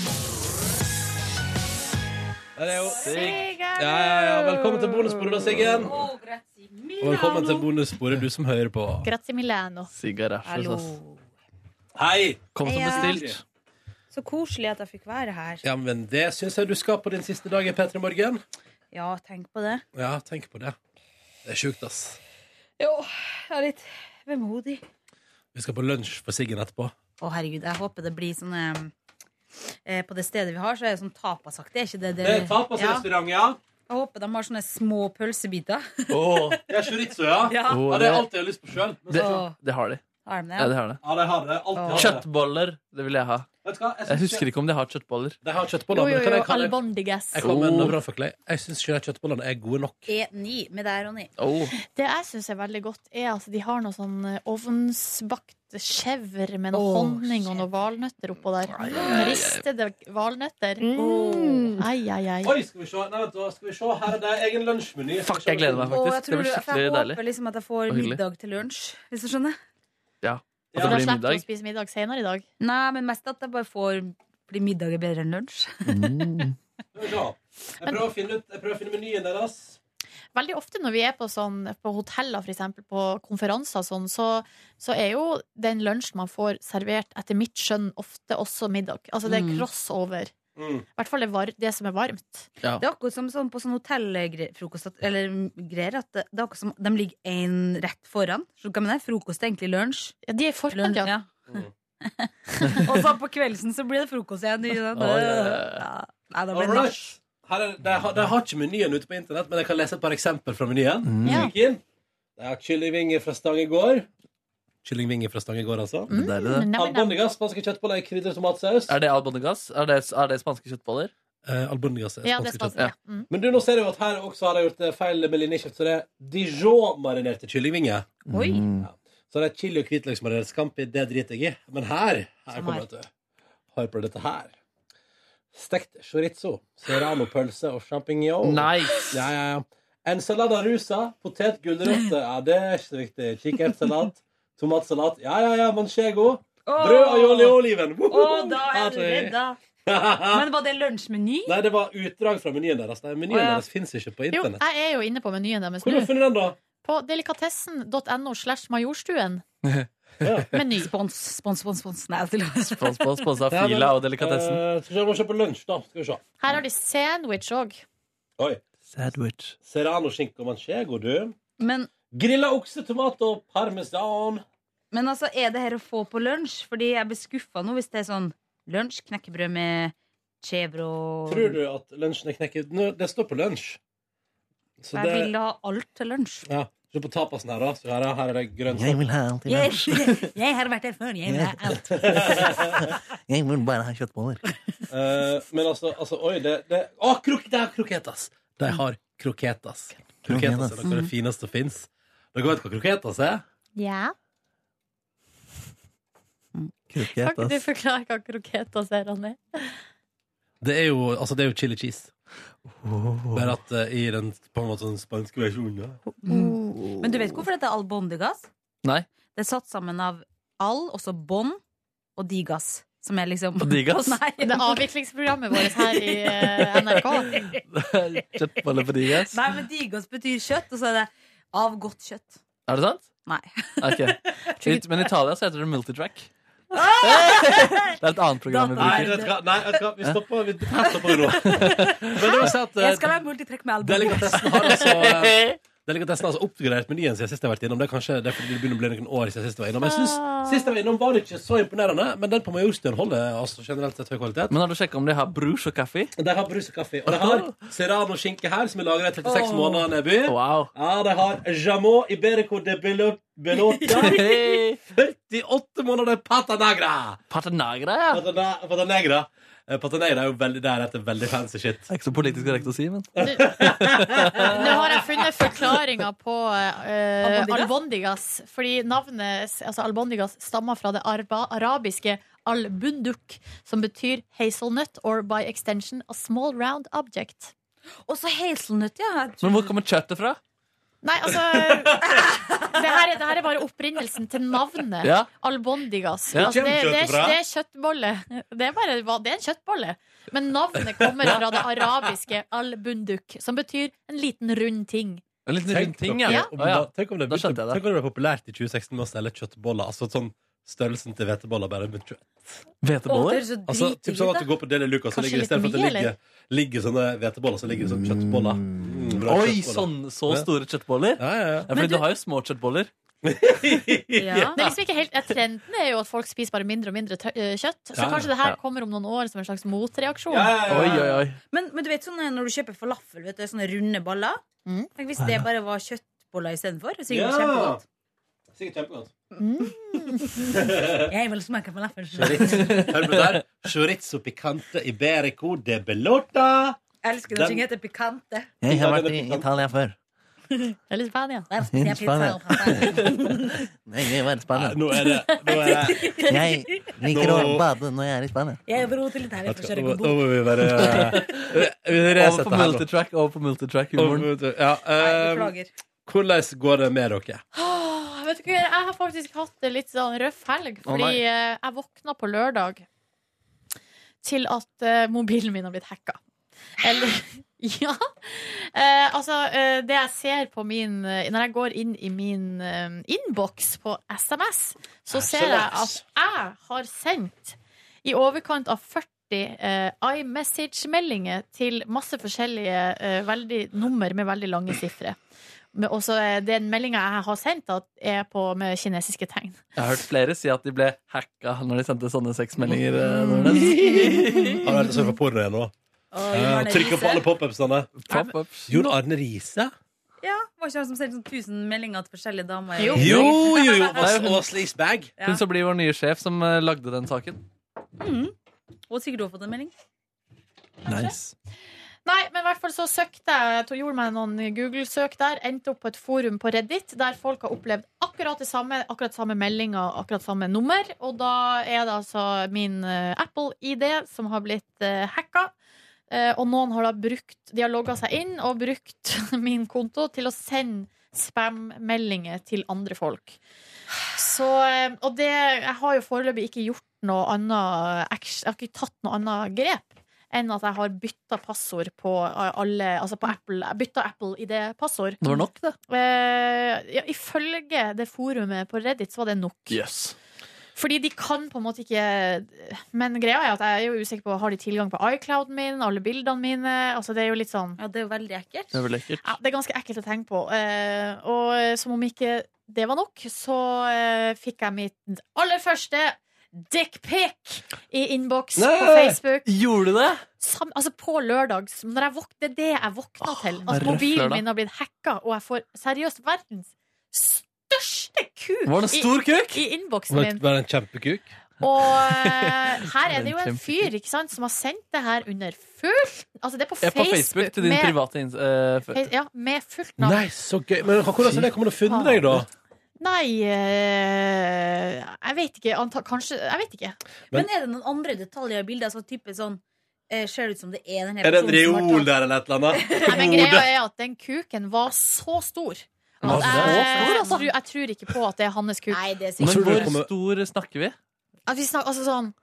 S1: Der er jo Ja, ja, ja. Velkommen til bonussporet, da, Siggen. Og velkommen til bonussporet, du som hører på.
S2: Grazie Milano.
S3: Sigarasjes,
S5: Hallo.
S3: ass.
S1: Hei!
S3: Kom som
S5: Heia.
S3: bestilt.
S5: Så koselig at jeg fikk være her.
S1: Ja, men det syns jeg du skal på din siste dag i P3 Morgen.
S5: Ja, tenk på det.
S1: Ja, tenk på det. Det er sjukt, ass.
S5: Jo, jeg er litt vemodig.
S1: Vi skal på lunsj for Siggen etterpå.
S5: Å, herregud, jeg håper det blir sånn eh, eh, På det stedet vi har, så er det sånn tapasaktig. Er ikke det det? ja.
S1: ja.
S5: Jeg håper de har sånne små pølsebiter.
S3: Åh,
S1: Det er chorizo, ja.
S5: Ja.
S3: åh,
S1: det er alt jeg har lyst på sjøl.
S3: det,
S5: Åh.
S3: det har de.
S5: Har de det?
S3: Ja, det har de.
S1: Ja, de har det. Alltid har det.
S3: Kjøttboller, det vil jeg ha.
S1: Vet du hva? Jeg,
S3: Jeg husker ikke om de har kjøttboller.
S1: De har
S2: Jo,
S1: kjøttboller,
S2: jo,
S1: men kan
S2: jo.
S1: jeg, kan jeg,
S2: Albondigas.
S1: jeg kommer med
S3: Oh.
S1: en brannfakkel. Jeg syns ikke de kjøttbollene er gode nok.
S5: E9 med deg, Ronny.
S3: Åh,
S2: Det jeg syns er veldig godt, er at de har noe sånn ovnsbakt chèvre med noe
S5: Åh,
S2: honning og noen valnøtter oppå der. Ristede valnøtter.
S5: Mm.
S2: Åh, Ai, ai, ai.
S1: Oi, skal vi se. Nei, vent, da skal vi se. Her er det egen lunsjmeny.
S3: Fuck, jeg gleder meg
S5: Og jeg,
S3: faktisk. Det
S5: tror,
S3: blir
S5: du- for
S3: skikkelig
S5: jeg
S3: deilig.
S5: håper liksom at jeg får
S3: Og hyggelig.
S5: middag til lunsj, hvis du skjønner.
S3: At
S1: Ja.
S3: det
S2: Da
S3: blir
S2: slipper du å
S3: middag.
S2: spise middag senere i dag.
S5: Nei, men mest at jeg bare får blir middag er bedre enn lunsj.
S1: Skal vi se. Jeg prøver å finne, ut, jeg prøver å finne menyen deres.
S2: Veldig ofte når vi er på, sånn, på hoteller, for eksempel, på konferanser, og sånn, så, så er jo den lunsjen man får servert, etter mitt skjønn, ofte også middag. Altså det er
S5: Mm.
S2: crossover.
S1: Mm.
S2: I hvert fall det, var, det som er varmt.
S5: Det er akkurat som sånn på sånn hotellfrokost at- Eller mm, greier at det, det er akkurat som de ligger én rett foran. Så kan man det, Frokost er egentlig lunsj.
S2: Ja, de er i forkant, ja.
S5: Lunsj, ja.
S1: Mm.
S5: Og så på kveldsen så blir det frokost igjen. Ikke sant?
S3: Å, ja.
S5: ja. Nei, da blir det
S1: Alright.
S5: nach.
S1: Her er, de, har, de har ikke menyen ute på internett, men jeg kan lese et par eksempler fra menyen.
S2: Ja.
S1: Kikk inn. Det er kyllingvinger fra Stangegård. Kyllingvinger fra Stangegård, altså.
S3: Det er deilig, det.
S2: Mm, nam, nam.
S1: Albondigas, spanske kjøttboller i krydder og tomatsaus.
S3: Er det albondegass? Er, det- er det spanske kjøttboller?
S1: Eh, albondigas er
S2: Ja,
S1: spanske
S2: det er spansk.
S1: kjøttboller.
S2: Ja. Mm.
S1: Men du, nå ser jeg jo at her også har jeg gjort eh, feil med linjekjøtt, så det er Dijon-marinerte kyllingvinger.
S5: Oi.
S1: Så det er chili og hvitløksmarinert scampi, det driter jeg i. Men her, her kommer det, vet du. Hør på dette her. Stekt chorizo, serrano-pølse og champignon.
S3: Nice!
S1: Ja, ja, ja. Ensalada rusa, potet, gulrøtter Ja, det er ikke så viktig. Kikkertsalat, tomatsalat. Ja, ja, ja, manchego. Brød, aioli og oliven. Å,
S5: Å, da er du redda. Men var det lunsjmeny?
S1: Nei, det var utdrag fra menyen deres. Nei, menyen
S5: Å, ja.
S1: deres fins ikke på
S2: Jo,
S1: internett.
S2: jeg er jo inne på menyen deres
S1: Hvor har
S2: nå.
S1: du funnet den, da?
S2: På delikatessen.no slash Majorstuen.
S1: Ja.
S2: Meny.
S5: Spons, spons, spons. spons. Nei, til
S3: Spons på sponsa
S1: Ja, men,
S3: Fila og Delikatessen.
S1: eh, skal vi se, må kjøpe lunsj, da. Skal vi se.
S2: Her har de sandwich òg.
S1: Oi.
S3: Sandwich.
S1: Serrano-skinke og manchego, du.
S5: Men,
S1: Grilla okse, tomat og parmesan.
S5: men altså, er det her å få på lunsj? Fordi jeg blir skuffa nå hvis det er sånn lunsj, knekkebrød med chèvre og
S1: Tror du at lunsjen er knekket? Nå, Det står på lunsj. Så
S5: Jeg vil ha alt til lunsj.
S1: Ja. Se på tapasen her, da. Så her, er- her er det grønt.
S11: Jeg vil ha alt i verden.
S10: Jeg har vært der før. Jeg vil ha alt.
S11: Jeg vil bare ha kjøttboller.
S1: Eh, men altså, altså Oi, det, det Å, krok, det er kroketas! De har kroketas. Kroketas er noe av det fineste som fins. Dere vet hva kroketas er?
S2: Ja. Kan ikke du
S11: Kroketas.
S2: forklare hva kroketas er, Ronny?
S1: Det er jo, altså, det er jo chili cheese.
S11: Åh.
S1: Bare at eh, i den på en måte sånn spanske versjonen. Ja.
S10: Men du vet hvorfor dette er all bondegass?
S3: Nei.
S10: Det er satt sammen av all, også bånd, og digas. Som er liksom
S3: Og digas?
S10: Nei,
S2: Det er avviklingsprogrammet vårt her i eh, NRK.
S3: Kjøttboller på digas.
S10: Nei, men digas betyr kjøtt, og så er det av godt kjøtt.
S3: Er det sant?
S10: Nei.
S3: Ok. I- Men i Italia så heter det multitrack. Det er et annet program
S1: Nei,
S3: vi bruker.
S1: vet du hva, nei, vet du hva, vi stopper vi stopper nå. Men det vil si at
S10: Jeg skal
S1: eh,
S10: være multitrack med album.
S1: delikatessen har altså eh, Delikatessen har altså oppgradert menyen siden sist jeg har vært innom. Det er kanskje det er fordi det begynner å bli noen år siden sist jeg var innom. Jeg synes,
S3: Ah.
S1: Sist jeg var innom, var det ikke så imponerende, men den på Majorstuen holder altså generelt sett høy kvalitet.
S3: Men har du sjekka om de har brus og kaffe?
S1: De har brus og kaffe. Og de har serrano-skinke her, som er lagra i 36 måneder nedby.
S3: Wow.
S1: Ja, de har jamot iberico de Belo- Belota.
S3: Hey.
S1: 48 måneder patanagra!
S3: Paternagra, ja. Det
S1: Patana- Patanegra. Eh, Patanegra er jo veldig, der etter veldig fancy shit.
S3: er ikke så politisk korrekt å si, men
S2: Nå har jeg funnet forklaringa på eh,
S10: Albondigas?
S2: albondigas. Fordi navnet altså albondigas stammer fra det arba, arabiske al-bunduk, som betyr hazelnut or by extension a small round object.
S10: Og så hazelnut, ja.
S3: Men hvor kommer kjøttet fra?
S2: Nei, altså det her, er, det her er bare opprinnelsen til navnet.
S3: Ja.
S2: Albondigas.
S3: Ja.
S2: Altså, det, det, er-
S1: Kjøttet fra?
S2: det er kjøttbolle. Det er, bare, hva- det er en kjøttbolle. Men navnet kommer fra det arabiske al-bunduk, som betyr en liten, rund ting.
S3: En liten rund ting,
S1: dere
S3: ja.
S1: om
S3: Å, ja.
S1: da- tenk om det
S3: Da
S1: begynte-
S3: skjønte jeg det.
S1: Tenk om det ble populært i 2016 med å selge kjøttboller. Altså sånn størrelsen til hveteboller. Bare med kjøtt.
S10: Å, det
S3: Hveteboller?
S10: er så
S1: Altså, typ
S10: dritdigg
S1: sånn at
S10: ut,
S1: du går på Deli Luca, så
S2: Kanskje
S1: ligger det i stedet for at det
S2: litt mye,
S1: ligger, ligger sånne hveteboller, så ligger det sånn kjøttboller. Mm, bra
S3: Oi,
S1: kjøttboller.
S3: sånn, så store kjøttboller?
S1: Ja, ja, ja.
S3: Ja, fordi du har jo små kjøttboller.
S10: da. Ja.
S2: Det er liksom ikke helt, eh, Trenden er jo at folk spiser bare mindre og mindre tø- eh, kjøtt. Så
S1: Ja,
S2: kanskje det her
S3: ja.
S2: kommer om noen år som en slags motreaksjon.
S1: Ja, ja, ja.
S3: Oi, oi, oi.
S10: Men, men du vet sånn når du kjøper falafel, vet du, sånne runde baller
S2: Mm.
S10: Tenk hvis det bare var kjøttboller istedenfor. så sikkert
S1: Ja.
S10: kjempegodt.
S1: Sikkert kjempegodt.
S10: Jeg vil smake falafel.
S1: Hør på det der. Chorizo picante iberico de belota.
S10: Jeg elsker
S1: Den-
S10: når ting heter pikante.
S11: Jeg har vært i Italia før.
S2: Eller Spania.
S10: Nei, jeg
S11: Mm,
S10: spiser pizza og pasta.
S11: Nei, Jeg var i Spania.
S1: Nå er det, nå er det.
S11: Jeg liker å
S1: Nå-
S11: bade når jeg er i Spania.
S10: Jeg dro til Italia for å kjøre
S1: Da må da
S10: gobbo.
S1: må vi bare Vi
S3: Over
S1: resetter
S3: på
S1: her nå.
S3: multitrack, over på multitrack-humoren.
S1: Ja,
S10: Nei,
S1: eh,
S10: Beklager.
S1: hvordan går det med dere?
S2: Åh, vet du hva, Jeg har faktisk hatt en litt sånn røff helg,
S3: Å,
S2: fordi
S3: nei.
S2: eh, jeg våkna på lørdag til at eh, mobilen min har blitt hacka. Eller Ja. Eh, altså, eh, det jeg ser på min eh, Når jeg går inn i min eh, innboks på SMS, så ser jeg at jeg har sendt i overkant av 40 eh, iMessage-meldinger til masse forskjellige eh, veldig, nummer med veldig lange sifre. Men også eh, den meldinga jeg har sendt, da, er på med kinesiske tegn.
S3: Jeg har hørt flere si at de ble hacka når de sendte sånne sexmeldinger.
S1: Har
S3: eh,
S1: du vært og surfa porno igjen nå?
S10: Og
S1: Ja,
S10: Arne
S1: Trykker på
S10: Riise.
S1: alle pop-upsene.
S3: Pop-ups.
S1: Jon Arne Riise?
S10: Ja, Var ikke han som sendte sånn 1000 meldinger til forskjellige damer?
S2: Jo.
S1: Jo, jo, jo! Og sleazebag.
S10: Ja.
S3: Hun som blir vår nye sjef, som eh, lagde den saken.
S10: Og sikkert du har fått en melding.
S3: Nice.
S2: Nei, men i hvert fall så søkte jeg to- Gjorde meg noen Google-søk der Endte opp på et forum på Reddit Der folk har opplevd akkurat det samme Akkurat samme melding og akkurat samme nummer Og da er det altså min eh, Apple-ID Som har blitt eh, hacka Eh, Og noen har da brukt De har logget seg inn og brukt min konto Til å sende spam-meldinger til andre folk Så, eh, og det Jeg har jo foreløpig ikke gjort noe annet action- Jeg har ikke tatt noe annet grep enn at jeg har bytta passord på alle Altså på Apple. Jeg bytta Apple i det passord.
S3: Det var nok, det.
S2: Eh, ja, ifølge det forumet på Reddit så var det nok. Fordi de kan på en måte ikke Men greia er at jeg er jo usikker på har de tilgang på iClouden min, alle bildene mine. Altså det er jo litt sånn
S10: Ja, Det er jo veldig ekkelt.
S3: Det er vel lekkert.
S2: ja, Det er ganske ekkelt å tenke på. Eh, og som om ikke det var nok, så eh, fikk jeg mitt aller første dickpic i innboks på
S1: Nei!
S2: Facebook.
S3: Gjorde du det?
S2: Sam, altså på lørdag s- når jeg våk, Det er det jeg våkna til.
S3: det
S2: At
S3: er røff
S2: mobilen
S3: lørdag.
S2: min har blitt hacka, og jeg får seriøst verdens største kuk
S1: Var det en stor
S2: i-
S1: kuk?
S2: i innboksen
S1: Var det
S2: min.
S1: var det en kjempekuk?
S2: Og eh, her er det jo
S3: En
S2: en fyr ikke sant, som har sendt det her under fullt Altså, det er på
S3: Jeg er på
S2: Facebook.
S3: Facebook til din
S2: med-
S3: private ins- eh, f-
S2: Fe- Ja, med fullt navn.
S1: Nei, så gøy. Men hvordan har det kommet og funnet deg, da?
S2: Nei eh, Jeg vet ikke. Anta, kanskje Jeg vet ikke.
S1: Men-
S10: Men er det noen andre detaljer i bildet? Altså, type sånn eh, Ser det ut som det er den her
S1: Er det en
S10: personen som har
S1: reol
S10: tatt-
S1: der eller et eller annet?
S2: Nei, men greia er at den kuken var så stor.
S1: Ja, så
S2: At jeg,
S1: stor,
S3: altså?
S2: tror, jeg tror ikke på at det er hans kuk. Nei, det
S3: Men hvor stor snakker vi?
S2: At vi snakker, altså sånn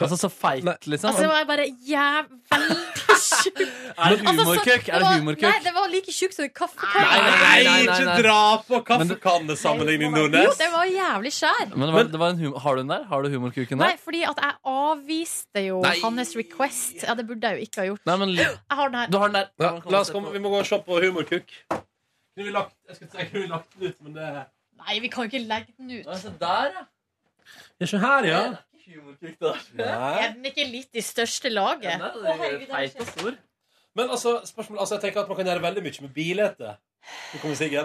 S3: Altså så feit, liksom?
S2: Altså, det var bare jævlig tjukk.
S3: Er det humorkøkk? Er det
S2: var-
S3: humorkøkk?
S2: Nei, det var like tjukk som en kaffekanne.
S1: Nei,
S3: nei, nei.
S1: ikke dra på kaffekannesammenligning,
S2: Jo,
S1: Nordnes!
S2: det var jævlig skjær.
S3: Men det var, det var en hum har du den der? Har du humorkuken
S2: Nei,
S3: der?
S2: fordi at jeg avviste jo
S3: Nei.
S2: hans request. Ja, det burde jeg jo ikke ha gjort.
S3: Nei, men li-
S2: Jeg har den her.
S3: Du har den der.
S1: Ja, la oss komme, vi må gå og se på humorkuk. Kunne vi lagt, jeg skulle si, jeg kunne vi lagt den ut, men det
S2: Nei, vi kan jo ikke legge den ut.
S3: Altså, der, ja.
S1: Ja, se her, ja.
S3: Humorkuk, det der.
S1: Nei.
S2: Er den ikke litt i største laget?
S3: Nei, det er Feit og stor.
S1: Men altså, spørsmål, altså, jeg tenker at man kan gjøre veldig mye med bilete. Nå kommer Siggen.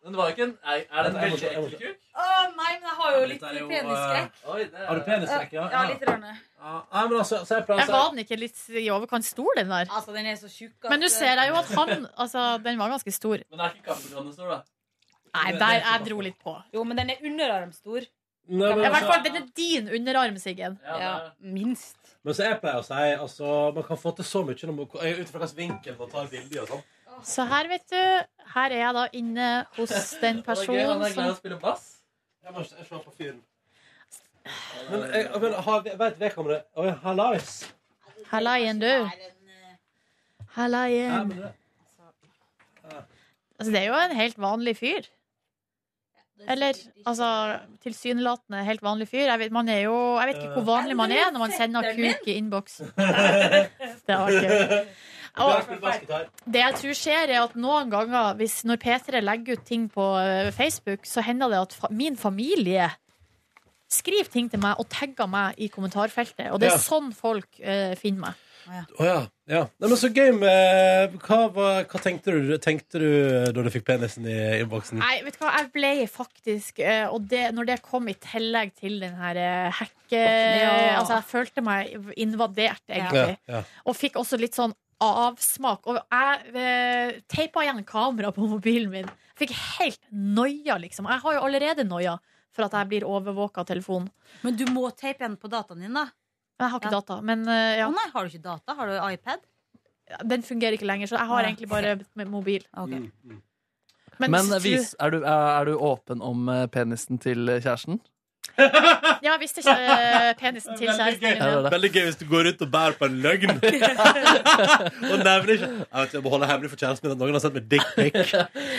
S3: Men det var jo ikke en Er, er
S1: Jeg
S3: det en
S1: må
S3: veldig
S1: se, jeg må
S3: ekkel kuk?
S10: Å nei, men jeg har jo litt
S1: Dette er jo,
S3: eh,
S10: penisskrekk.
S3: Oi, det er-
S1: Har du penisrekk, ja?
S10: Ja, litt. Rørende.
S1: Ja, Nei, men altså, så jeg pleier
S2: Men
S1: å si
S2: var den ikke litt i overkant stor, den der?
S10: Altså, den er så tjukk at
S2: Men nå ser jeg jo at han Altså, den var ganske stor.
S3: Men det er ikke kaffekanne stor, da.
S2: Nei, der jeg dro litt på.
S10: Jo, men den er underarmstor.
S1: Nei,
S2: I
S1: men,
S2: hvert
S1: altså,
S2: fall, den er din underarm, Siggen.
S3: Ja, det er-
S10: minst.
S1: men så jeg pleier å si altså, Man kan få til så mye når man, ut fra hvilken vinkel man tar bilder i og sånn.
S2: Så her, vet du Her er jeg da inne hos den
S3: Og det er gøy, Han
S2: personen
S3: er glad i
S2: som
S3: å spille bass.
S1: Jeg må se se på fyren. Men, jeg, men har, vet vedkommende Oi, hallais!
S2: Hallaien, du.
S1: Ja,
S3: eh,
S2: Hallaien.
S1: men det-
S2: Altså, det er jo en helt vanlig fyr. Eller altså tilsynelatende helt vanlig fyr. Jeg vet, man er jo, jeg vet ikke hvor vanlig man er når man sender kuk i innboksen. Det er artig.
S1: Jeg
S2: Og
S1: spiller bassgitar.
S2: det jeg tror skjer, er at noen ganger hvis, når P3 legger ut ting på eh, Facebook, så hender det at fa min familie skriver ting til meg og tagger meg i kommentarfeltet. Og det
S1: Ja.
S2: er sånn folk eh, finner meg.
S1: Å ja. ja. Nei, men så gøy med Hva, var, hva tenkte, du, tenkte du da du fikk penisen i innboksen?
S2: Nei, vet du hva, jeg ble faktisk eh, Og det, når det kom i tillegg til den her eh, hacke...
S10: Ja.
S2: Altså, jeg følte meg invadert,
S1: Ja,
S2: egentlig.
S1: ja.
S2: Og fikk også litt sånn avsmak. Og jeg eh, teipa igjen kameraet på mobilen min. Fikk helt noia, liksom. Jeg har jo allerede noia for at jeg blir overvåka av telefonen.
S10: Men du må tape igjen på dataen din, da.
S2: Jeg har ikke
S10: Ja.
S2: data, men eh,
S10: Å
S2: ja,
S10: nei, har du ikke data? Har du iPad?
S2: den fungerer ikke lenger, så jeg har
S10: Nei.
S2: egentlig bare med mobil.
S10: Ok.
S2: Men,
S3: Men eh,
S2: så tror-
S3: vis, er, du, er du åpen om eh, penisen til eh, kjæresten?
S2: Ja, visste ikke eh, penisen til
S1: Veldig
S2: kjæresten
S1: gøy.
S2: min.
S3: Ja, det
S2: ja.
S3: er det.
S1: Veldig gøy hvis du går rundt og bærer på en løgn. og nevner ikke Jeg vet, jeg må holde hemmelig for kjæresten min at noen har sendt meg dickpic.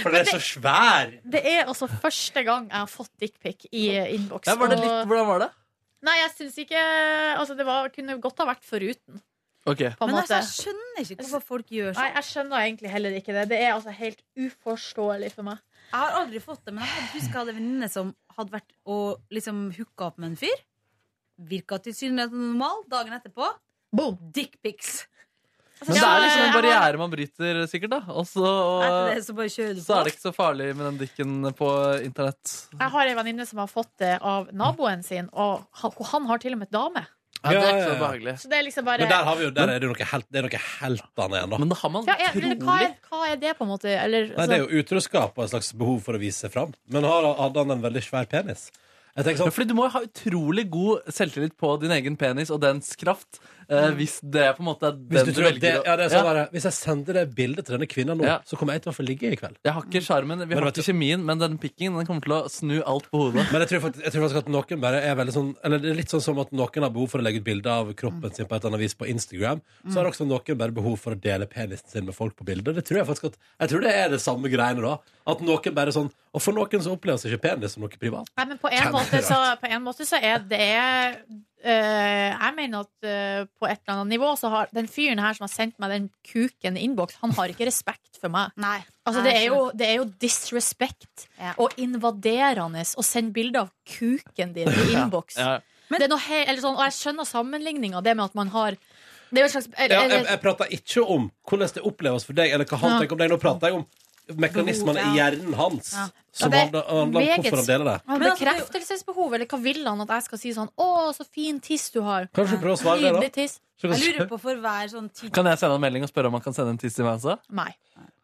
S1: For den er så svær.
S2: Det er altså første gang jeg har fått dickpic i innboks.
S3: Ja, var det litt,
S2: og-
S3: hvordan var det?
S2: Nei, jeg syns ikke Altså, det var, kunne godt ha vært foruten,
S3: Ok,
S2: på en
S10: Men altså,
S2: måte.
S10: jeg skjønner ikke hvorfor folk gjør
S2: Nei,
S10: sånn.
S2: jeg skjønner egentlig heller ikke det. Det er altså helt uforståelig for meg.
S10: Jeg har aldri fått det, men jeg hadde- husker jeg hadde en venninne som hadde vært og liksom hooka opp med en fyr. Virka tilsynelatende normal. Dagen etterpå
S2: Boom!
S10: dickpics.
S3: Men det
S2: Ja,
S3: er liksom en
S2: jeg har-
S3: barriere man bryter, sikkert. da Og så,
S10: Etter det så bare kjører du
S3: så er det
S10: på.
S3: ikke så farlig med den dikken på internett.
S2: Jeg har ei venninne som har fått det av naboen sin, og han- han har til og med dame.
S3: Ja, det
S1: Ja,
S3: er ikke
S1: ja, ja.
S3: så behagelig.
S2: Så det er liksom bare
S1: Men der, har vi jo, der er det jo noe, helt, det er noe helt annet igjen, da.
S3: Men da har man
S2: ja, er, men hva,
S3: trolig
S2: er, hva er det, på en måte? Eller
S1: Nei, det er jo utroskap og et slags behov for å vise seg fram. Men har, hadde han en veldig svær penis? Jeg tenker
S3: ja,
S1: sånn
S3: Fordi du må jo ha utrolig god selvtillit på din egen penis og dens kraft. Eh, hvis det på en måte er
S1: hvis
S3: den
S1: du
S3: du,
S1: tror at
S3: velger
S1: det,
S3: å-
S1: ja, det er sånn
S3: Ja,
S1: bare, Hvis jeg sender det bildet til denne kvinnen nå,
S3: Ja.
S1: så kommer jeg til å få ligge i kveld.
S3: Jeg har ikke sjarmen, vi
S1: Men
S3: har
S1: vet
S3: ikke
S1: du-
S3: kjemien, men den pikken den kommer til å snu alt på hodet.
S1: Men jeg tror, faktisk, jeg tror faktisk at noen bare er veldig sånn Eller det er litt sånn som at noen har behov for å legge ut bilder av kroppen sin på et eller annet vis på Instagram. Så har også noen bare behov for å dele penisen sin med folk på bilder. Det tror Jeg faktisk at Jeg tror det er det samme greiene da. At noen bare sånn Og for noen så oppleves ikke penis som noe privat.
S2: Nei, men på en, måte så, på en måte så er det eh, Jeg mener at eh, på et eller annet nivå så har den fyren her som har sendt meg den kuken i innboks, han har ikke respekt for meg.
S10: Nei.
S2: Altså, det, er jo, det er jo disrespect
S10: Ja.
S2: og invaderende å sende bilde av kuken din i innboks.
S3: Ja.
S2: Det er noe he- eller sånn, og jeg skjønner sammenligninga, det med at man har Det er jo et slags
S1: Ja,
S2: eller,
S1: jeg, jeg prater ikke om hvordan det oppleves for deg, eller hva han
S2: Ja.
S1: tenker om deg. Nå prater jeg om mekanismene i hjernen hans
S2: Ja.
S1: som
S2: Ja, det
S1: handler handler om
S2: meget-
S1: hvorfor han deler det.
S2: Men altså, Bekreftelsesbehov, eller hva vil han at jeg skal si sånn Å, så fin tiss du har.
S3: Kanskje prøve å svare det, da?
S2: Nydelig tiss.
S3: Så kan- Jeg lurer
S2: på for hver sånn tid
S3: Kan jeg sende en melding og spørre om han kan sende en tiss til meg også?
S2: Nei.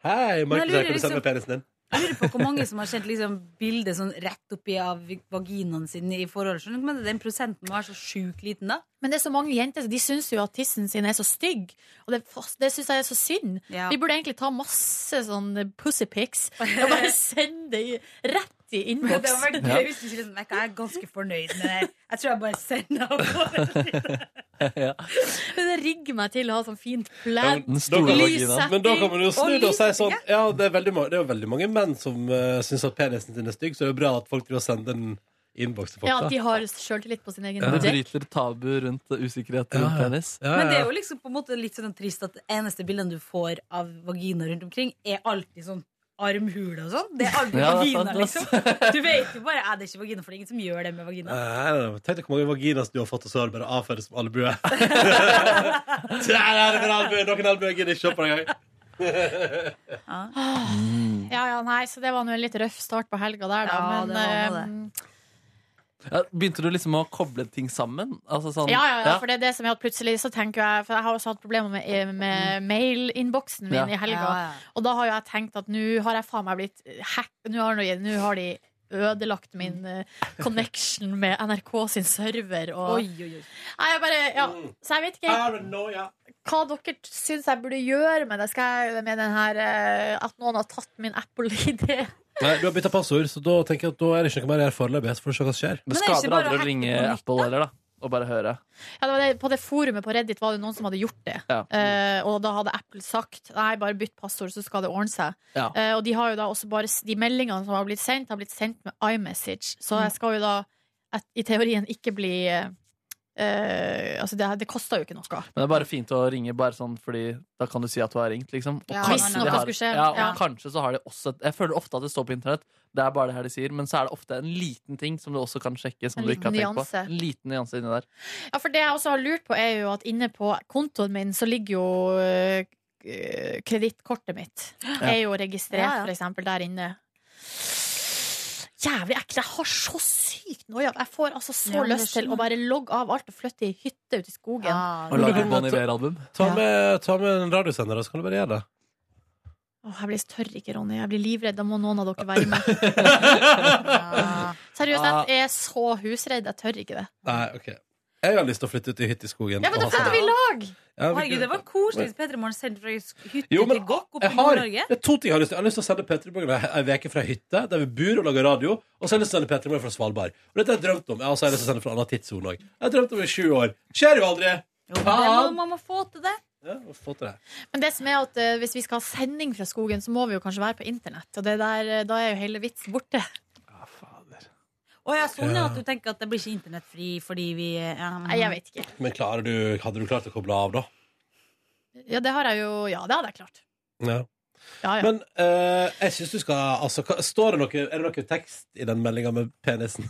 S1: Hei,
S10: Markus, Men jeg lurer kan du sende liksom-
S1: penisen din?
S10: Jeg lurer på hvor mange som har sendt liksom bildet sånn rett oppi av vaginaen sin i forhold. Skjønner du? Men den prosenten må være så sjukt liten, da.
S2: Men det er så mange jenter De syns jo at tissen sin er så stygg, og det, det syns jeg er så synd. Vi burde egentlig ta masse sånn pussy pics og bare sende det i- rett i
S10: Men det
S2: innboks.
S10: hadde vært gøy hvis du ikke liksom, jeg er ganske fornøyd med det. her. Jeg tror jeg bare sender av
S3: Ja.
S2: Men det rigger meg til å ha sånn fint
S1: Ja,
S2: pledd.
S1: men, da kan, men da kan man jo snu det og si sånn
S2: lyssetting.
S1: Ja, det er, veldig, ma- det er jo veldig mange menn som uh, syns at penisen din er stygg, så det er jo bra at folk driver og sender en innboks til folk.
S2: Ja,
S1: da.
S2: de har sjøltillit på sin egen
S3: Det
S2: butikk.
S3: bryter tabu rundt usikkerhet rundt penis.
S10: Men det er jo liksom på en måte litt sånn trist at det eneste bildene du får av vagina rundt omkring, er alltid sånn armhule og sånn. Det er aldri
S1: Ja, det er
S10: vagina, liksom.
S1: sant,
S10: Du vet jo bare "Æ, det er ikke vagina, for det er ingen som gjør det med vagina.
S1: Eh, Nei, nei, nei. Tenk deg hvor mange vaginas du har fått, og så har du bare avført det som albue. Der er det min albue! Noen albuer gidder ikke opp engang.
S2: Ah, Ja, ja, nei, så det var nå en litt røff start på helga der, da.
S10: Ja, det
S2: men,
S10: var
S2: eh,
S3: Ja, begynte du liksom å koble ting sammen? Altså sånn,
S2: Ja, ja, ja, for det er det som gjør at plutselig så tenker jeg For jeg har også hatt problemer med, eh, med mailinnboksen min
S3: Ja.
S2: i helga.
S3: Ja, ja.
S2: Og da har jo jeg tenkt at nå har jeg faen meg blitt hack... Nå har, nå- nå har de ødelagt min eh, connection med NRK sin server og
S10: Oi, oi, oi.
S2: Nei, jeg bare Ja, så jeg vet ikke helt
S1: Paranoia.
S2: hva dere syns jeg burde gjøre med det. Skal jeg med den her eh, At noen har tatt min Apple-idé?
S1: Nei, du har bytta passord, så da tenker jeg at da er det ikke noe mer å gjøre foreløpig. Så får vi se hva som skjer.
S3: Det skader aldri å ringe Apple heller, da. Og bare høre.
S2: Ja, det var det, på det forumet på Reddit var det noen som hadde gjort det.
S3: Ja.
S2: Eh, og da hadde Apple sagt Nei, bare bytt passord, så skal det ordne seg.
S3: Ja.
S2: Eh, og de har jo da også bare s- de meldingene som har blitt sendt, har blitt sendt med iMessage. Så
S3: Mm.
S2: jeg skal jo da et, i teorien ikke bli eh, eh, Altså, det, det koster jo ikke noe.
S3: Men det er bare fint å ringe, bare sånn fordi da kan du si at du har ringt, liksom. Og
S2: Ja, hvis
S3: de
S2: noe
S3: har,
S2: skulle skje,
S3: ja, og
S2: ja.
S3: kanskje så har de også et Jeg føler ofte at det står på internett, det er bare det her de sier, men så er det ofte en liten ting som du også kan sjekke, som
S2: En
S3: du ikke har
S2: liten
S3: tenkt på.
S2: nyanse.
S3: En liten nyanse inni der.
S2: Ja, for det jeg også har lurt på, er jo at inne på kontoen min så ligger jo eh, eh, kredittkortet mitt. Er jo registrert,
S10: Ja, ja.
S2: for eksempel, der inne. Jævlig ekkelt. Jeg har så sykt noia. Jeg får altså så
S10: Ja, men det
S2: lyst til
S10: skjønner
S2: å bare logge av alt og flytte i hytte ute i skogen.
S10: Ja,
S3: Og lage et Bon Iver-album.
S1: Ta med, ta med en radiosender, da, så kan du bare gjøre det.
S2: Åh, jeg blir tørr ikke, Ronny. Jeg blir livredd. Da må noen av dere være med. Seriøst, jeg er så husredd. Jeg tør ikke det.
S1: Nei, ok Jeg har lyst til å flytte ut i hytte i skogen.
S2: Ja, men
S1: og
S2: da
S1: ha
S2: flytter vi i
S1: sånn-
S2: lag!
S1: Ja, vi-
S10: Herregud, det var koselig hvis Petter Morgen sendte fra hytte
S1: Jo, men
S10: til Gokk oppe
S1: jeg
S10: i
S1: har,
S10: Nord-Norge.
S1: det er to ting jeg har lyst til. Jeg har lyst til å sende Petter Morgen ei uke fra hytte, der vi bor og lager radio. Og så har jeg lyst til å sende Petter Morgen fra Svalbard. Og dette har jeg drømt om. Jeg har også lyst til å sende fra en annen tidssone òg. Jeg har drømt om det i sju år. Skjer jo aldri!
S10: Jo, men det må,
S1: Faen!
S10: man må få til det.
S1: Ja, få til det.
S2: Men det som er at eh, hvis vi skal ha sending fra skogen, så må vi jo kanskje være på internett. Og det der, eh, da er jo hele vitsen borte.
S10: Å ja, sånn ja, at du tenker at det blir ikke internettfri fordi vi eh, ja.
S2: Nei, jeg vet ikke.
S1: Men klarer du, hadde du klart å koble av, da?
S2: Ja, det har jeg jo Ja, det hadde jeg klart.
S1: Ja.
S2: Ja, ja.
S1: Men eh, jeg syns du skal altså, hva- står det noe, Er det noe tekst i den meldinga med penisen?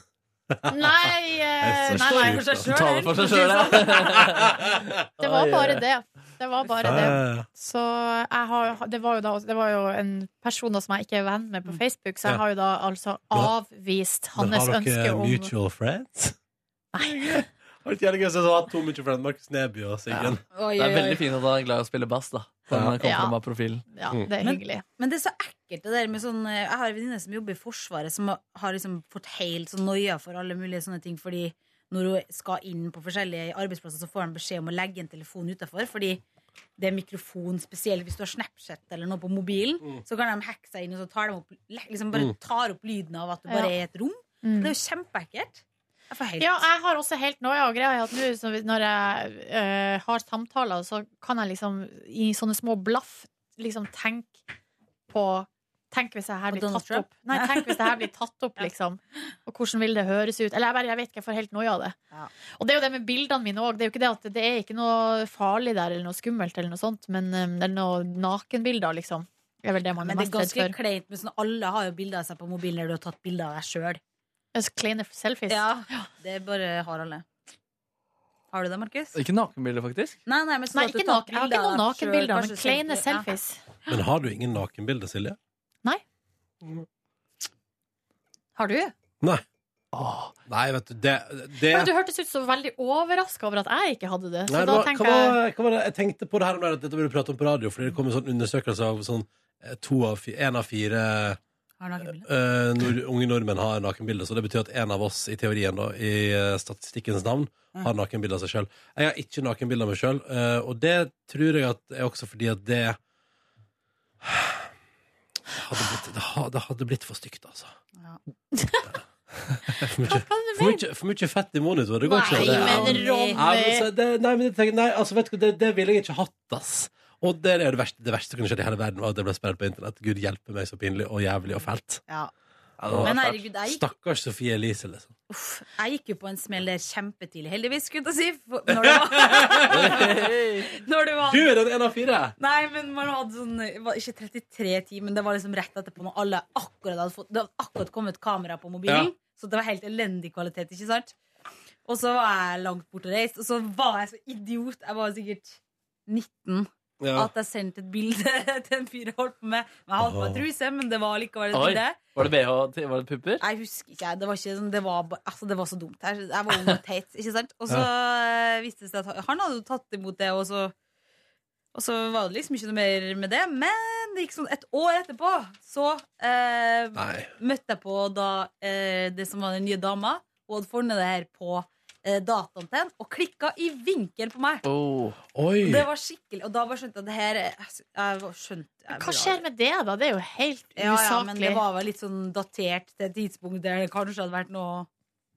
S2: Nei, eh,
S1: Jeg
S2: nei,
S1: forstår
S2: nei.
S1: ikke.
S3: Den taler for seg
S10: liksom.
S3: sjøl, ja.
S2: Det var bare det. Det var bare det.
S1: Ja, ja, ja.
S2: Så jeg har, det, var jo da, det var jo en person da som jeg ikke er venn med på Facebook, så
S1: Ja.
S2: jeg har jo da altså
S1: har-
S2: avvist
S1: Men
S2: hans
S1: har
S2: ønske
S1: dere
S2: om
S1: mutual friends? Nei. Det hadde vært jævlig gøy hvis jeg hadde hatt to mutual friends. Markus Neby og Siggen.
S3: Det er
S10: Oi, oi, oi.
S3: veldig fint at han er glad i å spille bass, da. Som
S1: Ja.
S3: kommer
S10: Ja.
S3: frem av profilen.
S2: Ja, det er
S10: Men-
S2: hyggelig.
S10: Men det er så ekkelt det der med sånn eh, Jeg har en venninne som jobber i Forsvaret, som har liksom fått helt sånn noia for alle mulige sånne ting, fordi når hun skal inn på forskjellige arbeidsplasser, så får hun beskjed om å legge en telefon utafor, fordi det er mikrofon spesielt hvis du har Snapchat eller noe på mobilen, så kan de hacke seg inn, og så tar de opp le- liksom bare
S1: Mm.
S10: tar opp lyden av at du bare
S2: Ja.
S10: er i et rom.
S2: Mm.
S10: Det er jo kjempeekkelt. Jeg får helt
S2: Ja, jeg har også helt noia og greia er at nå så vi- når jeg eh, har samtaler, så kan jeg liksom i sånne små blaff liksom tenke på Tenk hvis det her
S10: På
S2: blir
S10: Donald
S2: tatt
S10: Trump?
S2: opp. Nei, tenk hvis det her blir tatt opp, liksom. Og hvordan vil det høres ut? Eller jeg bare, jeg vet ikke, jeg får helt noia av det.
S10: Ja.
S2: Og det er jo det med bildene mine òg. Det er jo ikke det at det er ikke noe farlig der, eller noe skummelt, eller noe sånt, men eh, det er noe nakenbilder, liksom. Det er vel det man
S10: Men
S2: er
S10: det
S2: mest
S10: er
S2: redd
S10: ganske
S2: for.
S10: kleint. Men sånn, alle har jo bilder av seg på mobilen der du har tatt bilder av deg sjøl.
S2: Altså, Kleine selfies.
S10: Det bare har alle. Har du det, Markus?
S3: Ikke nakenbilder, faktisk.
S10: Nei, nei, men sånn
S2: Nei,
S10: at du
S2: ikke
S10: tar
S2: naken. Jeg har
S10: bilder
S2: ikke noen
S10: av deg selv,
S2: nakenbilder,
S10: kanskje
S2: men kleine
S10: selfie. Ja.
S2: selfies.
S1: Men har du ingen nakenbilder, Silje?
S2: Har du?
S1: Nei. Nei, vet du, det, det
S2: Men du hørtes ut så veldig overraska over at jeg ikke hadde det. Så
S1: Nei, det
S2: da
S1: var, hva
S2: tenker
S1: var,
S2: jeg
S1: hva var det? Jeg tenkte på det her om dagen at dette burde du prate om på radio, fordi det kom en sånn undersøkelse av sånn eh, to av fi- en av fire
S10: Har nakenbilde?
S1: eh, nord, unge nordmenn har nakenbilder, så det betyr at en av oss i teorien, da, i eh, statistikkens navn,
S10: Mm.
S1: har nakenbilder av seg sjøl. Jeg har ikke nakenbilder av meg sjøl, og det tror jeg at er også fordi at det hadde blitt, det, ha- det hadde blitt for stygt, altså. For mye, for, mye, for mye fett i monitor. Det går ikke.
S2: Nei,
S1: det,
S2: men
S1: Ja.
S2: Ronny.
S1: Ja, men så det, nei, men jeg tenker, nei, altså, vet du, hva, det, det ville jeg ikke hatt, ass. Og det er jo det verste, det verste som kunne skjedd i hele verden, var at det ble spredt på internett. Gud hjelpe meg så pinlig og jævlig og fælt.
S10: Ja.
S1: det var
S10: Men
S1: fælt.
S10: herregud, jeg gikk-
S1: Stakkars Sofie Elise, liksom.
S10: Uff, jeg gikk jo på en smell der kjempetidlig, heldigvis, skulle jeg si. for- Når det var, når det var
S1: Du er den ene av fire!
S10: Nei, men man hadde sånn det var Ikke 33 timer, men det var liksom rett etterpå når alle akkurat hadde fått Det hadde akkurat kommet kamera på mobilen,
S1: Ja.
S10: så det var helt elendig kvalitet, ikke sant? Og så var jeg langt borte og reist, og så var jeg så idiot. Jeg var sikkert 19.
S3: Ja.
S10: At jeg sendte et bilde til en fyr jeg holdt på med. Men Jeg hadde på meg truse, men det var likevel et
S3: Oi,
S10: bilde.
S3: var det BH? til- Var det pupper?
S10: Jeg husker ikke. Det var, ikke sånn, det var, ba- altså, det var så dumt her. Jeg var ung og teit. Ikke sant? Og så eh, viste det seg at han- han hadde jo tatt imot det, og så, og så var det liksom ikke noe mer med det. Men det gikk sånn et år etterpå så eh, møtte jeg på da eh, det som var den nye dama. Hun hadde funnet det her på eh, dataen til henne og klikka i vinkel på meg.
S3: Oh.
S1: Oi!
S10: Det var skikkelig Og da bare skjønte jeg at det her er- jeg var- skjønte, jeg
S2: Hva skjer med det, da? Det er jo helt
S10: ja, ja, men det
S2: usaklig.
S10: var vel litt sånn datert til et tidspunkt der det kanskje hadde vært noe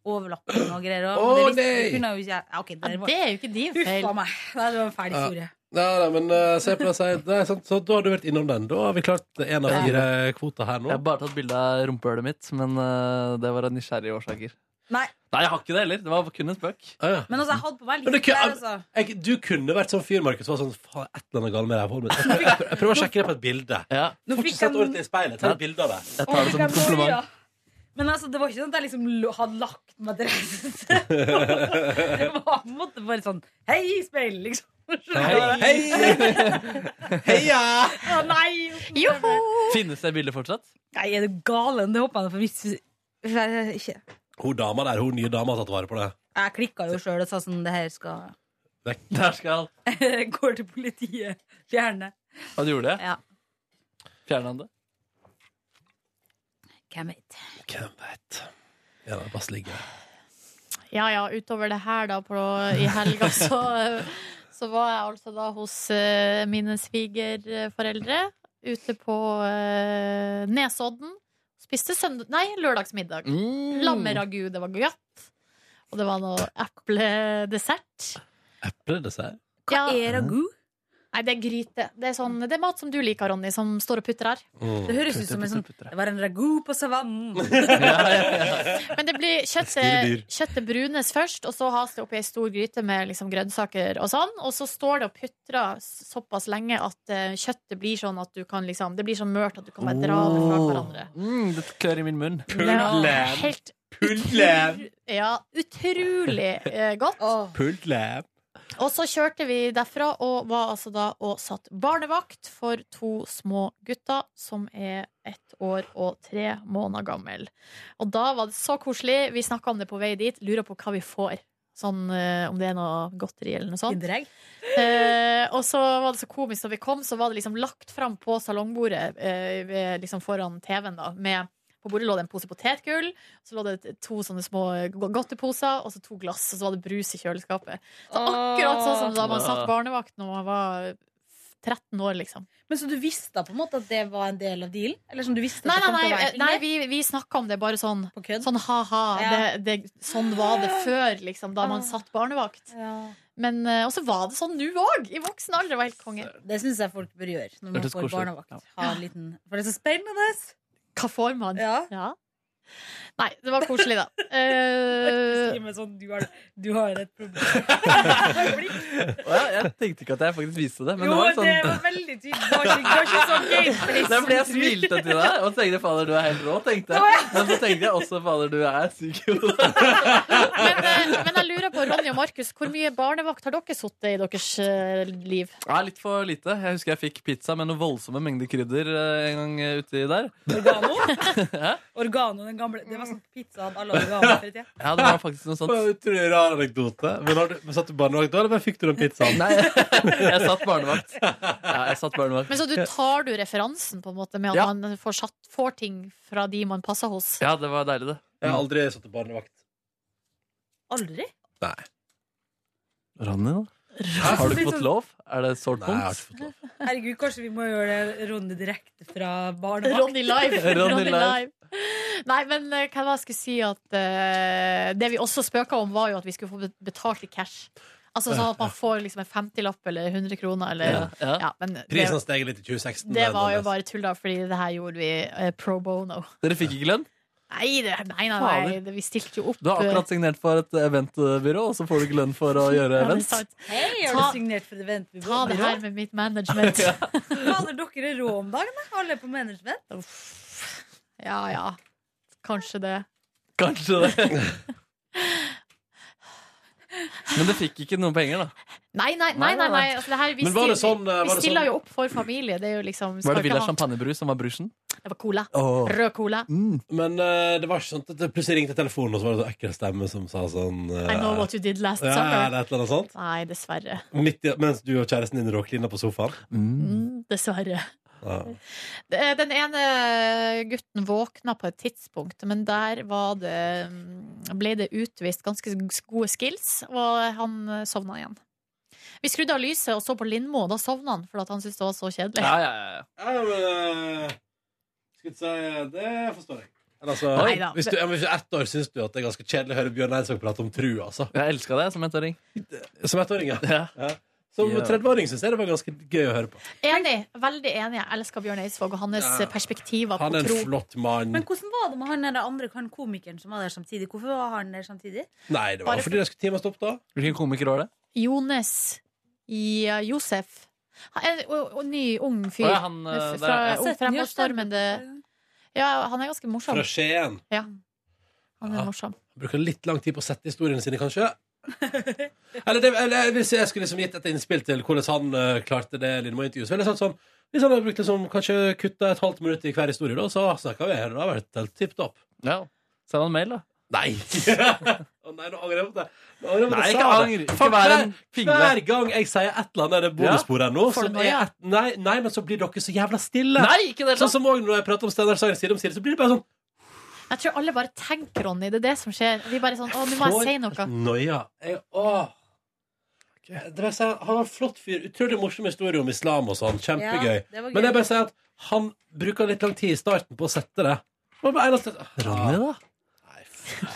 S10: overlapping og greier. og
S1: Å,
S10: det, visste- det
S1: nei!
S10: kunne jeg jo ikke, ja, ok, der var-
S2: det er jo ikke din
S10: Huff
S2: feil.
S10: a meg. Nei, det var en fæl
S1: Ja.
S10: historie.
S1: Nei, nei, men eh, se på det, si. Det er sant, så da har du vært innom den. Da har vi klart én av fire kvoter her
S3: Jeg
S1: nå.
S3: har bare tatt bilde av rumpehullet mitt, men eh, det var av nysgjerrige årsaker.
S10: Nei.
S3: jeg har ikke det heller. Det var kun en spøk.
S10: Men altså, jeg hadde på meg litt
S1: Ah, Men det
S10: der,
S1: kan-
S10: altså.
S1: Jeg, du kunne vært sånn fyr, Markus. som var Sånn, faen, et eller annet galt med rævhålet mitt. Jeg, prøver- jeg prøver å sjekke det på et bilde.
S10: Nå
S1: Fort
S10: fikk
S1: sett
S10: jeg-
S1: ordentlig i speilet. Ta et bilde av det.
S3: Jeg
S10: Å, fikk jeg dårlig, ja. Men altså, det var ikke sånn at jeg liksom lo- hadde lagt meg til rette. Det var på en måte bare sånn Hei, speil, liksom.
S1: Heia!
S10: Å, nei! Joho!
S3: Finnes det bildet fortsatt?
S10: Nei, er du galen? Det håper jeg for hvis jeg ikke
S1: Hun dama der, hun nye dama har tatt vare på det.
S10: Jeg klikka jo sjøl og sa sånn Det her skal
S1: Vekk.
S3: Der skal
S10: Går til politiet. Fjerne.
S3: Og du gjorde det?
S10: Ja.
S3: Fjerna han det?
S10: Hvem vet?
S1: Hvem vet? Ja, det bare ligger.
S2: Ja ja, utover det her, da, på, i helga, så, så var jeg altså da hos eh, mine svigerforeldre ute på eh, Nesodden. Spiste søndag... Nei, lørdagsmiddag.
S3: Mm.
S2: Lammeragu, det var godt. Og det var noe epledessert.
S1: Epledessert?
S2: Hva
S10: er ragu?
S2: Nei, det er gryte. Det er, sånn, det er mat som du liker, Ronny, som står og putter her.
S1: Mm.
S10: Det høres ut som en sånn Det var en ragu på savannen.
S2: Men det blir
S10: Spire dyr.
S2: kjøttet, kjøttet brunes først, og så has det oppi ei stor gryte med liksom grønnsaker og sånn. Og så står det og putrer såpass lenge at eh, kjøttet blir sånn at du kan liksom Det blir så mørt at du kan bare dra det fra hverandre.
S3: Mm, det klør i min munn.
S2: Ja, helt
S1: Pultlem!
S2: Ja, utrolig eh, godt.
S1: Pultlem!
S2: Og så kjørte vi derfra og var altså da og satt barnevakt for to små gutter som er ett år og tre måneder gammel. Og da var det så koselig. Vi snakka om det på vei dit. Lurer på hva vi får. Sånn eh, om det er noe godteri eller noe sånt.
S10: Kinderegg?
S2: Eh, og så var det så komisk da vi kom, så var det liksom lagt fram på salongbordet eh, ved- liksom foran TV-en. da med på bordet lå det en pose potetgull, så lå det to sånne små godteposer og så to glass, og så var det brus i kjøleskapet. Så akkurat sånn som da man
S10: Åh.
S2: satt barnevakt når man var 13 år, liksom.
S10: Men Så du visste på en måte at det var en del av dealen? Eller som du visste at
S2: Nei,
S10: det
S2: nei,
S10: kom til å
S2: nei,
S10: være
S2: eh,
S10: ting
S2: nei
S10: der?
S2: vi, vi snakka om det bare sånn. Sånn ha-ha.
S10: Ja.
S2: Det, det, sånn var det før, liksom, da man satt barnevakt. Men, eh, og så var det sånn nå òg! I voksen alder. Det var helt konge.
S10: Det syns jeg folk bør gjøre når man
S2: Hørtes
S10: får
S2: koselig ut.
S10: barnevakt. Ha en liten, for det er så spennende!
S2: Hva får man?
S10: Ja.
S2: Ja. Nei, det var koselig, da. Eh,
S10: Si meg sånn, du har, du har et problem.
S3: Å ja, jeg tenkte ikke at jeg faktisk viste det, men
S10: jo,
S3: det var litt
S10: det
S3: sånn
S10: var veldig tydelig. Det var ikke, det var ikke sånn gameplay.
S3: Det er fordi jeg smilte til deg og tenkte fader, du er helt rå. tenkte jeg Men så tenkte jeg også fader, du er syk i hodet.
S2: men, eh, men jeg lurer på, Ronny og Markus, hvor mye barnevakt har dere sittet i deres eh, liv?
S3: Ja, litt for lite. Jeg husker jeg fikk pizza med noen voldsomme mengder krydder eh, en gang eh, uti der.
S10: Organo? Organo, den gamle. Det var sånn pizzaen alle organo før i tida.
S3: Ja, det var faktisk noe sånt.
S1: Utrolig rar anekdote. Men, har du, men Satt du barnevakt da, eller bare fikk du den pizzaen?
S3: Nei, jeg satt barnevakt. Ja, jeg satt barnevakt.
S2: Men så du tar du referansen på en måte med at
S3: Ja.
S2: man får, satt, får ting fra de man passer hos?
S3: Ja, det var deilig, det.
S1: Jeg har aldri satt barnevakt.
S10: Aldri?
S3: Ronny, da? Har du ikke fått lov? Er det et sårt
S1: Nei, jeg har
S3: punkt?
S1: ikke fått lov.
S10: Herregud, kanskje vi må gjøre det Ronny direkte fra barnevakt?
S2: Ronny live.
S3: Ronny live.
S2: Nei, men eh, hva var det jeg skulle si at eh, Det vi også spøka om, var jo at vi skulle få be- betalt i cash. Altså sånn at man får liksom en 50-lapp eller 100 kroner eller
S3: Ja, ja.
S2: Ja, men det,
S1: Prisen har steget litt i 2016.
S2: det var jo
S1: Nordnes.
S2: bare tull, da, fordi det her gjorde vi eh, pro bono.
S3: Dere fikk ikke lønn?
S2: Nei, det, nei, nei, nei
S3: Fader.
S2: det, vi stilte jo opp. eh,
S3: Du har akkurat signert for et eventbyrå, og så får du ikke lønn for å
S2: Ja, det
S3: gjøre
S2: er
S3: event.
S2: sant.
S10: Hei, har du
S2: Ta-
S10: signert for eventbyrå?
S2: Ta det her med mitt management.
S10: Fader, dere er rå om dagen, da. Alle er på management.
S2: Ja ja, kanskje det.
S3: Kanskje det. Men det fikk ikke noen penger, da.
S2: Nei, nei, nei. nei, nei. Altså, det her, vi,
S1: Men var det
S2: stil-
S1: sånn, eh, var
S2: vi
S1: det
S2: stiller
S1: sånn-
S2: jo opp for familie. Det er jo liksom
S3: Var
S2: skal
S3: det Villa
S2: ikke ha-
S3: Champagnebrus som var brusjen?
S2: Det var cola. Rød cola.
S1: Men eh, det var ikke sånn at det plutselig ringte telefonen, og så var det så ekkel stemme som sa sånn eh,
S2: I know what you did last
S1: ja, ja,
S2: summer.
S1: eller et eller annet sånt.
S2: Nei, dessverre.
S1: Midt i, mens du og kjæresten din råklina på sofaen.
S2: Mm, dessverre.
S1: Ja.
S2: Det- Eh, Den ene gutten våkna på et tidspunkt, men der var det mm, ble det utvist ganske gode skills, og han sovna igjen. Vi skrudde av lyset og så på Lindmo, og da sovna han fordi at han syntes det var så kjedelig.
S3: Ja, ja, ja.
S1: Ja, men eh, Skal vi si eh, Det forstår jeg. Men altså,
S2: Neida.
S1: hvis du, ja, men hvis du er ett år, syns du at det er ganske kjedelig å høre Bjørn Eidsvåg prate om tru, altså.
S3: Jeg elska det som ettåring.
S1: Som ettåring, ja.
S3: Ja.
S1: ja. Som
S3: Ja.
S1: 30-åring syns jeg det var ganske gøy å høre på.
S2: Enig. Veldig enig. Jeg elsker Bjørn Eidsvåg og hans eh,
S1: Ja.
S2: perspektiver
S1: Han
S2: på
S1: er
S2: tro.
S1: en flott mann.
S10: Men hvordan var det med han der andre han komikeren som var der samtidig? Hvorfor var han der samtidig?
S1: Nei, det var
S2: Bare
S1: fordi det skulle timen stoppe, da.
S3: Hvilken komiker var det?
S2: Jones i uh, Josef. Han er en og- og ny, ung fyr.
S3: Å, ja, han,
S2: Fra
S3: eh, der, ja.
S2: ung, fremoverstormende Ja, han er ganske morsom.
S1: Fra Skien.
S2: Ja. Han
S1: Ja.
S2: er morsom.
S1: Bruker litt lang tid på å sette historiene sine, kanskje. Eller, det, eller hvis jeg skulle liksom gitt et innspill til hvordan han eh, klarte det Lindmo-intervjuet, så ville jeg sagt sånn Hvis han hadde brukt liksom, kanskje kutta et halvt minutt i hver historie, da, så snakka vi her. Det hadde vært helt tipp topp.
S3: Ja. Send han en mail, da.
S1: Nei! Å nei, nå angrer jeg på det. Nå angrer jeg på at
S3: Nei,
S1: jeg
S3: ikke
S1: sa det.
S3: angre. Ikke
S1: Fuck,
S3: vær
S1: hver-
S3: en pingle.
S1: Hver gang jeg sier et eller annet, er det bonussporet nå.
S2: Får du
S1: som
S2: noe,
S1: er
S2: ja?
S1: et- Nei, nei, men så blir dere så jævla stille.
S3: Nei, ikke det!
S1: Sånn som også når jeg prater om Steinar Sagen side om side, så blir det bare sånn
S2: Jeg tror alle bare tenker, Ronny. Det er det som skjer. Vi bare sånn, å, nå må jeg si noe.
S1: Noia. Jeg, åh. Det vil si, han var en flott fyr. Utrolig morsom historie om islam og sånn. Kjempegøy.
S10: det var gøy.
S1: Men jeg bare sier at han bruker litt lang tid i starten på å sette det. Det var bare eneste-
S3: Ronny, da?
S1: Nei, faen.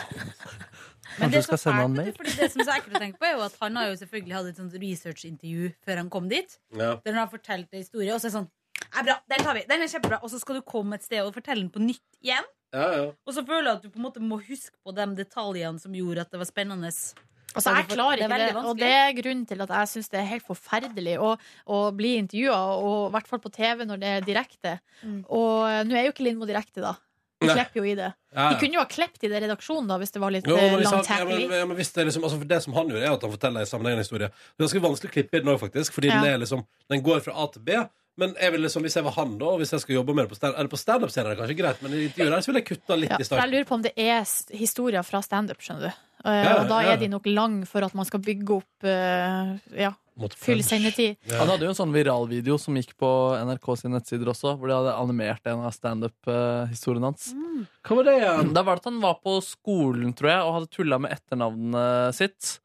S10: Men
S3: Kanskje
S10: det
S3: du skal
S10: som
S3: sende
S10: er
S3: han
S10: fælt,
S3: mail?
S10: fordi det som er så ekkelt å tenke på, er jo at han har jo selvfølgelig hatt et sånt researchintervju før han kom dit.
S1: Ja.
S10: Der han har fortalt en historie, og så er det sånn er bra, den tar vi, den er kjempebra Og så skal du komme et sted og fortelle den på nytt igjen.
S1: Ja, ja.
S10: Og så føler jeg at du på en måte må huske på de detaljene som gjorde at det var spennende.
S2: Altså, jeg klarer ikke
S10: Det er
S2: det,
S10: veldig vanskelig.
S2: og det er grunnen til at jeg syns det er helt forferdelig å, å bli intervjua, og i hvert fall på TV når det er direkte.
S10: Mm.
S2: Og eh, nå er jo ikke Lindmo direkte, da. De
S1: Nei.
S2: klipper jo i det.
S1: Ja,
S2: De
S1: ja.
S2: kunne jo ha klippet i det i redaksjonen, da, hvis det var litt
S1: Jo,
S2: eh,
S1: men hvis han, ja,
S2: langtekkelig.
S1: men, ja, men hvis det, er liksom, altså for det som han gjør, er at han forteller en sammenhengende historie. Det er ganske vanskelig å klippe i den òg, faktisk. Fordi
S2: Ja.
S1: den, er liksom, den går fra A til B. Men jeg vil liksom, hvis jeg var han, da, og hvis jeg skal jobbe mer på stand- eller på standup, stand er det kanskje greit, men i intervjuet der så vil jeg kutta litt
S2: Ja,
S1: i
S2: for jeg
S1: starten.
S2: lurer på om det er s- historier fra standup, skjønner du. Eh,
S1: ja,
S2: og da
S1: ja.
S2: er de nok lang for at man skal bygge opp eh, ja,
S1: Måtte
S2: full
S1: punch.
S2: sendetid.
S1: Ja.
S3: Han hadde jo en sånn viralvideo som gikk på NRK sine nettsider også, hvor de hadde animert en av standup-historiene hans.
S2: Mm.
S1: Hva var det igjen?
S3: Da var det at han var på skolen, tror jeg, og hadde tulla med etternavnet sitt.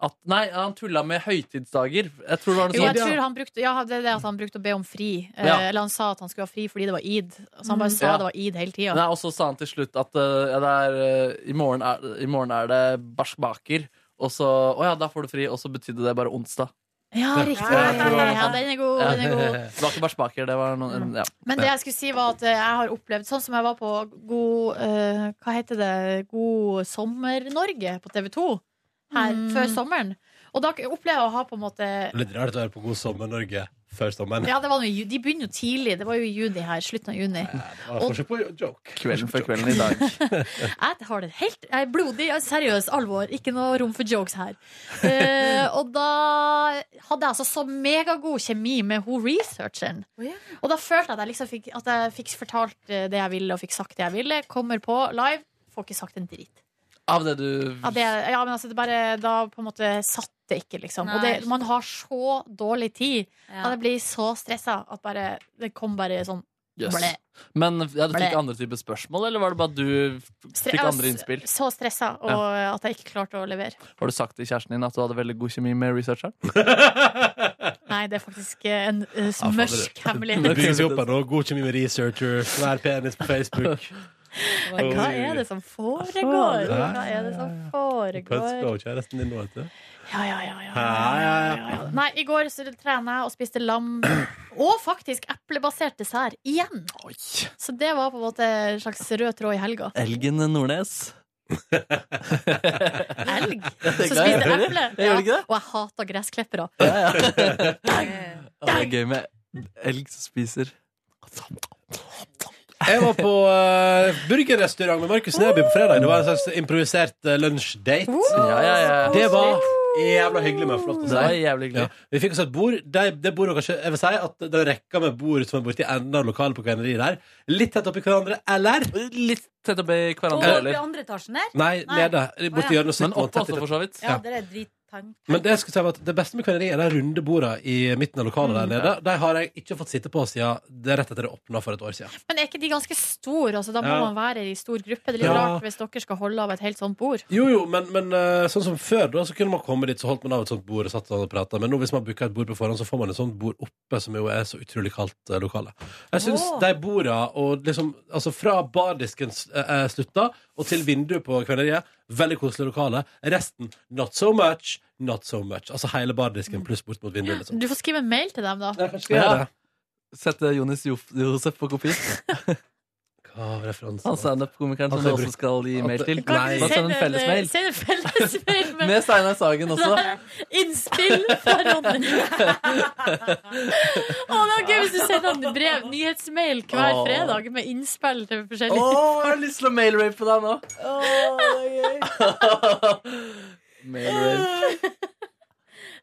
S3: At, nei, han tulla med høytidsdager. Jeg tror det var
S2: Jo,
S3: noe
S2: jeg
S3: sånt.
S2: tror han brukte Ja, det er det at han brukte å be om fri. Eh,
S3: Ja. Mm.
S2: Eller han sa at han skulle ha fri fordi det var id. Så han bare sa
S3: Ja.
S2: det var id hele tida.
S3: Nei, og så sa han til slutt at eh, ja, det er, eh, i, morgen er, i morgen er det barsk baker. Og så Å ja, da får du fri. Og så betydde det bare onsdag.
S2: Ja,
S3: Ja.
S2: riktig.
S3: Ja, jeg tror det var
S2: Ja, den er god. Den er god.
S3: Det var ikke bare spaker, det var noen ja.
S2: Men det jeg skulle si var at eh, jeg har opplevd Sånn som jeg var på God eh, Hva heter det? God sommer-Norge på TV 2 Her
S3: Mm.
S2: før sommeren Og da opplevde jeg å ha på en måte
S1: Litt rart å være på God sommer Norge før sommeren.
S2: ja, det var noe, i ju- de begynner jo tidlig Det var jo i juni her, slutten av juni
S1: Ja,
S2: og-
S1: Forsøk på joke.
S3: Kvelden før kvelden i dag.
S2: Jeg har det helt Jeg er blodig, jeg er seriøs alvor Ikke noe rom for jokes her Eh, Og da hadde jeg altså så megagod kjemi Med hun researcheren Og da følte jeg at jeg liksom fikk, at jeg fikk fortalt eh, det jeg ville, og fikk sagt det jeg ville. Kommer på live, får ikke sagt en dritt.
S3: Av det du
S2: Ja, det, ja men altså, det bare Da på en måte satt det ikke, liksom. Og det,
S10: Nei.
S2: man har så dårlig tid.
S10: Ja.
S2: At jeg blir så stressa at bare Det kom bare sånn
S3: Yes.
S2: ble.
S3: Men ja, du
S2: Ble.
S3: fikk andre typer spørsmål, eller var det bare du
S2: Stre-
S3: fikk
S2: jeg var
S3: andre
S2: s-
S3: innspill?
S2: Så stressa og at jeg ikke klarte å levere.
S3: Har du sagt til kjæresten din at du hadde veldig god kjemi med researcheren?
S2: Nei, det er faktisk eh, en eh,
S1: fader.
S2: mørk
S1: Ah, Det bygger
S2: hemmelighet.
S1: seg opp her nå. God kjemi med researcher, svær penis på Facebook.
S2: Men hva er det som
S1: Ah,
S2: foregår?
S1: Ja.
S2: Hva er det som
S1: Pønsker
S2: foregår?
S1: og kjæresten din nå, vet du.
S2: Ja, ja, ja, ja.
S1: Ja, ja, ja.
S2: Nei, i går så trena jeg og spiste lam og faktisk eplebasert dessert igjen.
S3: Oi.
S2: Så det var på en måte en slags rød tråd i helga.
S3: Elgen Nordnes.
S2: Elg
S3: Det er
S2: som
S3: glad jeg
S2: spiste
S3: hører.
S2: eple.
S3: Jeg gjør ikke det.
S2: Og jeg hater gressklippere.
S3: Ja, ja. Å, Det er gøy med elg som spiser
S1: Jeg var på eh, burgerrestaurant med Markus Neby på fredag. Det var en slags improvisert eh, lunsjdate.
S3: Ja, ja, ja.
S1: Det var jævla hyggelig, men flott å
S3: Det var
S1: si.
S3: jævlig
S1: Ja.
S3: hyggelig.
S1: Vi fikk oss et bord. Det, det bordet var kanskje, jeg vil si at det rekka med bord som er borti enden av lokalet på kveneriet der. Litt tett oppi hverandre, eller?
S3: Litt tett oppi
S10: Og
S3: hverandre,
S10: oppe i
S3: eller?
S10: andre etasjen der?
S1: Nei,
S10: Nei.
S1: nede. Borti hjørnet. sitter
S3: Men
S1: man tett i
S3: oppe også,
S1: tett.
S3: for så vidt.
S10: Ja, det er drittank.
S1: Men det jeg skulle si var at det beste med kveneriet er de runde borda i midten av lokalet der nede. De har jeg ikke fått sitte på siden det er rett etter det åpna for et år siden.
S2: Men er ikke de ganske store? Altså, da må
S1: Ja.
S2: man være i stor gruppe. Det er litt
S1: Ja.
S2: rart hvis dere skal holde av et helt sånt bord.
S1: Jo, jo, men, men eh, sånn som før, da, så kunne man komme dit, så holdt man av et sånt bord og satt sånn og prata. Men nå hvis man booker et bord på forhånd, så får man et sånt bord oppe, som jo er så utrolig kaldt eh, lokale. Jeg syns
S10: Åh.
S1: de borda, og liksom Altså fra bardisken s- eh, eh, slutta og til vinduet på kveleriet, veldig koselig lokale. Resten not so much, not so much. Altså hele bardisken pluss bort mot vinduet, liksom.
S2: Du får skrive en mail til dem, da.
S1: Nei, kanskje skal jeg gjøre det.
S3: Sette Jonis Jof- Josef på kopi.
S1: Hva var referansen?
S3: Han standup-komikeren som
S1: Altså,
S3: du
S1: jeg
S3: også
S1: bruk-
S3: skal gi mail
S1: Altså,
S3: til.
S1: kan
S2: Kan
S1: Nei.
S2: ikke
S3: Bare
S2: du
S3: send en fellesmail.
S2: Send en fellesmail med
S3: Med Steinar Sagen også.
S2: Innspill for Ronny. Å, det var gøy hvis du sender en brev, nyhetsmail hver
S3: Åh.
S2: fredag med innspill til
S3: Å,
S2: forskjellige
S3: jeg har lyst til å mailrape deg nå! Mailrape.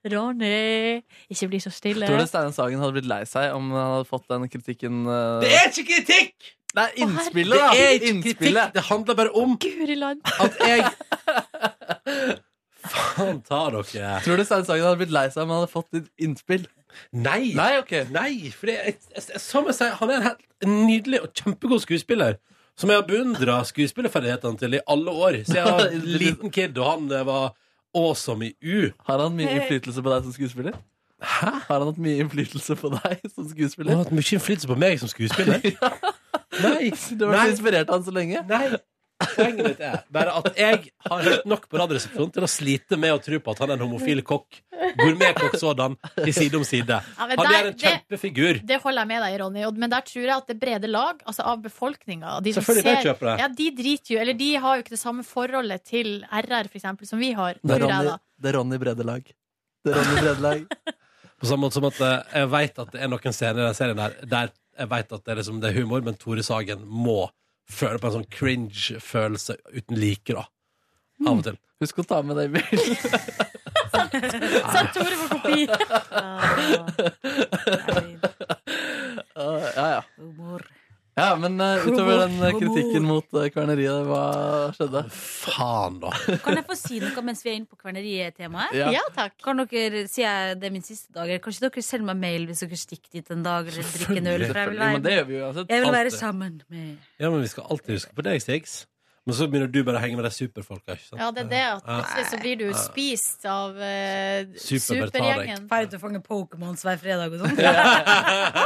S2: Ronny, ikke bli så stille.
S3: Tror du Steinar Sagen hadde blitt lei seg om han hadde fått den kritikken eh,
S1: Det er ikke kritikk!
S3: Det er innspillet,
S1: Det
S3: da!
S1: er ikke kritikk.
S3: innspillet.
S1: Det handler bare om
S2: Guri land.
S1: at jeg Faen ta dere.
S3: Tror du Steinar Sagen hadde blitt lei seg om han hadde fått ditt innspill?
S1: Nei.
S3: Nei, ok.
S1: Nei, for det, jeg, jeg, som jeg sier, han er en helt nydelig og kjempegod skuespiller. Som jeg har beundra skuespillerferdighetene til i alle år. Så jeg var en liten kid, og han eh, var awesome i U.
S3: Har han mye innflytelse på deg som skuespiller? Hæ? Har han hatt mye innflytelse på deg
S1: Han
S3: som
S1: har
S3: skuespiller?
S1: hatt mye innflytelse på meg som skuespiller. Nei.
S3: Du
S1: Nei.
S3: har vært så inspirert av han så lenge.
S1: Nei. Poenget mitt er bare at jeg har hørt nok på Radioresepsjonen til å slite med å tro på at han er en homofil kokk, gourmetkokk sådan, i Side om side.
S2: Ja, men
S1: Han
S2: der-
S1: er en
S2: det-
S1: kjempefigur.
S2: Det holder jeg med deg i, Ronny. og- Men der tror jeg at det brede lag altså av befolkninga de som
S1: Selvfølgelig, de
S2: ser-
S1: kjøper det.
S2: Ja, de driter jo, eller de har jo ikke det samme forholdet til RR, for eksempel, som vi har.
S3: Det
S2: Tror
S3: er
S2: jeg,
S3: Ronny,
S2: da.
S3: det er Ronny Bredelag. Det er Ronny Bredelag.
S1: På samme måte som at eh, jeg vet at det er noen scener i den serien der, der jeg vet at det er, liksom, det er humor, men Tore Sagen må føle på en sånn cringe-følelse uten like, da.
S10: Mm.
S1: Av og til.
S3: Husk å ta med det i bilen.
S2: Send Tore på kopi!
S3: Ah, Ja, ja.
S10: Humor.
S3: Ja, men eh, utover den eh, kritikken mot eh, kverneriet, hva skjedde?
S1: Faen, da.
S10: Kan jeg få si noe mens vi er inne på kvernerietemaet?
S2: Ja takk.
S10: Kan dere, Sier jeg det er min siste dag? eller Kanskje dere sender meg mail hvis dere stikker dit en dag? Eller drikker en øl? For jeg vil
S3: Men det
S10: være,
S3: gjør vi jo uansett.
S10: jeg vil være
S3: Alltid.
S10: sammen med
S1: Ja, men vi skal alltid huske på deg, Stigs. Men så begynner du bare å henge med de superfolka, ikke sant?
S2: Ja, det er det at
S1: Ja.
S2: plutselig så blir du spist av eh,
S1: Super tar deg.
S2: supergjengen.
S10: Drar ut og fanger Pokémons hver fredag og sånn.
S1: Ja,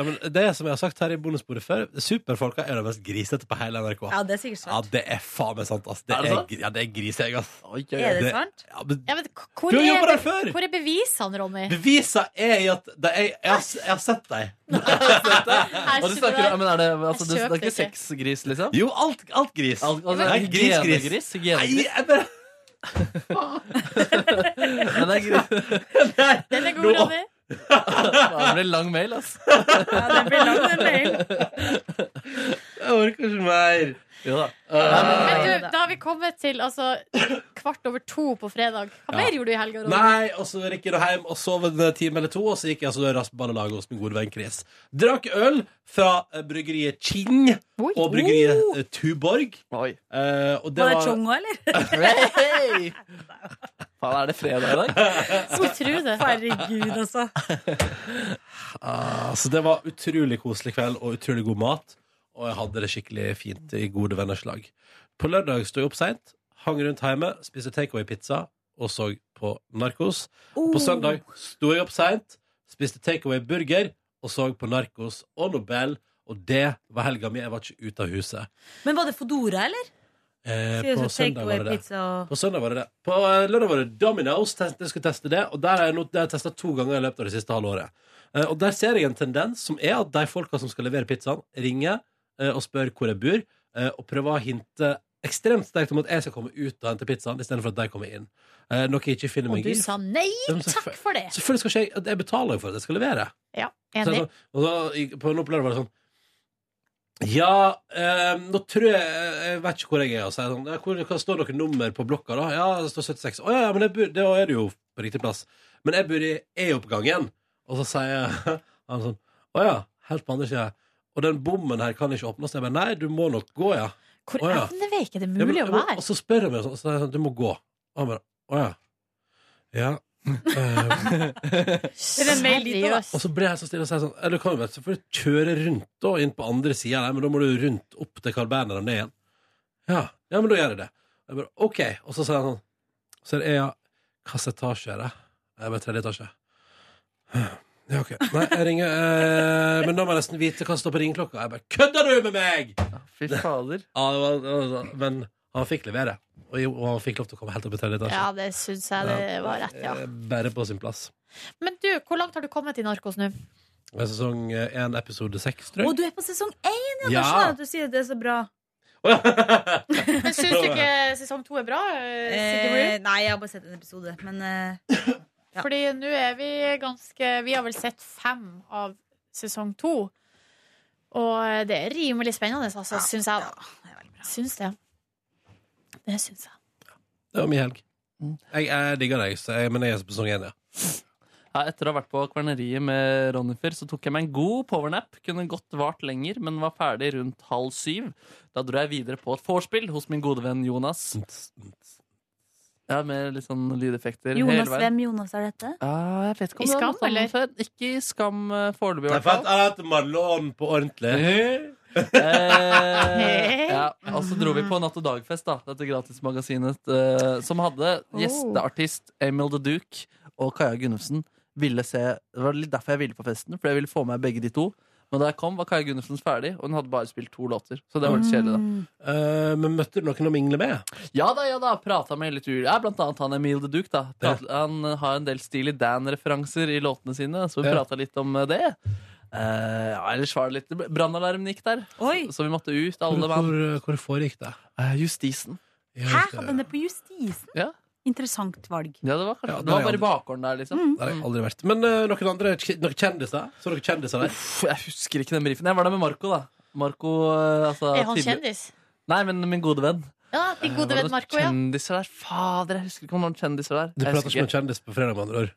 S1: ja, men det som jeg har sagt her i bonusbordet før, superfolka er de mest grisete på hele NRK.
S10: Ja, det er sikkert
S1: Ja,
S10: sant.
S1: det er faen meg sant, ass. Det
S3: Er
S1: er,
S3: det sant?
S1: gri- ja, det er griseegg, ass.
S10: oi. Er det sant?
S1: Ja, men
S2: Ja, men, k- hvor,
S1: Du har
S2: er,
S1: jobbet der før!
S2: hvor er bevisene, Ronny?
S1: bevisa er i at det er, jeg, har, s- jeg har sett deg.
S2: Her
S3: Og du
S2: sitter
S3: snakker,
S2: der.
S3: ja, men er det, altså, du, det
S2: kjøper
S3: er ikke
S2: ikke.
S3: sexgris, liksom?
S1: Jo, alt, alt gris.
S3: Alt- altså,
S1: Nei, gris, gris.
S3: Genegris?
S1: Nei,
S3: genegris.
S1: jeg bare
S3: Men det er gris.
S2: Den er god,
S1: Nå-
S2: Ronny.
S3: Det blir lang mail, altså. ass.
S10: Ja, det blir lang en mail.
S1: Jeg orker ikke mer.
S3: Jo da.
S2: Men du, da har vi kommet til altså, kvart over to på fredag. Hva mer gjorde du i helga, Ronny?
S1: Nei, og så gikk jeg da hjem og sov en time eller to, og så gikk jeg altså raspballelaget hos min gode venn Chris. Drakk øl fra eh, bryggeriet Qing
S2: Oi.
S1: og bryggeriet eh, Tuborg.
S3: Oi.
S1: Eh, og det
S10: Var det
S1: var
S10: Chongo, eller?
S3: Hey! Faen, er det fredag i dag?
S2: Skulle tro det.
S10: Herregud, altså.
S1: Altså, det var utrolig koselig kveld og utrolig god mat. Og jeg hadde det skikkelig fint i gode venners lag. På lørdag sto jeg opp seint, hang rundt hjemme, spiste takeaway-pizza og så på Narkos. Og
S10: Oh.
S1: på søndag sto jeg opp seint, spiste takeaway-burger og så på Narkos og Nobel. Og det var helga mi. Jeg var ikke ute av huset.
S10: Men var det Fodora, eller?
S1: Eh,
S10: Sier
S1: på
S10: du så
S1: søndag var det det.
S10: takeaway-pizza og
S1: På søndag var det det. På eh, lørdag var det Domino's. test- Jeg skulle teste det, og der har jeg, nå- det har jeg testa to ganger i løpet av det siste halvåret. Eh, Og der ser jeg en tendens som er at de folka som skal levere pizzaen, ringer eh, og spør hvor jeg bor, eh, og prøver å hinte ekstremt sterkt om at jeg skal komme ut og hente pizzaen, istedenfor at de kommer inn. Eh, Noe jeg ikke finner
S2: Og
S1: meg
S2: du
S1: i.
S2: sa nei
S1: Ja, men
S2: takk
S1: selvfø-
S2: for det.
S1: Selvfølgelig skal ikke jeg Jeg betaler jo for at jeg skal levere.
S2: Ja,
S1: Så jeg
S2: enig.
S1: sånn- og så, i- på en opplevelse var det sånn Ja, eh, nå tror jeg Jeg vet ikke hvor jeg er. Og så er jeg sånn, ja, hvor, hva står noe nummer på blokka, da? Ja, det står 76. Å ja, ja, men jeg bor, det er du jo på riktig plass. Men jeg bor i E-oppgangen. Og så sier han sånn Å ja, helt på andre sida. Og den bommen her kan ikke åpnes. Jeg bare Nei, du må nok gå, ja.
S2: Hvor
S1: Å, ja.
S2: evneveik er det
S1: Ja, men- ja,
S2: mulig å
S1: men- Og
S2: være?
S1: så spør han meg sånn, så er jeg sånn, du må gå. Og han bare, å ja. Ja. Eh,
S10: det en mail dit, da?
S2: Seriøst.
S1: og så ble jeg så stille og sa sånn, eller kan du vet, så får du kjøre rundt da, inn på andre siden, der, men da må du rundt opp til Carl Berner og ned igjen. Ja, ja, men da gjør jeg det. Og jeg bare, ok. Og så sier han sånn, så er det, ja, hvilken etasje er det? Jeg bare, tredje etasje. Ja, ok. Nei, jeg ringer, eh, men da må jeg nesten vite hva som står på ringeklokka. Jeg bare, kødder du med meg?
S3: Fy fader.
S1: Ja, det var, det var, men han fikk levere. Og, jo, og han fikk lov til å komme helt opp i tredje etasje.
S2: Ja, det syns jeg det var rett, ja.
S1: Eh, Bare på sin plass.
S2: Men du, hvor langt har du kommet i Narkos nå?
S1: Det er Sesong én, episode seks,
S10: Å,
S1: tror jeg.
S10: du er på sesong én, ja! Da
S1: Ja.
S10: skjønner jeg at du sier det er så bra.
S2: Men Syns du ikke sesong to er bra? eh, Sigrid?
S10: Eh, nei, jeg har bare sett en episode, men eh, ja.
S2: Fordi nå er vi ganske Vi har vel sett fem av sesong to. Og eh, det er rimelig spennende, altså, syns jeg.
S10: ja, det er veldig bra.
S2: Syns det. Det syns jeg.
S1: Det var min helg.
S3: Mm.
S1: Jeg, jeg digger deg, så jeg, men jeg er sesong én, ja.
S3: Ja, etter å ha vært på kverneriet med Ronifer, så tok jeg meg en god powernap. Kunne godt vart lenger, men var ferdig rundt halv syv. Da dro jeg videre på et vorspiel hos min gode venn Jonas. Ja, Med litt sånn lydeffekter hele
S10: Jonas,
S3: veien.
S10: hvem Jonas er dette?
S3: Ja, jeg vet ikke om
S2: I
S3: du har
S2: Skam,
S3: møtt ham
S2: eller?
S3: før. Ikke i Skam eh, foreløpig, i
S1: Jeg
S3: hvert fall.
S1: heter Marlon på ordentlig.
S3: Eh, ja, og så dro vi på Natt og dag-fest, da, dette gratismagasinet, eh, som hadde gjesteartist Emil The Duke og Kaja Gunnufsen. Ville se, det var litt derfor jeg ville på festen, for jeg ville få med begge de to. Men da jeg kom, var Kaja Gunnufsen ferdig, og hun hadde bare spilt to låter. Så det var litt kjedelig, da.
S1: Eh, men møtte du noen å mingle med?
S3: Ja da, ja da, prata med litt ul. Ja, blant annet han Emil The Duke, da. Prat, Han eh, har en del Steely Dan-referanser i låtene sine, så vi
S1: Ja.
S3: prata litt om eh, det. Eh, ja, ellers var det litt Brannalarmen gikk der,
S10: Oi!
S3: så vi måtte ut, alle
S1: Hvor,
S3: mann.
S1: hvor- hvor foregikk det?
S3: Eh, justisen.
S1: Jeg
S10: Hæ?
S1: vet, eh,
S10: Den er på justisen?
S3: Ja.
S10: Interessant valg.
S3: Ja, det var kanskje
S1: Ja,
S3: Det var
S1: der er
S3: bare i bakgården der, liksom.
S2: Mm.
S1: Der har jeg aldri vært. Men eh, noen andre noen kjendiser? Så dere kjendiser der?
S3: Uff, jeg husker ikke den brifen. Jeg var der med Marco, da. Marco eh, altså,
S2: Er han
S3: tidlig-
S2: kjendis?
S3: Nei, men min gode venn.
S2: Ja, din
S3: Var
S2: gode
S3: det
S2: venn
S3: noen
S2: Marco, ja.
S3: Kjendiser der. Fader, jeg husker ikke om det var noen kjendiser der.
S1: Du prater
S3: Jeg husker
S1: ikke med
S3: ikke.
S1: en kjendis på fredag, med andre ord.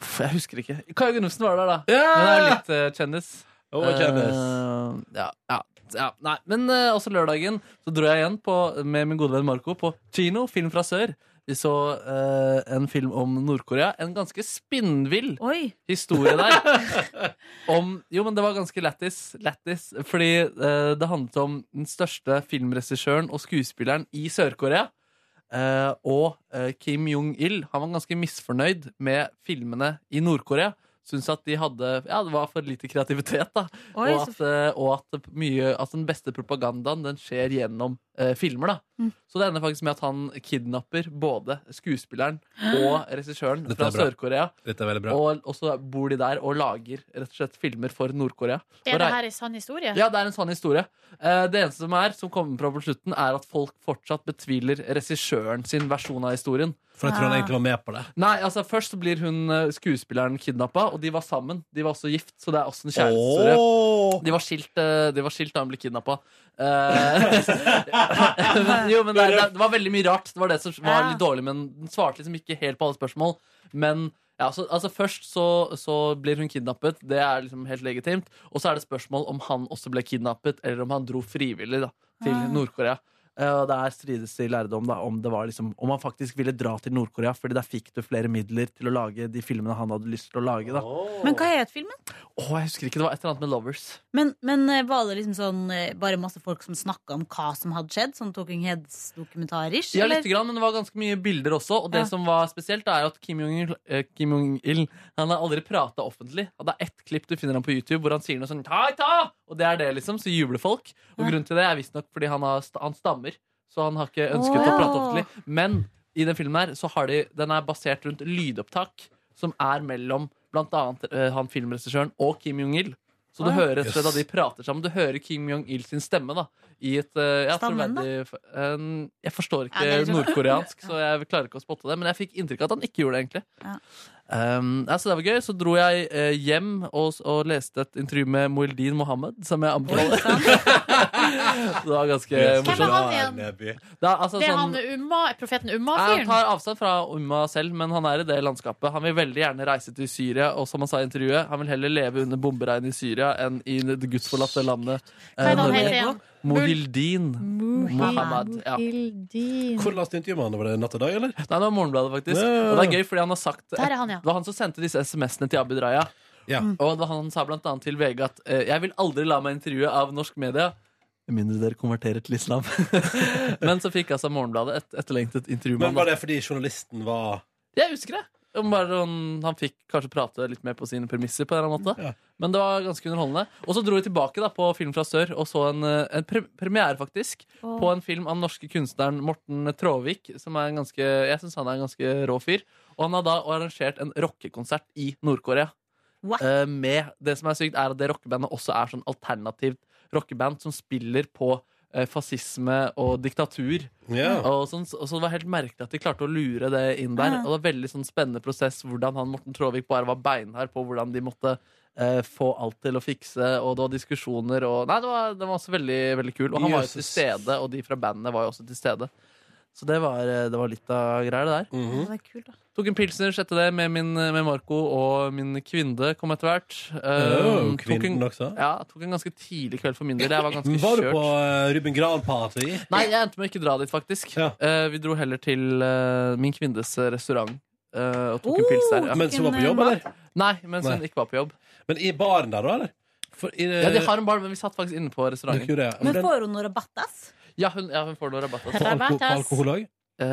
S3: Uff, jeg husker ikke. Kaja Gunnufsen var der, da. Hun er jo
S1: Ja!
S3: litt eh, kjendis.
S1: Hun var kjendis.
S3: Eh, ja, ja, ja, nei. Men eh, også lørdagen så dro jeg igjen på, med min gode venn Marco på kino, film fra sør. Vi så eh, en film om Nord-Korea. En ganske spinnvill
S10: Oi!
S3: historie der. om, jo, men det var ganske lættis. lættis fordi eh, det handlet om den største filmregissøren og skuespilleren i Sør-Korea. Eh, og eh, Kim Jong-il. Han var ganske misfornøyd med filmene i Nord-Korea. Syns at de hadde Ja, det var for lite kreativitet, da.
S12: Oi,
S3: og at, eh, og at, mye, at den beste propagandaen den skjer gjennom eh, filmer, da.
S12: Mm.
S3: Så det ender faktisk med at han kidnapper både skuespilleren og regissøren
S1: Dette
S3: fra
S1: er bra.
S3: Sør-Korea.
S1: Dette er veldig bra.
S3: Og, og så bor de der og lager rett og slett filmer for Nord-Korea.
S2: Er det
S3: Og rei-
S2: her en sann historie?
S3: ja, det er en sann historie. Eh, Det eneste som er, som kommer fra på slutten, er at folk fortsatt betviler regissøren sin versjon av historien.
S1: For jeg tror han egentlig var med på det.
S3: Nei, altså Først så blir hun eh, skuespilleren kidnappa, og de var sammen. De var også gift, så det er også en kjærestehistorie. De var skilt, eh, de var skilt da hun ble Eh, kidnappa. jo, men det, er- det, er- det var veldig mye rart. Det var det som var
S1: Ja.
S3: litt dårlig, men den svarte liksom ikke helt på alle spørsmål. Men ja, så, altså Først så, så blir hun kidnappet, det er liksom helt legitimt. Og så er det spørsmål om han også ble kidnappet, eller om han dro frivillig da, til
S1: Ah.
S3: Nord-Korea. Eh, Og Der strides det i lærdom da, om, det var liksom, om han faktisk ville dra til Nord-Korea, Fordi der fikk du flere midler til å lage de filmene han hadde lyst til å lage. Da.
S10: Men hva het filmen?
S3: Åh, jeg husker ikke, Det var et eller annet med Lovers.
S10: Men, men eh, var det liksom sånn eh, bare masse folk som snakka om hva som hadde skjedd? Sånn Talking Heads-dokumentarisk?
S3: Ja,
S10: eller?
S3: litt grann, men det var ganske mye bilder også. Og det
S10: Ja.
S3: som var spesielt, er jo at Kim Jong-il eh, Kim Jong-il, Han har aldri prata offentlig. Og det er ett klipp du finner ham på YouTube hvor han sier noe sånn ta, ta! Og det er det, liksom. Så jubler folk. Og grunnen til det er visstnok fordi han, har, st- han stammer. Så han har ikke ønsket å
S1: Wow.
S3: prate offentlig. Men i den filmen her, så har de, den er basert rundt lydopptak som er mellom blant annet eh, han filmregissøren og Kim Jong-il. Så du
S1: Ah.
S3: hører rett og slett
S1: Yes.
S3: at de prater sammen. Du hører Kim Jong-il sin stemme da i et eh, ja,
S1: Stammen, da?
S3: troverdig f- en- Jeg forstår ikke
S1: Ja, det er litt-
S3: nordkoreansk, så jeg klarer ikke å spotte det. Men jeg fikk inntrykk av at han ikke gjorde det, egentlig. Um, ja, så det var gøy. Så dro jeg eh, hjem og, s- og leste et intervju med Moeldin Mohammed, som jeg anbefaler. det var ganske
S1: Hvem er
S3: morsomt.
S2: han
S3: Det er, altså,
S2: det er
S3: sånn,
S2: han Umma, profeten
S3: jeg
S2: Umma-fyren?
S3: tar avstand fra Umma selv, men han er i det landskapet. Han vil veldig gjerne reise til Syria, og som han sa i intervjuet, han vil heller leve under bomberegn i Syria enn i det gudsforlatte landet.
S2: Hva er det han
S3: Norge.
S2: heter igjen?
S3: Mohildin Mohammed.
S2: Mohammed.
S3: Ja.
S2: Ildin.
S1: Hvor last intervjuet han? Var det natt og dag, eller?
S3: Nei, det var Morgenbladet, faktisk.
S1: Ja.
S3: Og det er gøy, fordi han har sagt
S2: Der er han, ja.
S3: Det var han som sendte disse SMS-ene til Abid Raja.
S1: Mm.
S3: Og det var han som sa blant annet til VG at eh, jeg vil aldri la meg intervjue av norsk media. Med mindre dere konverterer til islam. Men så fikk altså Morgenbladet et etterlengtet intervju med
S1: Men var
S3: ham.
S1: det fordi journalisten var
S3: Jeg husker det. Om bare sånn, han- han fikk kanskje prate litt mer på sine premisser. på en eller annen måte Men det var ganske underholdende. Og så dro vi tilbake da på Film fra sør og så en, eh, en pre premiere faktisk
S1: Åh.
S3: på en film av den norske kunstneren Morten Tråvik. Som er en ganske, jeg syns han er en ganske rå fyr. Og han har da arrangert en rockekonsert i Nord-Korea.
S10: What?
S3: Eh, med det som er sykt, er at det rockebandet også er sånn alternativt rockeband som spiller på eh, fascisme og diktatur.
S1: Ja.
S3: Og sånn, så så det var helt merkelig at de klarte å lure det inn der.
S1: Ja.
S3: Og det var veldig sånn spennende prosess hvordan han Morten Tråvik bare var beinhard på hvordan de måtte eh, få alt til å fikse, og det var diskusjoner og Nei, det var, det var også veldig, veldig kul. Og han var jo til
S1: Jesus.
S3: stede, og de fra bandet var jo også til stede. Så det var, eh, det var litt av greier, det der.
S1: Mhm.
S10: Det er kult, da.
S3: Tok en pilsner, sjette det med, min, eh, med Marco og min kvinne kom etter hvert.
S1: Oh,
S3: Um, tok en-
S1: kvinnen også?
S3: Ja, tok en ganske tidlig kveld for min del. Jeg var ganske
S1: Var du
S3: kjørt.
S1: på eh, Ruben Gran-party?
S3: Nei, jeg endte med å ikke dra dit, faktisk. Eh, vi dro heller til eh, min kvinnes restaurant eh, og tok en pils der.
S1: Mens hun var på jobb, eller?
S3: Nei, mens hun
S1: Nei.
S3: ikke var på jobb.
S1: Men i baren der, da, eller? For i,
S3: Ja, de har en bar, men vi satt faktisk inne på restauranten.
S1: Dere gjorde det, ja.
S10: Men får hun noe rabatt, ass?
S3: Ja, hun, ja, hun får noe rabatt.
S1: På alko på alkohol òg?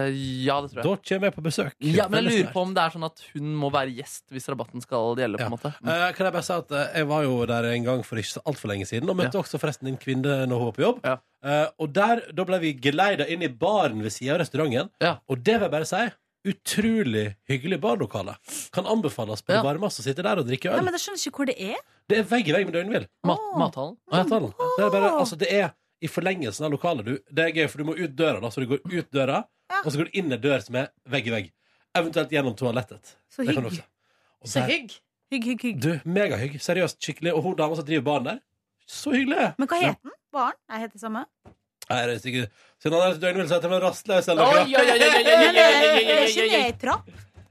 S3: ja, det tror jeg.
S1: Da kommer jeg på besøk.
S3: Ja, men jeg
S1: Veldig
S3: lurer på om det er sånn at hun må være gjest hvis rabatten skal gjelde. på en måte
S1: Eh, kan jeg bare si at eh, jeg var jo der en gang for ikke så altfor lenge siden, og møtte også forresten din kvinne når hun var på jobb. Eh, og der, da ble vi geleida inn i baren ved sida av restauranten, og det vil jeg bare si utrolig hyggelig barlokale. Kan anbefales på det varmeste å sitte der og drikke
S10: Nei,
S1: øl.
S10: men Jeg skjønner ikke hvor det er.
S1: Det er vegg i vegg med Døgnvill.
S3: mathallen.
S1: mathallen. Det er bare, altså, det er i forlengelsen av lokalet. Du, det er gøy, for du må ut døra, da, så du går ut døra, og så går du inn en dør som er vegg i vegg. Eventuelt gjennom toalettet.
S10: Så
S1: Det kan du
S10: hygg.
S1: også. Og der-
S10: hygg. Hygg, hygg, hygg.
S1: du, megahygg. Seriøst, skikkelig. Og hun dama som driver baren der, så hyggelig.
S10: Men hva het den? Baren? Jeg heter det samme.
S1: Nei, det er sikkert Siden han er døgnvill, så heter han rastløs eller
S3: Oi,
S1: noe.
S3: oi, oi, oi, oi, oi, oi, oi, oi, oi,
S10: eh,
S3: oi, oi.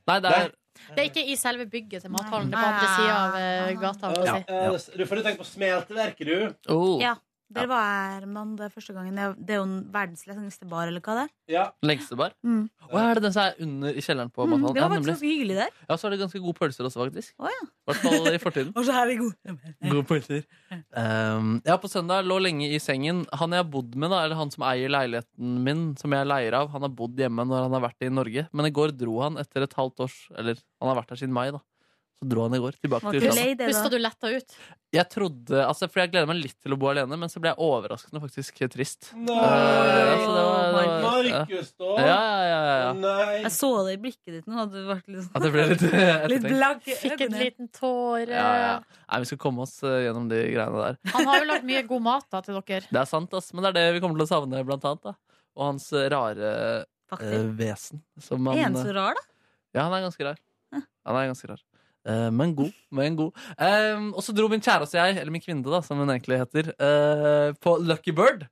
S3: Nei, det er
S2: Det er ikke i selve bygget til
S10: Mm.
S2: mathallen. Det er på andre
S10: Ah.
S2: sida av eh, gata. holdt jeg på å si.
S1: Du får jo tenke på smelteverket, du.
S10: Ja. Der var jeg her mandag første gangen. Det er- Det er jo en verdens lengste bar, eller hva det er.
S3: lengste bar.
S10: Mm.
S3: Å, er det den som er under i kjelleren på
S10: Mm,
S3: mathallen?
S10: det
S3: Ja,
S10: var faktisk
S3: nemlig.
S10: ganske hyggelig der.
S3: Ja, så er det ganske gode pølser også, faktisk.
S10: Å, ja.
S3: I hvert fall i fortiden.
S10: Og så her er vi gode.
S3: Gode pølser. Um, ja, på søndag lå lenge i sengen. Han jeg har bodd med, da, eller han som eier leiligheten min, som jeg leier av, han har bodd hjemme når han har vært i Norge. Men i går dro han etter et halvt års Eller han har vært her siden mai, da. Så dro han i går tilbake til utlandet.
S2: Husker du letta ut?
S3: Jeg trodde, altså, for jeg gleder meg litt til å bo alene, men så ble jeg overraskende faktisk trist.
S1: Nei!
S3: Eh, så det var- det var-
S1: Markus, da?
S3: Ja, ja, ja, ja, ja.
S1: Nei.
S10: Jeg så det i blikket ditt nå. Hadde du vært litt,
S3: Ja, det ble litt
S10: litt
S3: ettertenkt.
S10: blank. i
S2: Fikk en
S10: øynene.
S2: liten tåre.
S3: Ja, ja. Nei, vi skal komme oss eh, gjennom de greiene der.
S2: Han har jo lagd mye god mat da, til dere.
S3: Det er sant, ass, men det er det vi kommer til å savne, blant annet. Da. Og hans eh, rare eh, vesen. Som
S10: Er han
S3: eh,
S10: så rar, da?
S3: Ja, han er ganske rar. Han er ganske rar. Eh, men god. Men god. Ehm, og så dro min kjæreste og jeg, eller min kvinne, da, som hun egentlig heter, eh, på Lucky Bird.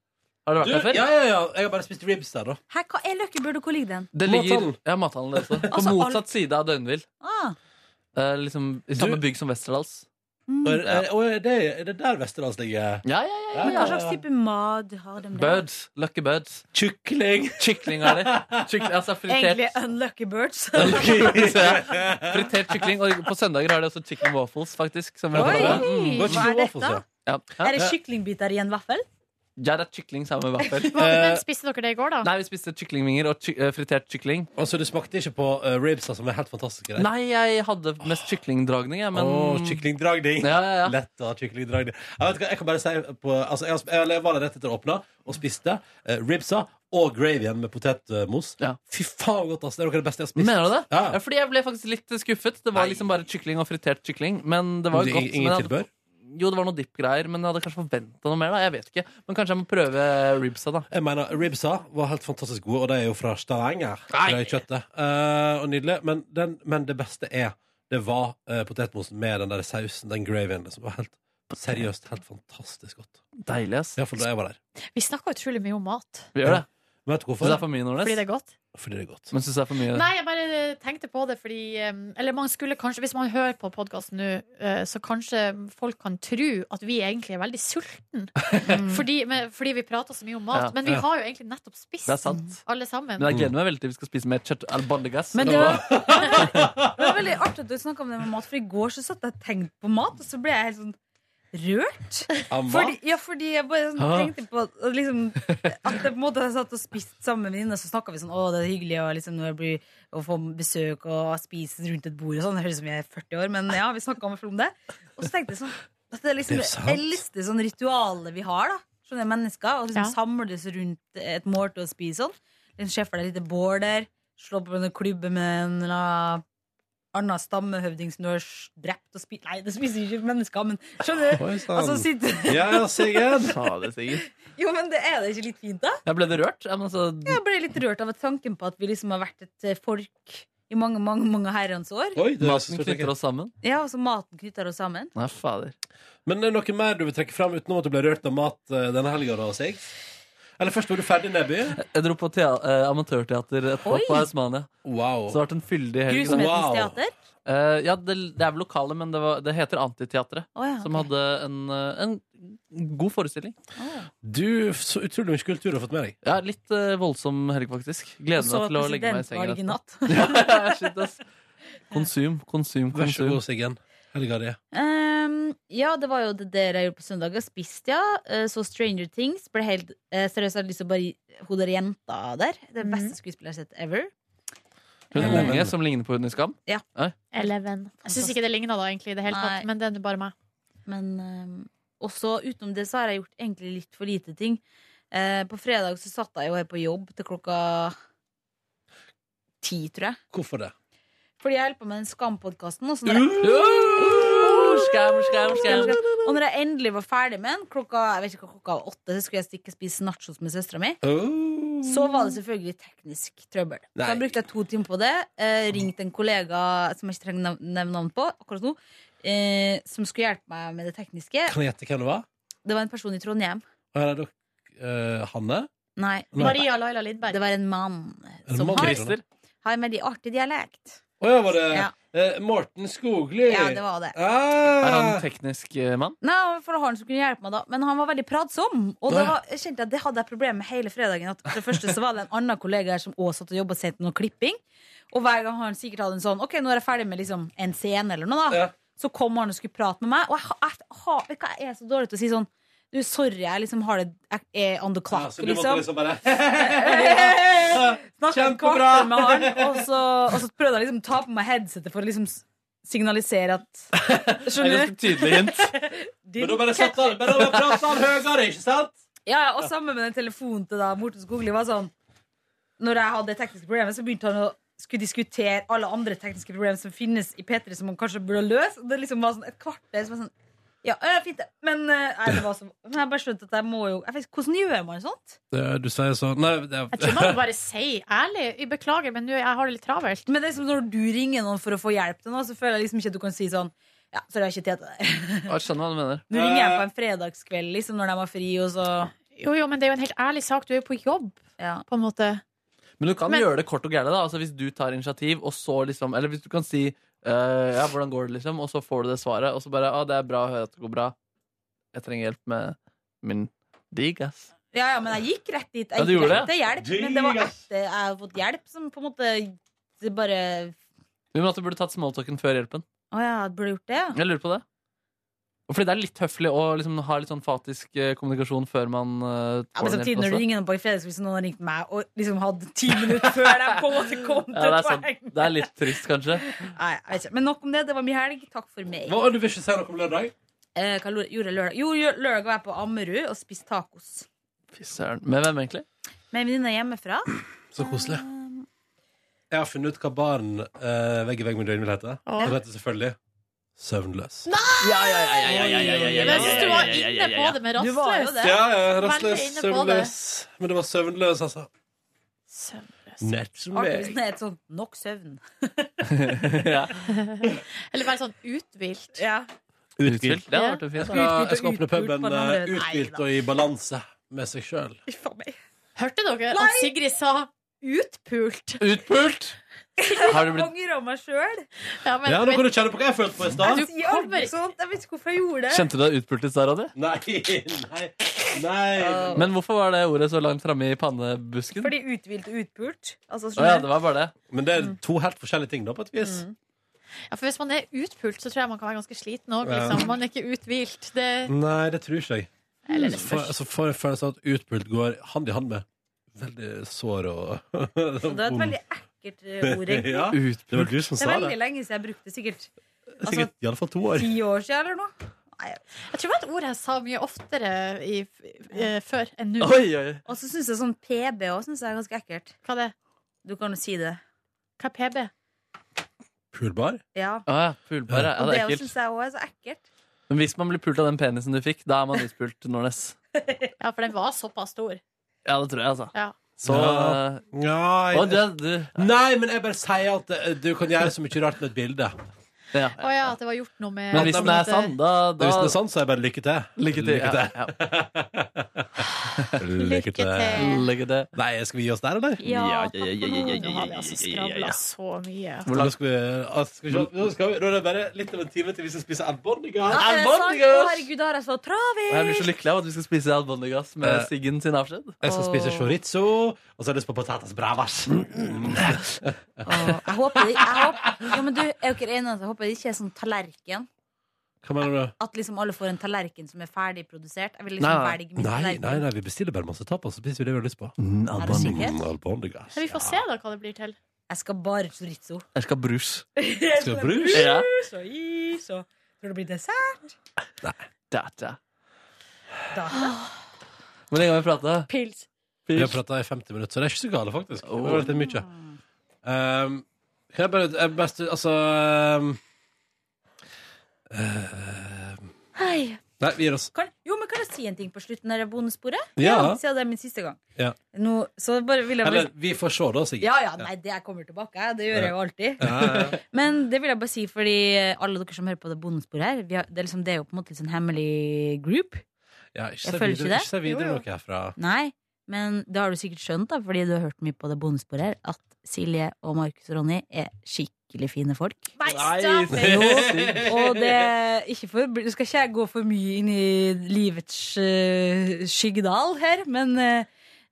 S3: Har du vært
S1: Du,
S3: der før?
S1: ja, ja, ja. Jeg har bare spist ribs der, da.
S10: Hæ, hva er Lucky Bird, og hvor ligger den?
S3: Det ligger,
S1: Mathallen.
S3: Ja, mathallen det også. På
S10: Altså, alt-
S3: motsatt side av Døgnvill.
S10: Ah,
S3: Eh, liksom I samme bygg som Westerdals.
S1: Og,
S3: Mm.
S1: eh, og er det er det der Vesterdals ligger?
S3: Ja, ja, ja.
S10: men hva slags type mat har de der?
S3: Birds. Lucky Birds.
S1: Kykling!
S3: Kykling har de. Kykling, altså fritert
S10: Egentlig unlucky birds.
S3: Fritert kykling. Og på søndager har de også chicken waffles, faktisk. Som vi har
S10: Oi!
S3: fått med. Mm.
S1: Hva er
S10: Hva er
S1: det
S10: dette?
S3: Ja.
S10: Er det kyklingbiter i en vaffel?
S3: ja, det er kykling sammen med vaffel.
S2: Hva, men
S3: Eh,
S2: spiste dere det i går, da?
S3: Nei, vi spiste kyklingvinger og ky eh, fritert kykling.
S1: Altså, du smakte ikke på eh, ribsa, som er helt fantastiske der?
S3: Nei, jeg hadde mest kyklingdragning, jeg, men
S1: Åh, kyklingdragning.
S3: Ja, ja, ja.
S1: Letta kyklingdragning. Jeg, vet ikke, jeg kan bare si på, altså, jeg, har- jeg var der rett etter å åpne og spiste eh, ribsa og gravyen med potetmos.
S3: Ja.
S1: Fy faen godt, ass. Det er noe av det beste jeg har spist.
S3: Mener du det?
S1: Ja.
S3: Ja, fordi jeg ble faktisk litt skuffet. Det var
S1: Nei.
S3: liksom bare kykling og fritert kykling. Men det var
S1: Det er
S3: jo godt. men
S1: Ingen
S3: jeg hadde-
S1: tilbør?
S3: Jo, det var noe dipp-greier, men jeg hadde kanskje forventa noe mer. da, jeg vet ikke Men kanskje jeg må prøve eh, ribsa, da.
S1: Jeg mener, Ribsa var helt fantastisk gode, og de er jo fra Stavanger.
S3: Nei.
S1: Det kjøttet. Eh, og nydelig. Men, den, men det beste er Det var eh, potetmosen med den der sausen, den gravyen. Liksom. Det var helt, seriøst helt fantastisk godt.
S3: Deilig, ass.
S1: Iallfall da jeg var der.
S2: Vi snakka utrolig mye om mat.
S3: Vi gjør det.
S1: Men vet du hvorfor?
S3: Syns det er for mye,
S2: Fordi det
S3: Nordnes?
S2: er godt?
S1: Fordi det er godt.
S3: Men syns det er for mye
S2: Nei, jeg bare eh, tenkte på det fordi um, Eller man skulle kanskje, hvis man hører på podkasten nå, uh, så kanskje folk kan tro at vi egentlig er veldig sultne. fordi, men- fordi vi prater så mye om mat.
S3: Ja,
S2: men vi
S1: ja.
S2: har jo egentlig nettopp spist,
S3: Det er sant.
S2: alle sammen.
S3: Men jeg gleder meg veldig til vi skal spise mer kjøtt al bandegass.
S10: Men
S3: Og
S10: det
S3: da-
S10: var, det var veldig artig at du snakka om det med mat, for i går så satt jeg og tenkte på mat, og så ble jeg helt sånn rørt.
S1: Amma?
S10: Fordi, ja, fordi jeg bare sånn,
S3: Ah.
S10: tenkte på at- at liksom, at det, på en måte, jeg satt og spiste sammen med venninne, og så snakka vi sånn Å, det er hyggelig å, liksom, når jeg blir, å få besøk og spise rundt et bord og sånn. Det høres ut som jeg er 40 år, men ja, vi snakka om om det. Og så tenkte jeg sånn at det er liksom
S1: Det er
S10: det,
S1: sant.
S10: eldste sånn ritualet vi har, da. Sånne mennesker. Og liksom samles rundt et måltid og spiser sånn. Den sjefer deg et lite bål der. Slå på en klubbe med en eller annen annen stammehøvding som du har s- drept og spist Nei, det spiser ikke mennesker, men skjønner du?
S1: Oi sann.
S10: Altså, sitte.
S1: Ja, ja, Sigurd.
S3: Fader, Sigurd.
S10: Jo, men det er det ikke litt fint, da?
S3: Jeg ble det rørt? Ja, men altså,
S10: Jeg ble litt rørt av tanken på at vi liksom har vært et eh, folk i mange, mange mange herrens år.
S1: Oi, det er så
S3: maten
S1: stort,
S3: knytter
S1: tenker jeg.
S3: oss sammen?
S10: Ja, og så maten knytter oss sammen.
S3: Nei, fader.
S1: Men er det noe mer du vil trekke fram utenom at du ble rørt av mat eh, denne helga? Eller først var du ferdig, Neby?
S3: Jeg dro på tea eh, amatørteater etterpå
S10: Oi!
S3: på Hausmania.
S1: Wow.
S3: Så det har vært en fyldig helg. da.
S10: Grusomhetens
S1: Wow.
S10: teater.
S3: Eh, ja, det, det er vel lokale, men det, var, det heter Antiteatret.
S10: Å, ja,
S3: Som
S10: ok.
S3: hadde en, eh, en god forestilling.
S1: Du, så utrolig mye kultur du har fått med deg.
S3: Ja, Litt eh, voldsom helg, faktisk.
S10: Og
S3: Gleder
S10: så
S3: meg til å legge meg i sengen.
S10: presidentvalg i natt.
S3: Ja, shit, ass. Konsum, konsum,
S1: Vær så
S3: konsum.
S1: god, Siggen. Helga di.
S10: Ehm, ja, det var jo det der jeg gjorde på søndag. Jeg spiste, ja. Eh, Så Stranger Things. Ble helt, eh, seriøst, jeg hadde lyst til å bare gi hodet av jenta der. Det beste skuespillet jeg har sett ever.
S3: Hun
S10: Eh,
S3: unge som ligner på hun i Skam.
S2: Eleven. Jeg syns ikke det ligna da, egentlig, i det hele
S10: Nei.
S2: tatt. Men det er bare meg.
S10: Men ehm, også utenom det så har jeg gjort egentlig litt for lite ting. Eh, på fredag så satt jeg jo her på jobb til klokka ti, tror jeg.
S1: Hvorfor det?
S10: Fordi jeg holdt på med den Skam-podkasten. Og, så når jeg-
S3: Oh, Skam, skam, skam.
S10: og når jeg endelig var ferdig med den, klokka jeg vet ikke hva klokka var åtte, så skulle jeg stikke og spise nachos med søstera mi.
S1: Oh.
S10: Så var det selvfølgelig teknisk trøbbel.
S1: Nei.
S10: Så da brukte jeg to timer på det. Eh, ringte en kollega som jeg ikke trenger å nev- nevne navn på akkurat nå, eh, som skulle hjelpe meg med det tekniske.
S1: Kan jeg gjette hvem det var?
S10: Det var en person i Trondheim.
S1: Og her er dere, eh, Hanne?
S10: Nei,
S1: Nei.
S2: Maria Laila
S10: det
S2: Lindberg.
S10: var en mann
S1: En
S10: som
S1: mann
S10: har,
S1: i Trondheim.
S10: har en veldig artig dialekt.
S1: Å ja, var det
S10: Ja.
S1: eh, Morten Skogli?
S10: Ja, det var det.
S1: Ah!
S3: Er han teknisk eh, mann?
S10: Nei, for det var han som kunne hjelpe meg da Men han var veldig pratsom. Og det, var, jeg kjente at det hadde jeg problemer med hele fredagen. At for det første så var det en annen kollega her som også satt og jobba sent med noe klipping. Og hver gang han sikkert hadde en sånn Ok, nå er jeg ferdig med liksom en scene eller noe, da.
S1: Ja.
S10: Så kom han og skulle prate med meg, og jeg, ha- jeg, ha- vet du hva, jeg er så dårlig til å si sånn Du, sorry, jeg liksom har det Jeg er on the
S1: Ja,
S10: clock,
S1: så du måtte
S10: liksom.
S1: liksom bare
S10: Snakket
S1: Kjempebra!
S10: en kvarter med han, og så, og så prøvde jeg liksom å ta på meg headsetet for å liksom s- signalisere at
S3: Skjønner du? Tydelig hint.
S1: Men da bare satt han, bare pratet han høyere, ikke sant?
S10: Ja, ja, og sammen med den telefonen til da Morten Skogli var sånn Når jeg hadde det tekniske problemet, så begynte han å skulle diskutere alle andre tekniske problemer som finnes i P3, som han kanskje burde løse. Og det liksom var sånn et kvarter som var sånn Ja, øh, fint, det. Men eh, nei, det var så, men jeg bare skjønte at jeg må jo jeg vet, ikke, Hvordan gjør man sånt?
S1: Du sier sånn Nei, det
S2: Jeg tror man må bare si ærlig. Jeg beklager, men nå jeg har det litt travelt.
S10: Men det er som når du ringer noen for å få hjelp til noe, så føler jeg liksom ikke at du kan si sånn Ja, sorry, jeg har ikke tid til det der.
S3: Jeg skjønner hva du mener.
S10: Nå ringer jeg på en fredagskveld liksom når de har fri, og så
S2: Jo, jo, men det er jo en helt ærlig sak. Du er jo på jobb,
S10: ja.
S2: på en måte.
S3: Men du kan
S2: Men-
S3: gjøre det kort og gærent. da. Altså, hvis du tar initiativ, og så liksom Eller hvis du kan si eh, Ja, hvordan går det, liksom? Og så får du det svaret, og så bare ah, det er bra, hør at det går bra. Jeg trenger hjelp med min digg, ass.
S10: Ja, ja, men jeg gikk rett dit. Jeg
S3: Ja, du
S10: gikk
S3: gjorde
S10: rett til hjelp, men det var etter jeg hadde fått hjelp, som på en måte det bare
S3: Men at du burde tatt smalltalken før hjelpen.
S10: Å ja, jeg burde gjort det, ja.
S3: Jeg lurer på det. Og fordi det er litt høflig å liksom ha litt sånn fatisk eh, kommunikasjon før man uh,
S10: Ja, men samtidig når du ringer noen på en fredag, hvis noen har ringt meg og liksom hadde ti minutter før de på en måte kom til
S3: Ja, det er sant.
S10: poeng
S3: Det er litt trist, kanskje.
S10: Nei, jeg vet ikke. Men nok om det. Det var min helg. Takk for meg.
S1: Hva, du vil ikke si noe om lørdag?
S10: Eh, hva lo- gjorde jeg lørdag? Jo, gjør- lørdag var jeg på Ammerud og spiste tacos.
S3: Fy søren. Med hvem, egentlig?
S10: Med en venninne hjemmefra.
S1: Så koselig. Jeg har funnet ut hva baren eh, vegg i vegg med døgnet vil hete.
S2: Åh.
S1: Den heter selvfølgelig Søvnløs.
S3: Ja, ja, ja, ja, ja, ja, ja,
S2: Men jeg synes du var inne på det med
S10: Du var jo
S2: rastløs.
S10: det.
S1: Ja, ja,
S2: Veldig
S1: rastløs,
S2: inne på det.
S1: søvnløs. Men det var søvnløs, altså. Nett som
S10: Artig hvis
S1: meg.
S10: den er et sånn nok søvn.
S3: ja.
S2: Eller bare sånn uthvilt.
S10: Ja.
S3: Utfylt. Det hadde vært en fin sak.
S1: Ja, jeg skal åpne
S10: Utfylt og
S1: puben
S10: utfylt på den andre.
S1: eh, uthvilt
S10: Nei,
S1: og i balanse med seg sjøl.
S10: Faen meg.
S2: Hørte dere at Sigrid sa utpult?
S3: Utpult! Har du
S10: Jeg
S3: blitt
S10: angrer meg sjøl.
S2: Ja, men,
S1: Ja, nå kan du kjenne på hva jeg følte på i stad.
S2: Du kommer-
S10: Jeg vet ikke hvorfor jeg gjorde det.
S3: Kjente du deg utpult i stad, Ronny?
S1: Nei, nei, nei.
S3: Men hvorfor var det ordet så langt framme i pannebusken?
S10: Fordi uthvilt og utpult.
S3: Å ja,
S10: Altså, skjønner
S3: det
S10: du?
S3: var bare det.
S1: Men det er to helt forskjellige ting, da, på et vis.
S10: Mm.
S2: ja, for hvis man er utpult, så tror jeg man kan være ganske sliten òg.
S1: Ja.
S2: Liksom. Man er ikke uthvilt. Det,
S3: Mm.
S1: Nei, det tror ikke jeg.
S2: eller det
S1: Så får- Så får jeg følelsen av at utpult går hand i hand med veldig sår og
S10: Det var et veldig ekkelt eh, ord. egentlig.
S1: Ja, det var du som
S10: Det er
S1: sa
S10: veldig
S1: det.
S10: lenge siden jeg brukte det. Sikkert altså,
S1: Sikkert i alle fall to år.
S10: ti år siden eller noe.
S2: Jeg tror det var et ord jeg sa mye oftere i, eh, før enn nå.
S3: Oi, oi.
S10: Og så syns jeg sånn PB òg synes jeg er ganske ekkelt.
S2: Hva er det?
S10: Du kan jo si det.
S2: Hva er PB?
S1: Pulbar?
S10: Ja.
S3: Å ja, pulbar, ja. ja.
S10: Og
S3: Det
S10: det
S3: er ekkelt.
S10: syns jeg òg er så ekkelt.
S3: Men hvis man blir pult av den penisen du fikk, da er man utpult, Nordnes.
S2: Ja, for den var såpass stor.
S3: Ja, det tror jeg, altså.
S2: Ja.
S3: Så
S1: Ja.
S3: eh, Å,
S1: Nei,
S3: du, er- du
S1: nei, men jeg bare sier at eh, du kan gjøre så mye rart med et bilde.
S3: ja.
S2: Å ja, at det var gjort noe med
S3: Men hvis den er sann, da,
S1: Og
S3: da
S1: hvis det er sånn, så er jeg bare lykke til.
S3: Lykke til. Ja, ja.
S2: Lykke til.
S3: Lykke til.
S1: Nei, skal vi gi oss der, eller?
S2: Ja,
S3: Ja,
S2: takk for
S3: ja, ja,
S2: nå. Nå har vi altså
S3: ja, ja, ja, ja, ja, ja.
S2: skravla så mye.
S1: Hvor langt skal vi, ah, skal vi, se? nå skal vi Nå er det bare litt av en time til vi skal spise albondiga.
S10: Ja, er det sant? Å, herregud, da er jeg så
S3: Og jeg blir så
S10: travel!
S3: lykkelig av at vi skal spise albondigas
S1: Eh.
S3: med Siggen sin avskjed.
S1: Jeg skal spise chorizo, og så har jeg lyst på patatas bravas.
S10: Jeg håper det jeg håper, ja, men du, Er dere enige om at jeg håper det ikke er sånn tallerken?
S1: Hva mener du?
S10: At liksom alle får en tallerken som er ferdig produsert? Jeg vil
S3: Nei,
S10: liksom
S3: nei.
S10: velge min
S1: Nei, nei,
S10: tallerken.
S1: nei, vi bestiller bare masse tapas, så spiser vi det vi har lyst på.
S10: Er du sikker?
S1: Mm, albondigas.
S2: Men vi får
S1: Ja.
S2: se da hva det blir til.
S10: Jeg skal bare chorizo.
S3: Jeg skal ha brus.
S1: Skal vi brus?
S3: Ja.
S10: Så is og Tror det blir dessert?
S3: Da, da.
S10: Da.
S3: Hvor lenge har vi prata?
S2: Pils.
S1: Vi har prata i 50 minutter, så det er ikke så gale, faktisk.
S3: Oh.
S1: Det var litt mye. Um, kan jeg bare jeg best, Altså um, um,
S2: Hei.
S1: Nei, vi gir oss.
S10: Kan, jo, men kan jeg si en ting på slutten av bonussporet?
S1: Ja.
S10: Siden det er min siste gang.
S1: Ja.
S10: Nå, så bare vil jeg bare
S1: Eller vi får se, da, Sigrid.
S10: Ja, ja, nei, det jeg kommer tilbake. jeg. Det gjør jeg jo alltid.
S1: Ja, ja, ja.
S10: Men det vil jeg bare si, fordi alle dere som hører på det bondesporet her, vi har, det, er liksom, det er jo på en måte litt sånn hemmelig group.
S1: Ja, ikke se
S10: Jeg føler ikke
S1: videre,
S10: det.
S1: ikke se videre
S2: Jo, jo.
S1: noe herfra.
S10: Nei, men det har du sikkert skjønt, da, fordi du har hørt mye på det bondesporet her, at Silje og Markus og Ronny er skikkelig fine folk.
S2: Nei,
S3: Nei,
S2: stopp!
S10: Jo, og det er ikke for Du skal ikke jeg gå for mye inn i livets eh, skyggedal her, men, eh,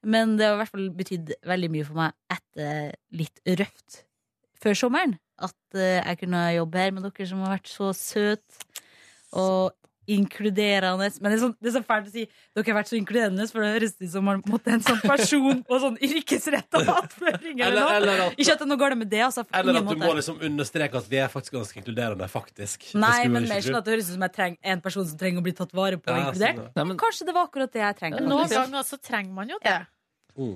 S10: men det har i hvert fall betydd veldig mye for meg etter litt røft før sommeren. At eh, jeg kunne jobbe her med dere som har vært så søte og inkluderende Men det er, sånn, det er så fælt å si dere har vært så inkluderende, for det høres ut som man måtte en sånn person på sånn yrkesretta attføring eller
S1: Eller- eller
S10: noe.
S1: at-
S10: Ikke at det nå går det med det, altså. På
S1: Eller
S10: ingen
S1: at du
S10: måte.
S1: må liksom understreke at vi er faktisk ganske inkluderende, faktisk. Det
S10: Nei,
S1: skulle
S10: men
S1: vi
S10: mer
S1: ikke tro.
S10: sånn at det høres ut som jeg treng, en person som trenger å bli tatt vare på og
S1: Ja,
S10: inkludert.
S1: sånn, ja.
S3: Nei, men-
S10: Kanskje det var akkurat det jeg trengte.
S2: Noen
S10: faktisk.
S2: ganger så trenger man jo det.
S1: Mm.
S2: Ja.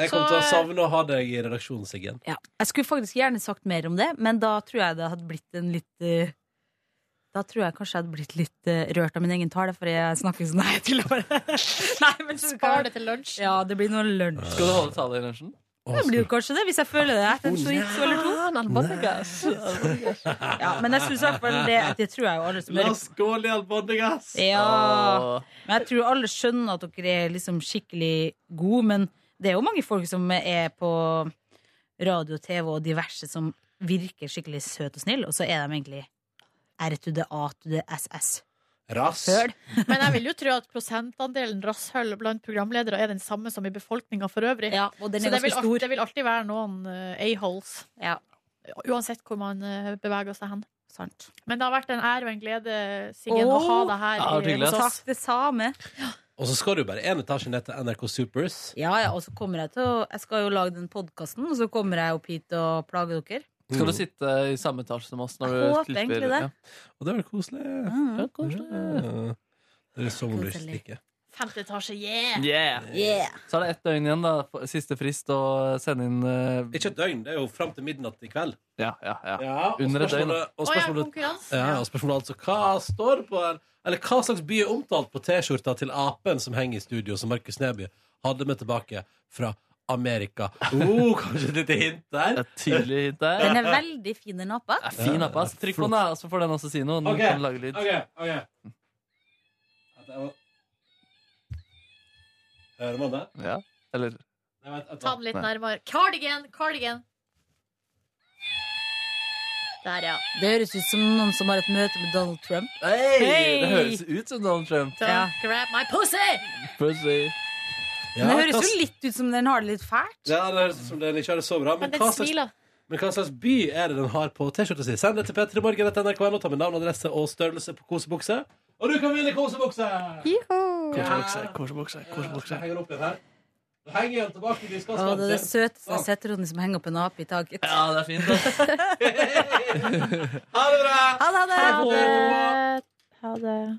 S1: Jeg kommer til å
S10: Så-
S1: savne å ha deg i redaksjonen, Siggen.
S10: Ja. Jeg skulle faktisk gjerne sagt mer om det, men da tror jeg det hadde blitt en litt eh, Da tror jeg kanskje jeg hadde blitt litt eh, rørt av min egen tale, for jeg snakker sånn Nei, jeg tuller bare. Nei, men så-
S2: Spar det til lunsj.
S10: Ja, det blir noe lunsj.
S3: Skal du holde tale i lunsjen?
S10: Det blir jo kanskje det, hvis jeg føler det etter en chorizo eller to. Ja, men jeg synes i hvert fall det, det tror jeg jo alle som
S1: La
S10: hører
S1: oss skåle i albandingas!
S10: Ja. Men jeg tror alle skjønner at dere er liksom skikkelig gode, men det er jo mange folk som er på radio, TV og diverse som virker skikkelig søte og snille, og så er de egentlig R-to-D-A-to-D-S-S.
S1: Rass.
S2: Men jeg vil jo tro at prosentandelen rasshøl blant programledere er den samme som i befolkninga for øvrig.
S10: Ja, og den
S2: Så
S10: er
S2: det
S10: ganske
S2: vil, alltid,
S10: stor.
S2: det vil alltid være noen eh, a-holes.
S10: Ja,
S2: Uansett hvor man eh, beveger seg hen.
S10: sant.
S2: Men det har vært en ære og en glede, Siggen, å
S10: Åh,
S2: ha deg her.
S3: ja,
S2: i-
S3: hyggelig, ass.
S10: Takk, det samme.
S1: Og så skal du bare én etasje ned til NRK Supers.
S10: Ja, ja, og så kommer jeg til å Jeg skal jo lage den podkasten, og så kommer jeg opp hit og plage dere.
S3: Skal du
S1: Mm.
S3: sitte i samme etasje som oss? Når du
S10: Jeg håper
S3: klipper-
S10: egentlig det.
S3: Ja.
S1: Og det er vel koselig.
S10: Mm.
S1: Ja. Det er som om du ikke stikker.
S2: Femte etasje, yeah!
S10: Yeah.
S3: Så er det ett døgn igjen, da. f- Siste frist å sende inn eh,
S1: Ikke et døgn, det er jo fram til midnatt i kveld.
S3: Ja, ja, ja.
S1: Ja, og
S3: Under et døgn.
S1: spørsmålet- Og
S2: Å ja,
S1: spørsmålet,
S2: konkurranse.
S1: ja, og spørsmålet altså hva står det på her? Eller hva slags by er omtalt på T-skjorta til apen som henger i studio, som Markus Neby hadde med tilbake fra Amerika? Oh, kanskje et lite hint
S3: Det
S1: der?
S3: er tydelig hint der.
S10: Den er veldig fin, den appa.
S3: Det er Fin app, ass. Trykk på den, da, så får den også si noe. Nå
S1: Ok,
S3: kan du lage lyd.
S1: ok, ok. At jeg må- Hører man det?
S3: Ja. Eller
S1: Nei, vent, vent,
S2: Ta
S1: vent.
S2: den litt
S3: Nei.
S2: nærmere. Cardigan! Cardigan! Der, ja.
S10: Det høres ut som noen som har et møte med Donald Trump.
S3: Hey! Det høres ut som Donald Trump.
S2: Don't
S10: Ja.
S2: grab my pussy!
S3: Pussy.
S1: Ja,
S10: Men det høres
S1: hva-
S10: jo litt ut som den har det litt fælt.
S1: Ja, det høres ut som den ikke har det så bra. Men,
S2: Men den
S1: hva slags,
S2: smiler.
S1: men hva slags by er det den har på T-skjorta si? Send det til p3morgen.nrk.no. Ta med navn, adresse og størrelse på kosebukse. Og du kan vinne kosebukse!
S3: Korsebukse, korsebukse,
S1: Jeg
S3: korsebukse.
S1: henger opp den her. Da henger jeg den tilbake i
S10: Å,
S1: diskasken
S10: det er det søteste jeg har sett, Ronny, som henger opp en ape i taket.
S3: Ja, det er fint. ass.
S1: Ha det bra!
S10: Ha det, ha det!
S1: Eh,
S2: Ha det.